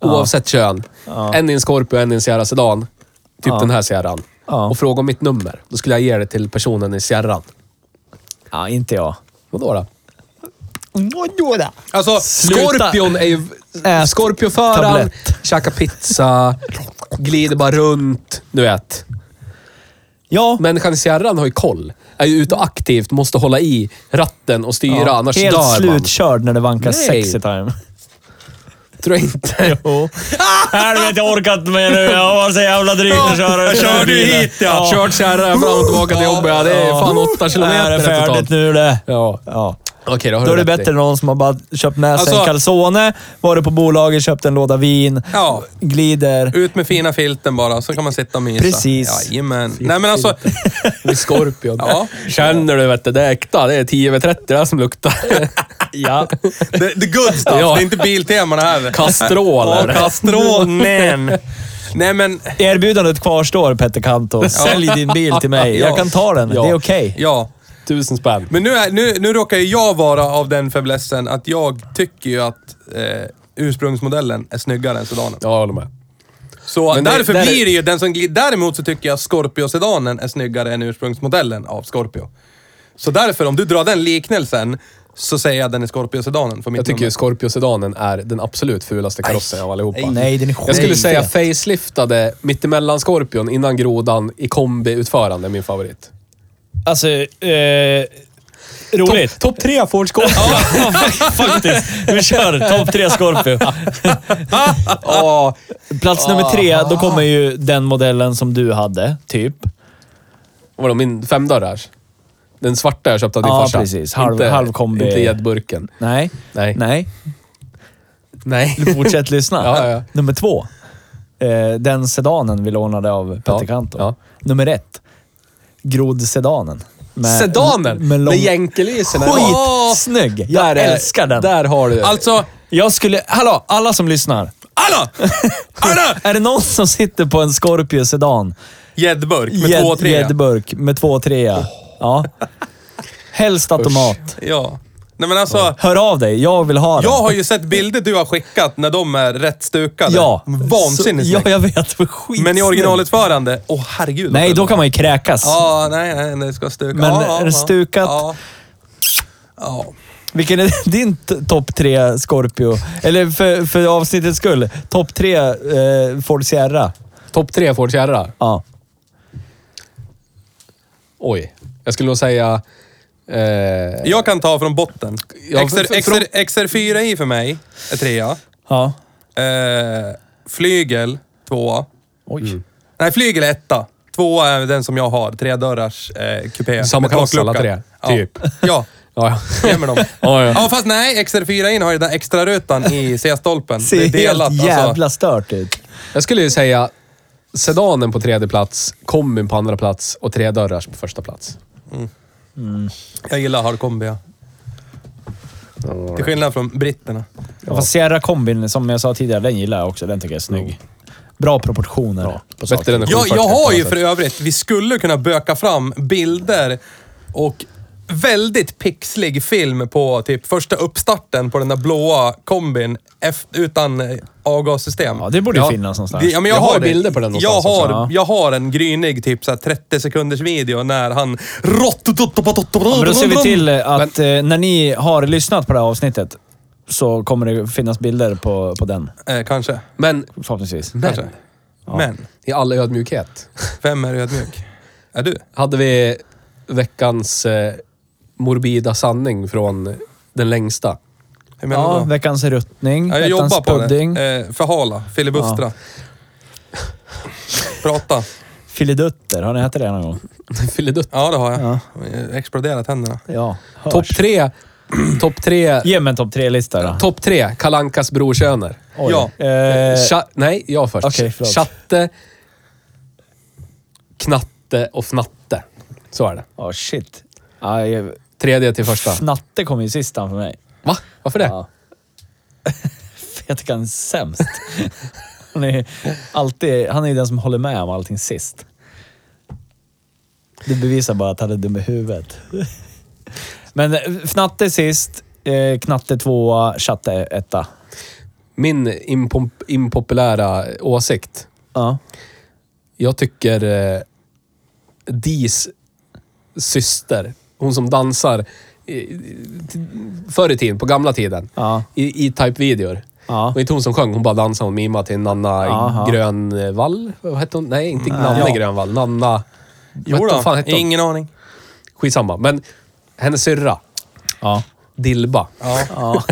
[SPEAKER 4] oavsett kön. En i en Scorpio och en i en Sierra Sedan. Typ den här Sierran.
[SPEAKER 2] Ja.
[SPEAKER 4] Och fråga om mitt nummer. Då skulle jag ge det till personen i Sierran.
[SPEAKER 2] Ja, inte jag.
[SPEAKER 4] Vadå då? Alltså,
[SPEAKER 2] Sluta.
[SPEAKER 4] Scorpion är ju...
[SPEAKER 2] Ät
[SPEAKER 4] Scorpioföraren
[SPEAKER 2] tablett.
[SPEAKER 4] käkar pizza, glider bara runt. Du vet.
[SPEAKER 2] Ja,
[SPEAKER 4] Människan i fjärran har ju koll. Är ju ute och aktivt, måste hålla i ratten och styra, annars
[SPEAKER 2] helt
[SPEAKER 4] dör
[SPEAKER 2] slutkörd när det vankar
[SPEAKER 4] Nej.
[SPEAKER 2] sexy time.
[SPEAKER 4] man. Tror jag inte.
[SPEAKER 2] Jo. Helvete, jag orkar inte mer nu. Jag var så jävla dryg att köra.
[SPEAKER 1] Jag körde ju hit ja.
[SPEAKER 4] Kört kärran fram och tillbaka till jobbet. Ja, det är fan åtta
[SPEAKER 2] Det här är
[SPEAKER 4] kilometer
[SPEAKER 2] färdigt
[SPEAKER 4] totalt.
[SPEAKER 2] nu det.
[SPEAKER 4] Ja.
[SPEAKER 2] Ja.
[SPEAKER 4] Okej, då har
[SPEAKER 2] Då är
[SPEAKER 4] du
[SPEAKER 2] det
[SPEAKER 4] rätt
[SPEAKER 2] bättre än
[SPEAKER 4] i.
[SPEAKER 2] någon som har bara köpt med sig
[SPEAKER 1] Alltså-
[SPEAKER 2] en calzone, varit på bolaget, köpt en låda vin,
[SPEAKER 1] Ja.
[SPEAKER 2] glider.
[SPEAKER 1] Ut med fina filten bara, så kan man sitta och mysa.
[SPEAKER 2] Precis.
[SPEAKER 1] Jajamän. Nej men alltså,
[SPEAKER 4] Det är Scorpion.
[SPEAKER 1] Ja.
[SPEAKER 4] Känner du vet du, det är äkta. Det är 10 över 30 det här som luktar.
[SPEAKER 2] Ja.
[SPEAKER 1] the, the good stuff.
[SPEAKER 4] Ja.
[SPEAKER 1] Det är inte bilteman här.
[SPEAKER 4] Kastrol är
[SPEAKER 1] Ja,
[SPEAKER 4] det.
[SPEAKER 1] Kastronen. Nej men,
[SPEAKER 2] Erbjudandet kvarstår, Petter Kanto. Sälj din bil till mig.
[SPEAKER 1] Ja.
[SPEAKER 2] Jag kan ta den.
[SPEAKER 4] Ja.
[SPEAKER 2] Det är okej.
[SPEAKER 1] ja.
[SPEAKER 4] Tusen spänn.
[SPEAKER 1] Men nu, är, nu, nu råkar ju jag vara av den fäblessen att jag tycker ju att eh, ursprungsmodellen är snyggare än sedanen.
[SPEAKER 4] Ja, jag håller med.
[SPEAKER 1] Så
[SPEAKER 4] Men det-
[SPEAKER 1] därför
[SPEAKER 4] där är-
[SPEAKER 1] blir det ju den som glider. Däremot så tycker jag Scorpio-sedanen är snyggare än ursprungsmodellen av Scorpio. Så därför, om du drar den liknelsen, så säger jag den är Scorpio-sedanen för mitt
[SPEAKER 4] Jag tycker ju
[SPEAKER 1] nummer.
[SPEAKER 4] Scorpio-sedanen är den absolut fulaste karossen av allihopa.
[SPEAKER 2] Nej, den är skit.
[SPEAKER 4] Jag skulle säga faceliftade mittemellan Scorpion innan grodan i kombi-utförande är min favorit.
[SPEAKER 2] Alltså, eh, roligt.
[SPEAKER 4] Topp tre Ford Scorpion.
[SPEAKER 2] Ja, *laughs* faktiskt. Vi kör topp tre Scorpio.
[SPEAKER 1] *laughs*
[SPEAKER 4] Ja,
[SPEAKER 2] *laughs* Plats nummer tre,
[SPEAKER 4] Ah.
[SPEAKER 2] då kommer ju den modellen som du hade, typ.
[SPEAKER 4] vadå, min femdörrars? Den svarta jag köpte av din
[SPEAKER 2] Ja,
[SPEAKER 4] farsa.
[SPEAKER 2] precis. Halv-
[SPEAKER 4] inte,
[SPEAKER 2] halv kombi.
[SPEAKER 4] Inte gäddburken.
[SPEAKER 2] Nej.
[SPEAKER 4] Nej.
[SPEAKER 2] Nej.
[SPEAKER 4] *laughs* Nej.
[SPEAKER 2] Fortsätt lyssna.
[SPEAKER 4] Ja, ja.
[SPEAKER 2] Nummer två. Eh, den sedanen vi lånade av Petter
[SPEAKER 4] Ja,
[SPEAKER 2] Kanto.
[SPEAKER 4] ja.
[SPEAKER 2] Nummer ett. Grodd-sedanen. Med-
[SPEAKER 4] Sedanen!
[SPEAKER 2] Med
[SPEAKER 4] Med,
[SPEAKER 2] lång...
[SPEAKER 4] jänkelyserna.
[SPEAKER 2] Skitsnygg! Jag
[SPEAKER 4] Där är-
[SPEAKER 2] älskar den.
[SPEAKER 4] Där har du
[SPEAKER 1] Alltså,
[SPEAKER 2] Jag skulle... Hallå, alla som lyssnar.
[SPEAKER 1] alla! Alla!
[SPEAKER 2] Är det någon som sitter på en Scorpio sedan?
[SPEAKER 1] Gäddburk med
[SPEAKER 2] Gädd-
[SPEAKER 1] två tre.
[SPEAKER 2] Gäddburk med 2-3. Ja. Helst automat.
[SPEAKER 1] Ja. Nej men alltså,
[SPEAKER 2] Hör av dig, jag vill ha den.
[SPEAKER 1] jag har ju sett bilder du har skickat när de är rätt stukade.
[SPEAKER 2] Ja.
[SPEAKER 1] Vansinnigt
[SPEAKER 2] Så- Ja,
[SPEAKER 1] snyggt.
[SPEAKER 2] jag vet. Skitsnygg.
[SPEAKER 1] Men i originalutförande, åh herregud.
[SPEAKER 2] Nej, då kan man ju kräkas.
[SPEAKER 1] Ja, nej, nej, det ska stuka.
[SPEAKER 2] Men
[SPEAKER 1] ja, ja,
[SPEAKER 2] är det
[SPEAKER 1] ja.
[SPEAKER 2] stukat?
[SPEAKER 1] Ja. ja.
[SPEAKER 2] Vilken är *laughs* din t- topp tre Scorpio? Eller för, för avsnittets skull, topp tre eh, Ford Sierra.
[SPEAKER 4] Topp tre Ford Kärra.
[SPEAKER 2] Ja.
[SPEAKER 4] Oj. Jag skulle nog säga... Eh,
[SPEAKER 1] Jag kan ta från botten.
[SPEAKER 4] Ja,
[SPEAKER 1] XR,
[SPEAKER 4] för- för-
[SPEAKER 1] XR, XR4i för mig är trea.
[SPEAKER 2] ja.
[SPEAKER 1] Eh, flygel, tvåa.
[SPEAKER 2] Oj.
[SPEAKER 1] Mm. Nej, flygel är etta. Tvåa är den som jag har, tredörrars eh, kupé.
[SPEAKER 4] Samma
[SPEAKER 1] med
[SPEAKER 4] klass
[SPEAKER 1] taklucka.
[SPEAKER 4] alla tre,
[SPEAKER 1] Ja.
[SPEAKER 4] typ.
[SPEAKER 1] *laughs* Ja,
[SPEAKER 4] Ja,
[SPEAKER 1] stämmer de.
[SPEAKER 4] ja. ja.
[SPEAKER 1] Ja, fast nej, XR4 in har ju den där extra rutan i C-stolpen.
[SPEAKER 2] Ser
[SPEAKER 1] Det är delat. alltså.
[SPEAKER 2] helt jävla stört ut.
[SPEAKER 4] Jag skulle ju säga sedanen på tredje plats, kombin på andra plats och tre dörrars på första plats.
[SPEAKER 1] Alltså, jag gillar hardcombi. ja. Till skillnad från britterna.
[SPEAKER 2] Ja. Fast Sierra kombin, som jag sa tidigare, den gillar jag också. Den tycker jag är snygg. Bra proportioner på
[SPEAKER 4] Bättre
[SPEAKER 2] saker.
[SPEAKER 4] än en
[SPEAKER 1] Jag,
[SPEAKER 4] 740
[SPEAKER 1] jag
[SPEAKER 4] på
[SPEAKER 1] har
[SPEAKER 4] något
[SPEAKER 1] ju
[SPEAKER 4] sätt.
[SPEAKER 1] för övrigt, vi skulle kunna böka fram bilder och väldigt pixlig film på typ första uppstarten på den där blåa kombin F, utan eh, avgassystem.
[SPEAKER 2] Ja, det borde ju
[SPEAKER 4] Ja.
[SPEAKER 2] finnas någonstans.
[SPEAKER 1] Det- ja, men jag,
[SPEAKER 4] Jag har
[SPEAKER 1] har det.
[SPEAKER 4] bilder på den
[SPEAKER 1] jag
[SPEAKER 4] någonstans
[SPEAKER 1] har,
[SPEAKER 2] också, ja.
[SPEAKER 1] jag har en grynig typ så här 30 sekunders video när han...
[SPEAKER 2] Ja, men då ser vi till eh, att
[SPEAKER 4] Men-
[SPEAKER 2] eh, när ni har lyssnat på det här avsnittet så kommer det finnas bilder på, på den,
[SPEAKER 1] Eh, kanske.
[SPEAKER 4] Men
[SPEAKER 2] förhoppningsvis.
[SPEAKER 1] Kanske. Men,
[SPEAKER 4] i all ödmjukhet,
[SPEAKER 1] vem är ödmjuk? Är du?
[SPEAKER 4] hade vi veckans eh, morbida sanning från den längsta. *laughs*
[SPEAKER 1] Hur menar
[SPEAKER 2] Ja,
[SPEAKER 1] du? då?
[SPEAKER 2] veckans ruttning,
[SPEAKER 1] Ja, jag
[SPEAKER 2] veckans
[SPEAKER 1] jobbar på
[SPEAKER 2] pudding,
[SPEAKER 1] det. Eh, förhala, filibustra. Prata.
[SPEAKER 2] filidutter. Har ni ätit det någon gång?
[SPEAKER 4] Filidutt.
[SPEAKER 1] Ja, det har jag. Exploderat händerna.
[SPEAKER 2] Ja. hörs.
[SPEAKER 4] Topp tre, *clears throat* topp tre,
[SPEAKER 2] Ge mig en topp tre-lista då.
[SPEAKER 4] topp tre Kalankas brorsöner.
[SPEAKER 2] Oj.
[SPEAKER 1] Ja.
[SPEAKER 2] Eh,
[SPEAKER 4] Cha- nej, jag först.
[SPEAKER 2] okej, förlåt.
[SPEAKER 4] Chatte, Knatte och Fnatte. Så är det.
[SPEAKER 2] oh, shit. Ja, jag,
[SPEAKER 4] Tredje till första.
[SPEAKER 2] fnatte kom ju sistan för mig.
[SPEAKER 4] Va? Varför det?
[SPEAKER 2] Ja. *laughs* jag tycker han är sämst. Han är, alltid, han är ju den som håller med om allting sist. Det bevisar bara att han är dum i huvudet. Men eh, Fnatte sist, eh, Knatte tvåa, Chatte etta.
[SPEAKER 4] Min impom- impopulära åsikt.
[SPEAKER 2] Ja.
[SPEAKER 4] Jag tycker eh, Dis syster, hon som dansar i- t- förr i tiden, på gamla tiden,
[SPEAKER 2] Ja.
[SPEAKER 4] i, i Type-videor.
[SPEAKER 2] Ja.
[SPEAKER 4] Och inte hon som sjöng, hon bara dansade, hon mimade till Nanna
[SPEAKER 2] Aha.
[SPEAKER 4] Grönvall. Vad hette hon? Nej, inte Nanna Grönvall. Nanna...
[SPEAKER 1] Jo
[SPEAKER 4] vad
[SPEAKER 1] då,
[SPEAKER 4] fan hette hon?
[SPEAKER 1] ingen aning.
[SPEAKER 4] Skitsamma. Men hennes syrra,
[SPEAKER 2] Ja.
[SPEAKER 4] Dilba. Ja.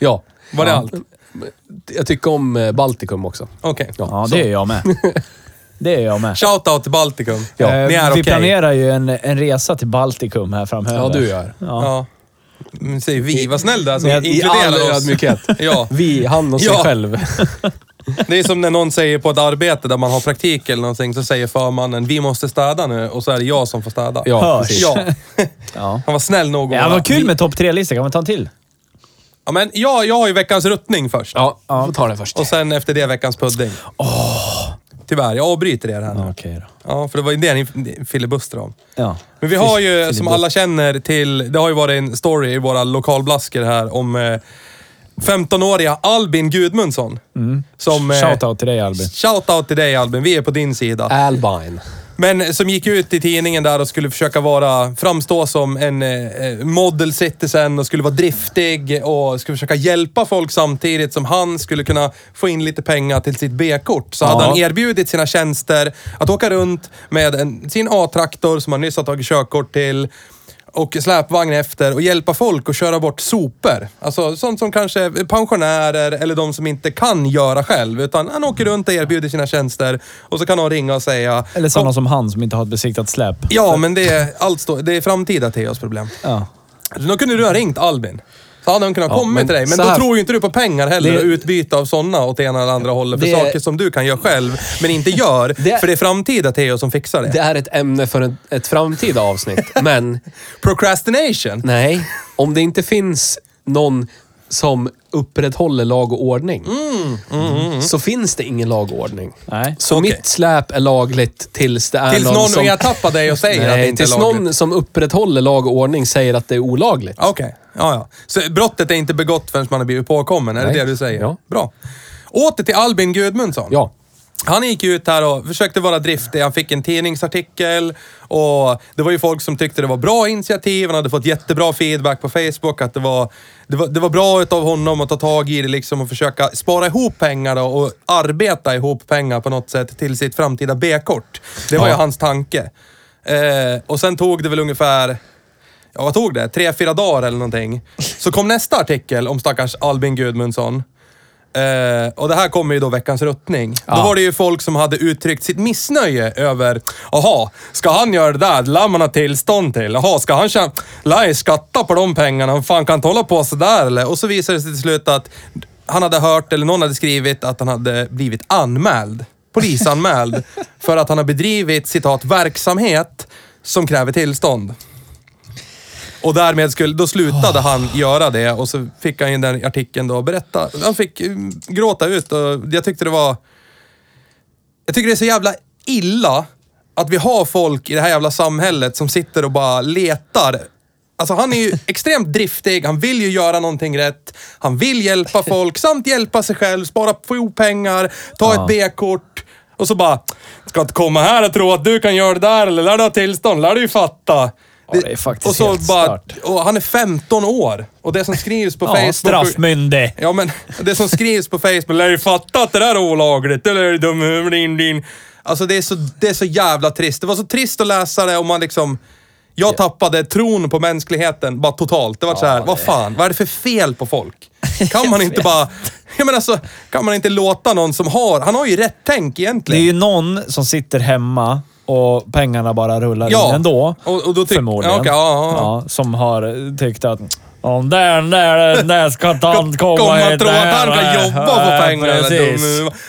[SPEAKER 2] ja.
[SPEAKER 1] Var det allt?
[SPEAKER 4] Jag tycker om eh, Baltikum också.
[SPEAKER 1] Okej.
[SPEAKER 2] Ja, det är jag med. Det är jag med.
[SPEAKER 1] Shoutout till Baltikum.
[SPEAKER 4] Ja,
[SPEAKER 2] Eh,
[SPEAKER 1] ni är
[SPEAKER 2] vi
[SPEAKER 1] okej.
[SPEAKER 2] planerar ju en, en resa till Baltikum här framöver.
[SPEAKER 4] Ja, du gör.
[SPEAKER 2] Ja.
[SPEAKER 1] Ja. Men Säg vi, vad snäll du är som
[SPEAKER 2] I- i
[SPEAKER 4] all
[SPEAKER 1] inkluderar oss.
[SPEAKER 4] ödmjukhet.
[SPEAKER 1] *laughs* Ja,
[SPEAKER 4] Vi, han och sig
[SPEAKER 1] Ja.
[SPEAKER 4] själv.
[SPEAKER 1] det är som när någon säger på ett arbete där man har praktik eller någonting, så säger förmannen vi måste städa nu och så är det jag som får städa.
[SPEAKER 4] Ja,
[SPEAKER 2] Hörs.
[SPEAKER 4] precis.
[SPEAKER 1] Ja.
[SPEAKER 2] Ja.
[SPEAKER 1] *laughs* Han var snäll nog att
[SPEAKER 2] Ja,
[SPEAKER 1] vara-
[SPEAKER 2] vad kul med topp tre-listan. Kan man ta en till?
[SPEAKER 1] Ja, men jag, jag har ju veckans ruttning först.
[SPEAKER 4] Ja, vi får ta det först.
[SPEAKER 1] Och sen efter det veckans pudding. Oh. Tyvärr, jag avbryter er här nu.
[SPEAKER 2] Okej då.
[SPEAKER 1] Ja, för det var ju det ni filibustrade om.
[SPEAKER 2] Ja.
[SPEAKER 1] Men vi har ju, som alla känner till, det har ju varit en story i våra lokalblaskor här om eh, 15-åriga Albin Gudmundsson. Som,
[SPEAKER 2] Shoutout till dig Albin.
[SPEAKER 1] Shoutout till dig Albin, vi är på din sida.
[SPEAKER 4] Albine.
[SPEAKER 1] Men eh, som gick ut i tidningen där och skulle försöka vara, framstå som en eh, model citizen och skulle vara driftig och skulle försöka hjälpa folk samtidigt som han skulle kunna få in lite pengar till sitt B-kort. Så hade han erbjudit sina tjänster att åka runt med en, sin A-traktor som han nyss har tagit körkort till och släpvagn efter och hjälpa folk att köra bort sopor. Alltså sånt som kanske pensionärer eller de som inte kan göra själv. Utan han åker runt och erbjuder sina tjänster och så kan någon ringa och säga...
[SPEAKER 2] Eller sådana som han som inte har ett besiktat släp.
[SPEAKER 1] Ja, men det är, allt står- det är framtida Theos problem.
[SPEAKER 2] Ja.
[SPEAKER 1] Då kunde du ha ringt Albin. Så hade han kunnat komma
[SPEAKER 4] men
[SPEAKER 1] till dig. Men
[SPEAKER 4] så
[SPEAKER 1] då
[SPEAKER 4] här-
[SPEAKER 1] tror ju inte du på pengar heller
[SPEAKER 4] Det-
[SPEAKER 1] och utbyte av sådana åt ena eller andra hållet. För
[SPEAKER 4] Det-
[SPEAKER 1] saker som du kan göra själv, men inte gör.
[SPEAKER 4] *laughs* Det-
[SPEAKER 1] För det är framtida Theo som fixar det.
[SPEAKER 4] Det är ett ämne för en, ett
[SPEAKER 1] *laughs*
[SPEAKER 4] framtida avsnitt, men
[SPEAKER 1] Procrastination.
[SPEAKER 4] nej. Om det inte finns någon som upprätthåller lag och ordning,
[SPEAKER 1] Mm,
[SPEAKER 4] så finns det ingen lag och ordning.
[SPEAKER 2] Nej.
[SPEAKER 4] Så mitt släp är lagligt tills det är
[SPEAKER 1] Tills
[SPEAKER 4] någon,
[SPEAKER 1] någon
[SPEAKER 4] som...
[SPEAKER 1] ertappar dig och säger att det
[SPEAKER 4] *laughs* Nej,
[SPEAKER 1] inte är
[SPEAKER 4] tills
[SPEAKER 1] lagligt.
[SPEAKER 4] någon som upprätthåller lag och ordning säger att det är olagligt.
[SPEAKER 1] Okej, ja, ja. Så brottet är inte begått förrän man har blivit påkommen, är det
[SPEAKER 4] Nej.
[SPEAKER 1] det du säger?
[SPEAKER 4] Ja.
[SPEAKER 1] Bra. Åter till Albin Gudmundsson.
[SPEAKER 4] Ja.
[SPEAKER 1] Han gick ju ut här och försökte vara driftig. Han fick en tidningsartikel och det var ju folk som tyckte det var bra initiativ. Han hade fått jättebra feedback på Facebook att det var, det var, det var bra utav honom att ta tag i det liksom och försöka spara ihop pengar då och arbeta ihop pengar på något sätt till sitt framtida B-kort. Det var ju hans tanke. Eh, och sen tog det väl ungefär ja vad tog det? Tre, fyra dagar eller någonting. Så kom nästa artikel om stackars Albin Gudmundsson. Eh, och det här kommer ju då veckans ruttning. Då var det ju folk som hade uttryckt sitt missnöje över, jaha, ska han göra det där? Det lär man ha tillstånd till. Jaha, ska han tjäna... Lär jag skatta på de pengarna? Han fan kan inte hålla på sådär eller? Och så visade det sig till slut att han hade hört, eller någon hade skrivit, att han hade blivit anmäld. Polisanmäld. för att han har bedrivit, citat, verksamhet som kräver tillstånd. Och därmed skulle, då slutade han göra det och så fick han ju den artikeln då berätta. Han fick mm, gråta ut och jag tyckte det var... Jag tycker det är så jävla illa att vi har folk i det här jävla samhället som sitter och bara letar. Alltså han är
[SPEAKER 2] *laughs*
[SPEAKER 1] ju extremt driftig, han vill ju göra någonting rätt. Han vill hjälpa folk, samt hjälpa sig själv, spara, få ihop pengar, ta ett B-kort. Och så bara, ska inte komma här och tro att du kan göra det där, eller lär du ha tillstånd, lär du ju fatta.
[SPEAKER 2] Ja, det är faktiskt
[SPEAKER 1] och så
[SPEAKER 2] helt
[SPEAKER 1] bara,
[SPEAKER 2] stört.
[SPEAKER 1] och han är 15 år och det som skrivs på
[SPEAKER 2] Ja,
[SPEAKER 1] Facebook...
[SPEAKER 2] straffmyndig.
[SPEAKER 1] Ja, men det som skrivs på Facebook, lär du fatta att det där är olagligt, eller är du dum i huvudet, din, din. Alltså det är, så, det är så jävla trist. Det var så trist att läsa det och man liksom... Jag tappade tron på mänskligheten bara totalt. Det var så här, vad fan, vad är det för fel på folk? Kan man inte bara... Jag menar så, kan man inte låta någon som har... Han har ju rätt tänk
[SPEAKER 2] Det är
[SPEAKER 1] egentligen.
[SPEAKER 2] ju någon som sitter hemma och pengarna bara rullar
[SPEAKER 1] Ja.
[SPEAKER 2] in ändå.
[SPEAKER 1] Och- och då tyck-
[SPEAKER 2] förmodligen.
[SPEAKER 1] Ja, okej, ja, ja.
[SPEAKER 2] Ja, som har tyckt att om den där, den
[SPEAKER 1] *laughs*
[SPEAKER 2] där ska inte han komma
[SPEAKER 1] Komma
[SPEAKER 2] hit
[SPEAKER 1] och tro att han
[SPEAKER 2] här."
[SPEAKER 1] kan jobba
[SPEAKER 2] Ja,
[SPEAKER 1] på pengar eller dum i
[SPEAKER 2] Precis.
[SPEAKER 1] huvudet. *clears throat*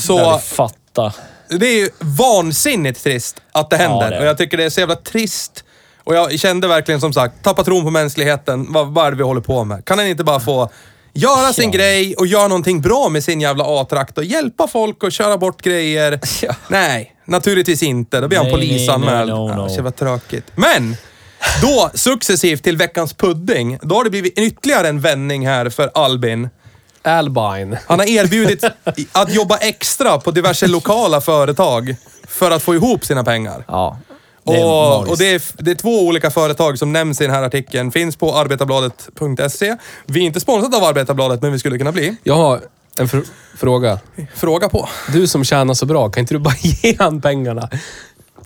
[SPEAKER 1] Så...
[SPEAKER 2] Jag vill fatta.
[SPEAKER 1] Det är ju vansinnigt trist att det händer.
[SPEAKER 2] Ja, det är det.
[SPEAKER 1] Och jag tycker det är så jävla trist. Och jag kände verkligen som sagt, tappa tron på mänskligheten. Vad, vad är det vi håller på med? Kan han inte bara få göra sin grej och göra någonting bra med sin jävla A-trakt och hjälpa folk och köra bort grejer?
[SPEAKER 2] *laughs*
[SPEAKER 1] Nej, naturligtvis inte. Då blir han
[SPEAKER 2] Nej, nej,
[SPEAKER 1] polisanmäld.
[SPEAKER 2] no, no,
[SPEAKER 1] Ja,
[SPEAKER 2] no.
[SPEAKER 1] så jävla tråkigt. Men! Då successivt till veckans pudding. Då har det blivit ytterligare en vändning här för Albin.
[SPEAKER 4] Albine.
[SPEAKER 1] Han har erbjudit att jobba extra på diverse lokala företag för att få ihop sina pengar.
[SPEAKER 2] Ja. är
[SPEAKER 1] Och,
[SPEAKER 2] magiskt.
[SPEAKER 1] och det, är, f- det är två olika företag som nämns i den här artikeln. Finns på arbetarbladet.se. Vi är inte sponsrade av Arbetarbladet, men vi skulle kunna bli.
[SPEAKER 4] Jag har en fr fråga.
[SPEAKER 1] Fråga på.
[SPEAKER 4] Du som tjänar så bra, kan inte du bara *laughs* ge han pengarna?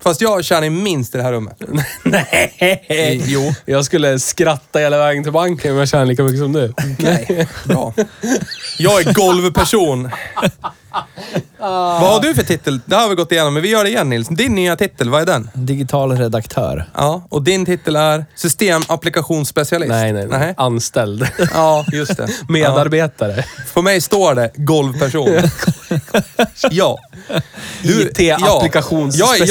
[SPEAKER 1] Fast jag tjänar ju minst i det här rummet.
[SPEAKER 2] *laughs*
[SPEAKER 1] Eh,
[SPEAKER 4] Nej!
[SPEAKER 1] Jo.
[SPEAKER 4] Jag skulle skratta hela vägen till banken om jag tjänar lika mycket som du.
[SPEAKER 1] Nej. Bra. Jag är golvperson. Vad har du för titel? Det har vi gått igenom, men vi gör det igen Nils. Din nya titel, vad är den?
[SPEAKER 2] Digital redaktör.
[SPEAKER 1] Ja, och din titel är systemapplikationsspecialist.
[SPEAKER 4] Nej, nej, nej.
[SPEAKER 1] Nähä. *laughs*
[SPEAKER 4] Anställd.
[SPEAKER 1] Ja, just
[SPEAKER 4] *laughs*
[SPEAKER 1] det.
[SPEAKER 4] Medarbetare.
[SPEAKER 1] Ja. För mig står det golvperson. *laughs* ja.
[SPEAKER 4] IT-applikationsspecialist.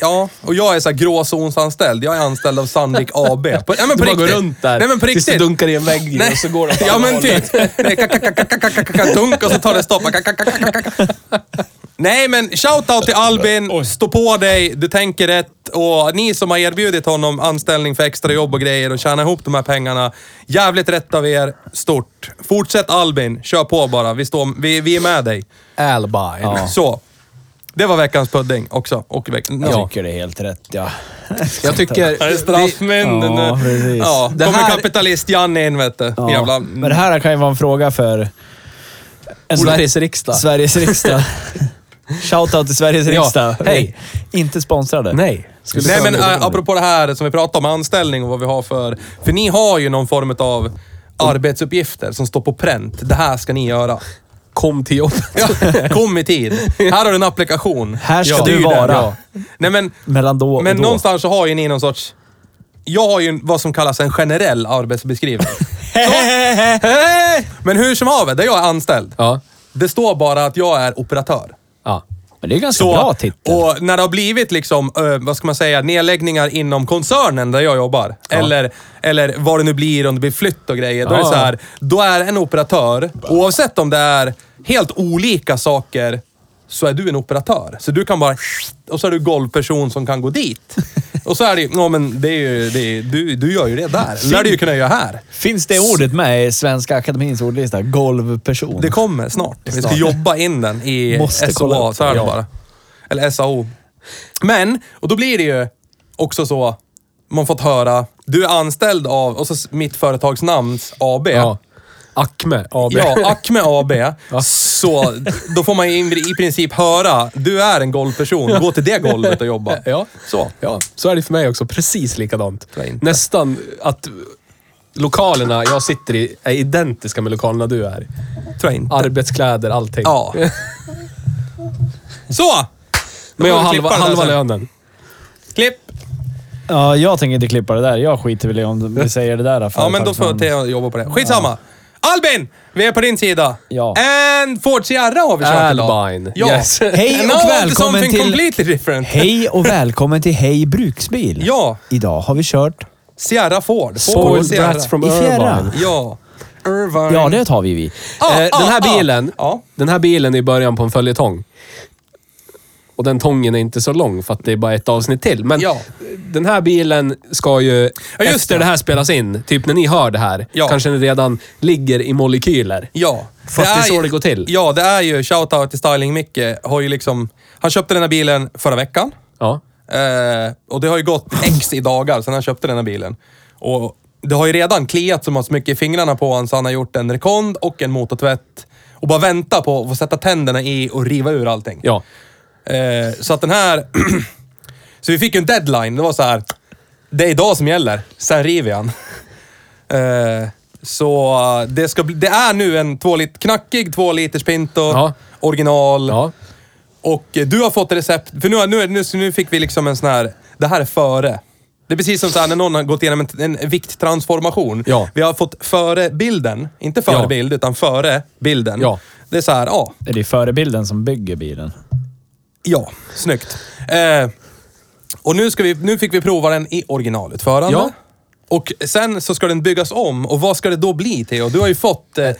[SPEAKER 1] Ja, jag, jag, jag, ja, och jag är så här gråzonsanställd. Jag är anställd av Sandvik AB. På, ja, men
[SPEAKER 4] *laughs* Du
[SPEAKER 1] på
[SPEAKER 4] bara går
[SPEAKER 1] riktigt.
[SPEAKER 4] runt där
[SPEAKER 1] Nej, men på
[SPEAKER 4] tills du
[SPEAKER 1] riktigt.
[SPEAKER 4] dunkar i en vägg och så går det åt
[SPEAKER 1] Ja
[SPEAKER 4] alla
[SPEAKER 1] men
[SPEAKER 4] håll.
[SPEAKER 1] typ. Nej, ka- ka- ka- ka- ka- ka- ka- Dunk och så tar det stopp. Ka- ka- ka- ka- ka- ka. Nej men shoutout till Albin. Stå på dig, du tänker rätt. Och ni som har erbjudit honom anställning för extra jobb och grejer och tjäna ihop de här pengarna. Jävligt rätt av er. Stort. Fortsätt Albin, kör på bara. Vi, står, vi, vi är med dig.
[SPEAKER 4] Albine.
[SPEAKER 1] Så. Det var veckans pudding också. Och veck-
[SPEAKER 2] Jag
[SPEAKER 1] ja.
[SPEAKER 2] tycker det är helt rätt, ja. *laughs*
[SPEAKER 4] Jag tycker...
[SPEAKER 1] Här är straffmynden.
[SPEAKER 2] Ja, precis.
[SPEAKER 1] Ja,
[SPEAKER 4] Det
[SPEAKER 1] kommer
[SPEAKER 4] här-
[SPEAKER 1] kapitalist-Janne in vet du.
[SPEAKER 2] ja.
[SPEAKER 1] Jävla...
[SPEAKER 2] Men det här kan ju vara en fråga för... En sån här-
[SPEAKER 4] Sveriges riksdag.
[SPEAKER 2] Sveriges riksdag. *laughs* Shoutout till Sveriges
[SPEAKER 4] Ja,
[SPEAKER 2] riksdag.
[SPEAKER 4] hej.
[SPEAKER 2] Inte sponsrade.
[SPEAKER 4] Nej. Skulle
[SPEAKER 1] Nej men
[SPEAKER 4] kunna-
[SPEAKER 1] äh, apropå det här som vi pratade om, anställning och vad vi har för... För ni har ju någon form av arbetsuppgifter som står på pränt. Det här ska ni göra.
[SPEAKER 4] Kom till jobbet.
[SPEAKER 1] Ja, *laughs* kom i tid. Här har du en applikation.
[SPEAKER 2] Här ska
[SPEAKER 1] Ja,
[SPEAKER 2] du
[SPEAKER 1] det är ju den.
[SPEAKER 2] vara.
[SPEAKER 1] Ja. Nej men,
[SPEAKER 2] Mellan då och
[SPEAKER 1] men
[SPEAKER 2] då.
[SPEAKER 1] någonstans så har ju ni någon sorts... Jag har ju en- vad som kallas en generell
[SPEAKER 2] *laughs*
[SPEAKER 1] arbetsbeskrivning. Så- men hur som haver, där jag är anställd.
[SPEAKER 4] Ja.
[SPEAKER 1] Det står bara att jag är operatör.
[SPEAKER 4] ja.
[SPEAKER 2] Men det är ju ganska
[SPEAKER 1] Så,
[SPEAKER 2] bra titel.
[SPEAKER 1] Och när det har blivit liksom, eh, vad ska man säga, nedläggningar inom koncernen där jag jobbar. Eller, eller vad det nu blir, om det blir flytt och grejer. Då är det
[SPEAKER 4] Ja.
[SPEAKER 1] så här, då är en operatör, oavsett om det är helt olika saker, så är du en operatör. Så du kan bara... Och så är du golvperson som kan gå
[SPEAKER 2] *laughs*
[SPEAKER 1] dit. Och så är det ju, ja men det är ju, det är, du, du gör ju det där. lär du ju kunna göra här.
[SPEAKER 2] Finns det ordet med i Svenska Akademins ordlista? Golvperson.
[SPEAKER 1] Det kommer snart. Vi ska
[SPEAKER 2] Snart.
[SPEAKER 1] jobba in den i
[SPEAKER 2] Måste kolla
[SPEAKER 1] SOA,
[SPEAKER 2] upp
[SPEAKER 1] så är det
[SPEAKER 2] det, ja.
[SPEAKER 1] bara. Eller SAO. Men, och då blir det ju också så, man fått höra, du är anställd av, och så s- mitt företags namns AB.
[SPEAKER 4] ja. Acme AB.
[SPEAKER 1] Ja, Acme AB. Så då får man ju i i princip höra, du är en golvperson, gå till det golvet och jobba.
[SPEAKER 4] Ja.
[SPEAKER 1] Så.
[SPEAKER 4] *laughs* Ja, så är det för mig också. Precis likadant.
[SPEAKER 1] Tror jag inte.
[SPEAKER 4] Nästan att lokalerna jag sitter i är identiska med lokalerna du är.
[SPEAKER 1] Tror jag inte.
[SPEAKER 4] Arbetskläder, allting.
[SPEAKER 1] Ja. Så!
[SPEAKER 4] Men jag har
[SPEAKER 1] Klippa det där
[SPEAKER 4] halva, halva
[SPEAKER 1] sen.
[SPEAKER 4] lönen.
[SPEAKER 1] Klipp!
[SPEAKER 2] Ja, jag tänker inte klippa det där. Jag skiter väl i om vi säger det där.
[SPEAKER 1] *laughs* Ja, men då får
[SPEAKER 2] företagsnamn.
[SPEAKER 1] Theo jobba på det. Skitsamma! Albin! Vi är på din sida.
[SPEAKER 2] Ja.
[SPEAKER 1] En Ford Sierra har vi kört idag.
[SPEAKER 4] Albine.
[SPEAKER 1] Ja. *laughs*
[SPEAKER 4] Yes.
[SPEAKER 2] Hej
[SPEAKER 1] Now
[SPEAKER 2] och
[SPEAKER 1] to
[SPEAKER 2] välkommen
[SPEAKER 1] something
[SPEAKER 2] till...
[SPEAKER 1] completely different.
[SPEAKER 2] Hej och välkommen till Hej Bruksbil.
[SPEAKER 1] Ja,
[SPEAKER 2] Idag har vi kört...
[SPEAKER 1] Sierra Ford. Ford
[SPEAKER 4] Spoiled
[SPEAKER 1] Sierra.
[SPEAKER 4] brats from
[SPEAKER 2] I fjärran.
[SPEAKER 4] Irvine.
[SPEAKER 1] Ja. Irvine.
[SPEAKER 2] Ja, det tar vi vi.
[SPEAKER 1] Ah,
[SPEAKER 4] eh, den här
[SPEAKER 1] ah, ah.
[SPEAKER 4] bilen,
[SPEAKER 1] Ja.
[SPEAKER 4] den här bilen är i början på en följetong. Och den tången är inte så lång för att det är bara ett avsnitt till. Men
[SPEAKER 1] Ja.
[SPEAKER 4] den här bilen ska ju,
[SPEAKER 1] Ja, just
[SPEAKER 4] efter
[SPEAKER 1] det.
[SPEAKER 4] det här spelas in, typ när ni hör det här,
[SPEAKER 1] Ja.
[SPEAKER 4] kanske den redan ligger i molekyler.
[SPEAKER 1] Ja.
[SPEAKER 4] Fast det är så
[SPEAKER 1] ju-
[SPEAKER 4] det går till.
[SPEAKER 1] Ja, det är ju shoutout till Styling Micke. Har ju liksom, han köpte den här bilen förra veckan.
[SPEAKER 4] Ja.
[SPEAKER 1] Eh, och det har ju gått x i dagar sedan han köpte den här bilen. Och det har ju redan kliat så pass mycket i fingrarna på honom så han har gjort en rekond och en motortvätt. Och bara vänta på att få sätta tänderna i och riva ur allting.
[SPEAKER 4] Ja.
[SPEAKER 1] Eh, så att den här... *clears throat* så vi fick ju en deadline. Det var så här. Det är idag som gäller. Sen river jag den. eh, Så det, ska bli, det är nu en två lit, knackig två liters Pinto.
[SPEAKER 4] Ja.
[SPEAKER 1] Original.
[SPEAKER 4] ja.
[SPEAKER 1] Och eh, du har fått recept. För nu, nu, nu, nu fick vi liksom en sån här... Det här är före. Det är precis som så här när någon har gått igenom en, en vikttransformation.
[SPEAKER 4] Ja.
[SPEAKER 1] Vi har fått före bilden. Inte före
[SPEAKER 4] Ja.
[SPEAKER 1] bild, utan före bilden.
[SPEAKER 4] Ja.
[SPEAKER 1] Det är så här, ja.
[SPEAKER 2] Är det förebilden som bygger bilen?
[SPEAKER 1] Ja, snyggt. Eh, och nu, ska vi, nu fick vi prova den i originalutförande.
[SPEAKER 4] Ja.
[SPEAKER 1] Och sen så ska den byggas om. Och vad ska det då bli, Theo? Du har ju fått eh, eh,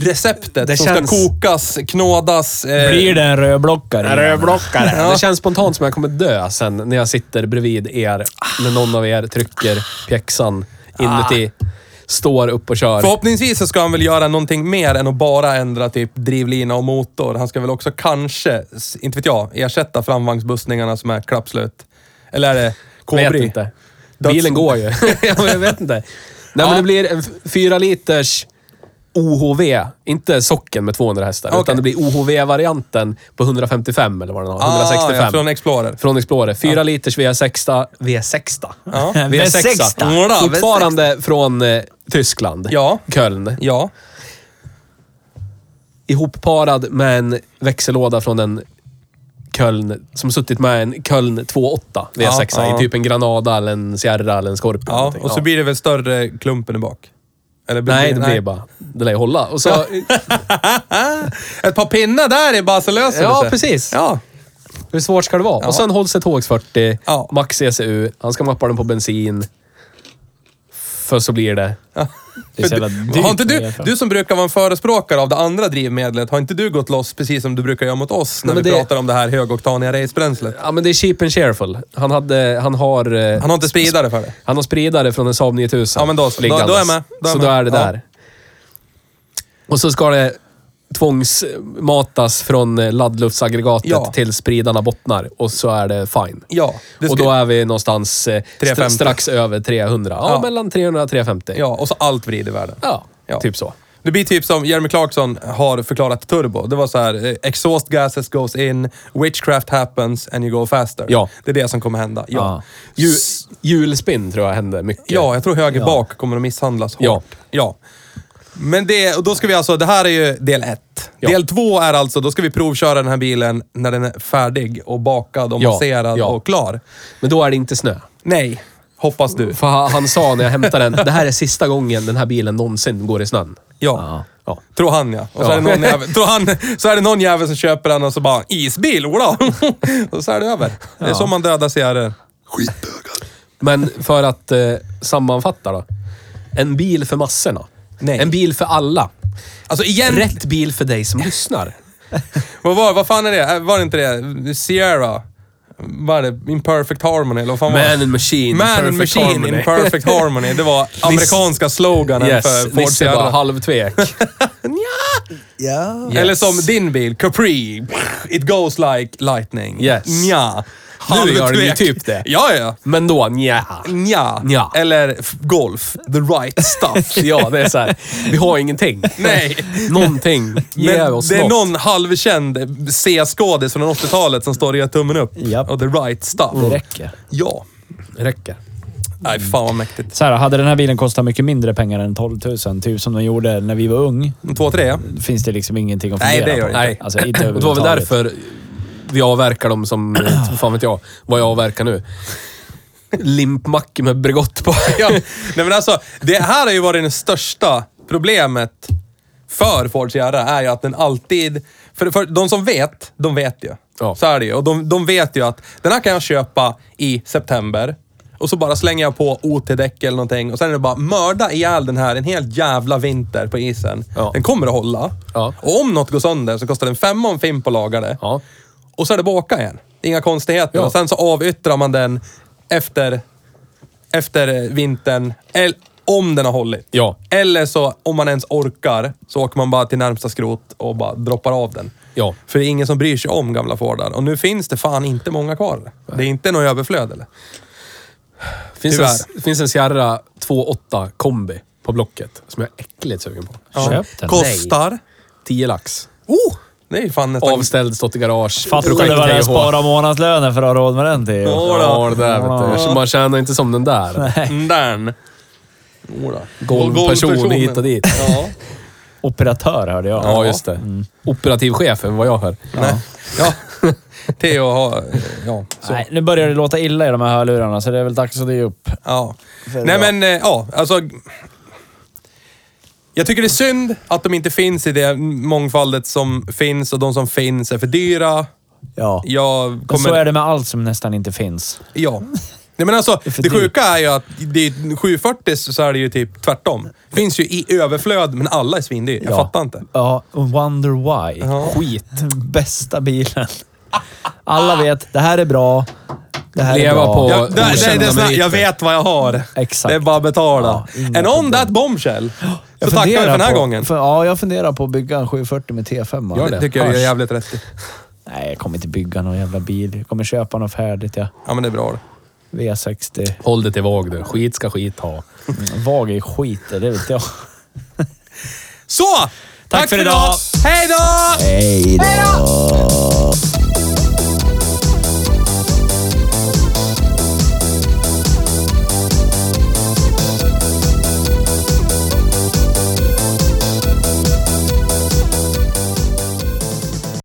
[SPEAKER 1] receptet
[SPEAKER 4] Det
[SPEAKER 1] som
[SPEAKER 4] känns-
[SPEAKER 1] ska kokas, knådas. eh,
[SPEAKER 2] Blir det en rödblockare?
[SPEAKER 4] Rövblockare. Det känns spontant som jag kommer dö sen när jag sitter bredvid er. När någon av er trycker pjäxan inuti,
[SPEAKER 1] Ah.
[SPEAKER 4] står upp och kör.
[SPEAKER 1] Förhoppningsvis så ska han väl göra någonting mer än att bara ändra typ drivlina och motor. Han ska väl också kanske, s- inte vet jag, ersätta framvagnsbussningarna som är klappslut. Eller är det Ah,
[SPEAKER 4] Vet
[SPEAKER 1] Kobri?
[SPEAKER 4] inte. Bilen
[SPEAKER 1] *laughs*
[SPEAKER 4] går ju. ja, men jag vet inte. Nej, men det blir en f- fyra liters OHV. Inte socken med 200 hästar,
[SPEAKER 1] Okej.
[SPEAKER 4] utan det blir OHV-varianten på 155 eller vad den har.
[SPEAKER 1] Ah,
[SPEAKER 4] 165.
[SPEAKER 1] ja, från
[SPEAKER 4] från,
[SPEAKER 1] Explorer.
[SPEAKER 4] Explorer. Fyra liters V6. V6.
[SPEAKER 1] Ja.
[SPEAKER 2] V6.
[SPEAKER 1] Några,
[SPEAKER 4] Fortfarande från eh, Tyskland.
[SPEAKER 1] Ja.
[SPEAKER 4] Köln.
[SPEAKER 1] Ja.
[SPEAKER 4] Ihopparad med en växellåda från en Köln, som suttit med en Köln 2.8 V6
[SPEAKER 1] Ja, ja.
[SPEAKER 4] i typ en Granada eller en Sierra eller en Scorpion.
[SPEAKER 1] ja.
[SPEAKER 4] någonting.
[SPEAKER 1] Och så
[SPEAKER 4] Ja.
[SPEAKER 1] blir det väl större klumpen i bak? Eller
[SPEAKER 4] Nej, det blir bara... Det lär ju hålla. Och så,
[SPEAKER 1] Ett par pinnar där är bara så löser det
[SPEAKER 4] Ja,
[SPEAKER 1] sig.
[SPEAKER 4] precis.
[SPEAKER 1] Ja.
[SPEAKER 4] *laughs* hur svårt ska det vara? Och sen hålls ett HX40,
[SPEAKER 1] Ja.
[SPEAKER 4] max ECU, han ska mappa den på bensin. För så blir det.
[SPEAKER 2] Det är så jävla dyrt
[SPEAKER 1] har inte
[SPEAKER 2] med
[SPEAKER 1] du,
[SPEAKER 2] E5.
[SPEAKER 1] du som brukar vara en förespråkare av det andra drivmedlet, har inte du gått loss precis som du brukar göra mot oss när
[SPEAKER 4] Nej, men
[SPEAKER 1] vi
[SPEAKER 4] det-
[SPEAKER 1] pratar om det här högoktaniga racebränslet?
[SPEAKER 4] Ja, men det är cheap and shareful. Han, hade, han har... eh,
[SPEAKER 1] Han har inte spridare för det.
[SPEAKER 4] Han har spridare från en Saab 9000.
[SPEAKER 1] Ja, men då- då- då är jag
[SPEAKER 4] liggandes.
[SPEAKER 1] med. Då är jag
[SPEAKER 4] så
[SPEAKER 1] med.
[SPEAKER 4] då är det
[SPEAKER 1] Ja.
[SPEAKER 4] där. Och så ska det tvångsmatas från eh, laddluftsaggregatet
[SPEAKER 1] Ja.
[SPEAKER 4] till spridarna bottnar och så är det fine.
[SPEAKER 1] Ja, det
[SPEAKER 4] och
[SPEAKER 1] ska-
[SPEAKER 4] då är vi någonstans eh, stra-
[SPEAKER 1] 350.
[SPEAKER 4] strax över 300. Ja,
[SPEAKER 1] Ja.
[SPEAKER 4] mellan 300 och 350.
[SPEAKER 1] Ja, och så allt vrider världen.
[SPEAKER 4] Ja,
[SPEAKER 1] Ja.
[SPEAKER 4] typ så.
[SPEAKER 1] Det blir typ som Jeremy Clarkson har förklarat turbo. Det var så här, eh, exhaust gases goes in, witchcraft happens and you go faster.
[SPEAKER 4] Ja. Ah.
[SPEAKER 1] Det är det som kommer hända. Ja,
[SPEAKER 2] Ja.
[SPEAKER 4] Ju, hjulspinn tror jag händer mycket.
[SPEAKER 1] ja jag tror höger bak kommer att misshandlas hårt.
[SPEAKER 4] Ja.
[SPEAKER 1] ja. Men det, och då ska vi alltså, det här är ju del ett.
[SPEAKER 4] Ja.
[SPEAKER 1] Del två är alltså, då ska vi provköra den här bilen när den är färdig och bakad och
[SPEAKER 4] Ja,
[SPEAKER 1] masserad
[SPEAKER 4] ja.
[SPEAKER 1] och klar.
[SPEAKER 4] Men då är det inte snö.
[SPEAKER 1] Nej, hoppas du.
[SPEAKER 4] För han han sa när jag hämtade den, det här är sista gången den här bilen någonsin går i snön.
[SPEAKER 1] Ja.
[SPEAKER 4] Ja.
[SPEAKER 1] Tror han ja. Och så,
[SPEAKER 4] Ja.
[SPEAKER 1] Är det någon jävel, tror han, så är det någon jävel som köper den och så bara “Isbil, Ola!” *laughs* Och så är det över. Det är så man dödar serier.
[SPEAKER 4] Men för att eh, sammanfatta då. En bil för massorna.
[SPEAKER 1] Nej.
[SPEAKER 4] En bil för alla.
[SPEAKER 1] Alltså igen,
[SPEAKER 4] Rätt bil för dig som lyssnar.
[SPEAKER 1] vad var Vad fan är det? Äh, Var det inte det? Sierra? Vad är det? Imperfect Harmony eller vad fan var det?
[SPEAKER 4] machine.
[SPEAKER 1] Man and machine in perfect harmony. Det
[SPEAKER 4] *laughs*
[SPEAKER 1] var amerikanska sloganen för
[SPEAKER 4] Yes,
[SPEAKER 1] Ford
[SPEAKER 4] Nisse bara
[SPEAKER 1] Sierra.
[SPEAKER 4] halvtvek.
[SPEAKER 2] Ja.
[SPEAKER 1] Eller som din bil, Capri. It goes like lightning.
[SPEAKER 4] Yes.
[SPEAKER 1] Nja.
[SPEAKER 4] Nu gör den ju
[SPEAKER 1] Halvtvek.
[SPEAKER 4] typ det.
[SPEAKER 1] Ja, ja.
[SPEAKER 4] Men då, nja.
[SPEAKER 1] Nja.
[SPEAKER 4] Nja.
[SPEAKER 1] Eller f- golf. The right stuff.
[SPEAKER 4] *laughs* Ja, det är så här. Vi har ingenting.
[SPEAKER 1] *laughs* Nej.
[SPEAKER 4] Någonting. *laughs* Ge
[SPEAKER 1] Men
[SPEAKER 4] oss
[SPEAKER 1] det är
[SPEAKER 4] något.
[SPEAKER 1] någon halvkänd C-skådis från 80-talet som står och gör tummen upp.
[SPEAKER 2] Japp.
[SPEAKER 1] Och the right stuff.
[SPEAKER 2] Det räcker.
[SPEAKER 1] Ja.
[SPEAKER 4] räcker.
[SPEAKER 1] Nej, fan vad mäktigt.
[SPEAKER 2] Så här, hade den här bilen kostat mycket mindre pengar än 12 000, typ som den gjorde när vi var ung,
[SPEAKER 1] En Två, tre. ja.
[SPEAKER 2] finns det liksom ingenting att
[SPEAKER 1] Nej,
[SPEAKER 2] fundera
[SPEAKER 1] det gör *clears throat*
[SPEAKER 2] på.
[SPEAKER 1] det inte.
[SPEAKER 2] Alltså, inte
[SPEAKER 4] Och det var väl
[SPEAKER 2] överhuvudtaget.
[SPEAKER 4] därför vi avverkar dem som, fan vet jag, vad jag avverkar nu. Limpmackor med Bregott på.
[SPEAKER 1] ja. Nej men alltså, det här har ju varit det största problemet för Ford Sierra, är ju att den alltid... För, för de som vet, de vet ju.
[SPEAKER 4] Ja.
[SPEAKER 1] Så är det ju. Och de, de vet ju att den här kan jag köpa i september. Och så bara slänger jag på OT-däck eller någonting och sen är det bara mörda ihjäl den här en hel jävla vinter på isen.
[SPEAKER 4] Ja.
[SPEAKER 1] Den kommer att hålla.
[SPEAKER 4] Ja.
[SPEAKER 1] Och om något går sönder så kostar den femma om Fimp och lagar det.
[SPEAKER 4] Ja.
[SPEAKER 1] Och så är det bara att åka igen. Inga konstigheter.
[SPEAKER 4] Ja.
[SPEAKER 1] Och sen så avyttrar man den efter, efter eh, vintern. El, om den har hållit.
[SPEAKER 4] Ja.
[SPEAKER 1] Eller så, om man ens orkar, så åker man bara till närmsta skrot och bara droppar av den.
[SPEAKER 4] Ja.
[SPEAKER 1] För det är ingen som bryr sig om gamla Fordar. Och nu finns det fan inte många kvar. Det är inte något överflöd eller?
[SPEAKER 4] Finns
[SPEAKER 1] Tyvärr.
[SPEAKER 4] en, finns en Sierra 2.8 kombi på Blocket som jag är äckligt sugen på.
[SPEAKER 2] Köp den.
[SPEAKER 1] Kostar...
[SPEAKER 4] 10 lax.
[SPEAKER 1] Oh! Det är ju fan nästan...
[SPEAKER 4] Avställd, stått i garage.
[SPEAKER 2] Fattar du vad det är att spara månadslönen för att ha råd med den till?
[SPEAKER 1] Ja.
[SPEAKER 4] Ja, det där vet du. Man tjänar inte som den där.
[SPEAKER 1] Den.
[SPEAKER 4] Golvperson hit och dit.
[SPEAKER 1] Ja.
[SPEAKER 2] Operatör hörde jag.
[SPEAKER 4] Ja, just det. Operativchefen, vad jag hör.
[SPEAKER 1] Nej. *laughs* Ja. Theo har... Ja. Så.
[SPEAKER 2] Nej, nu börjar det låta illa i de här hörlurarna, så det är väl dags att ge upp.
[SPEAKER 1] Ja.
[SPEAKER 2] För
[SPEAKER 1] Nej
[SPEAKER 2] bra.
[SPEAKER 1] men, eh, ja, alltså. Jag tycker det är synd att de inte finns i det mångfaldet som finns och de som finns är för dyra.
[SPEAKER 2] Ja.
[SPEAKER 1] Jag
[SPEAKER 2] Men så
[SPEAKER 1] kommer...
[SPEAKER 2] är det med allt som nästan inte finns.
[SPEAKER 1] Ja. Nej men alltså,
[SPEAKER 2] är för
[SPEAKER 1] det
[SPEAKER 2] dyrt.
[SPEAKER 1] sjuka är ju att det är 740 så är det ju typ tvärtom. Det finns ju i överflöd, men alla är svindyra. Jag
[SPEAKER 2] Ja.
[SPEAKER 1] fattar inte.
[SPEAKER 2] Ja, wonder why.
[SPEAKER 4] Skit.
[SPEAKER 2] Bästa bilen. Alla vet, det här är bra. Det här är
[SPEAKER 4] Leva
[SPEAKER 2] bra.
[SPEAKER 4] på-
[SPEAKER 1] Jag, det, det, det,
[SPEAKER 4] okända
[SPEAKER 1] är såna- jag
[SPEAKER 4] meriter.
[SPEAKER 1] vet vad jag har.
[SPEAKER 2] Exakt.
[SPEAKER 1] Det är bara att betala.
[SPEAKER 2] Ja, inga
[SPEAKER 1] And on
[SPEAKER 2] problem.
[SPEAKER 1] that bombshell, så
[SPEAKER 2] Jag
[SPEAKER 1] tackar vi för
[SPEAKER 2] funderar
[SPEAKER 1] den här
[SPEAKER 2] på,
[SPEAKER 1] gången.
[SPEAKER 2] För, ja, jag funderar på att bygga en 740 med T5.
[SPEAKER 4] Gör
[SPEAKER 1] Det tycker jag är
[SPEAKER 2] Hörs.
[SPEAKER 1] jävligt rätt i.
[SPEAKER 2] Nej, jag kommer inte bygga någon jävla bil. Jag kommer köpa något färdigt, ja.
[SPEAKER 1] Ja men det är bra det.
[SPEAKER 2] V60.
[SPEAKER 4] Håll det till våg du. Skit ska skit ha.
[SPEAKER 2] Vag är skit, det vet jag.
[SPEAKER 1] Så! Tack,
[SPEAKER 2] för idag.
[SPEAKER 1] Hej då!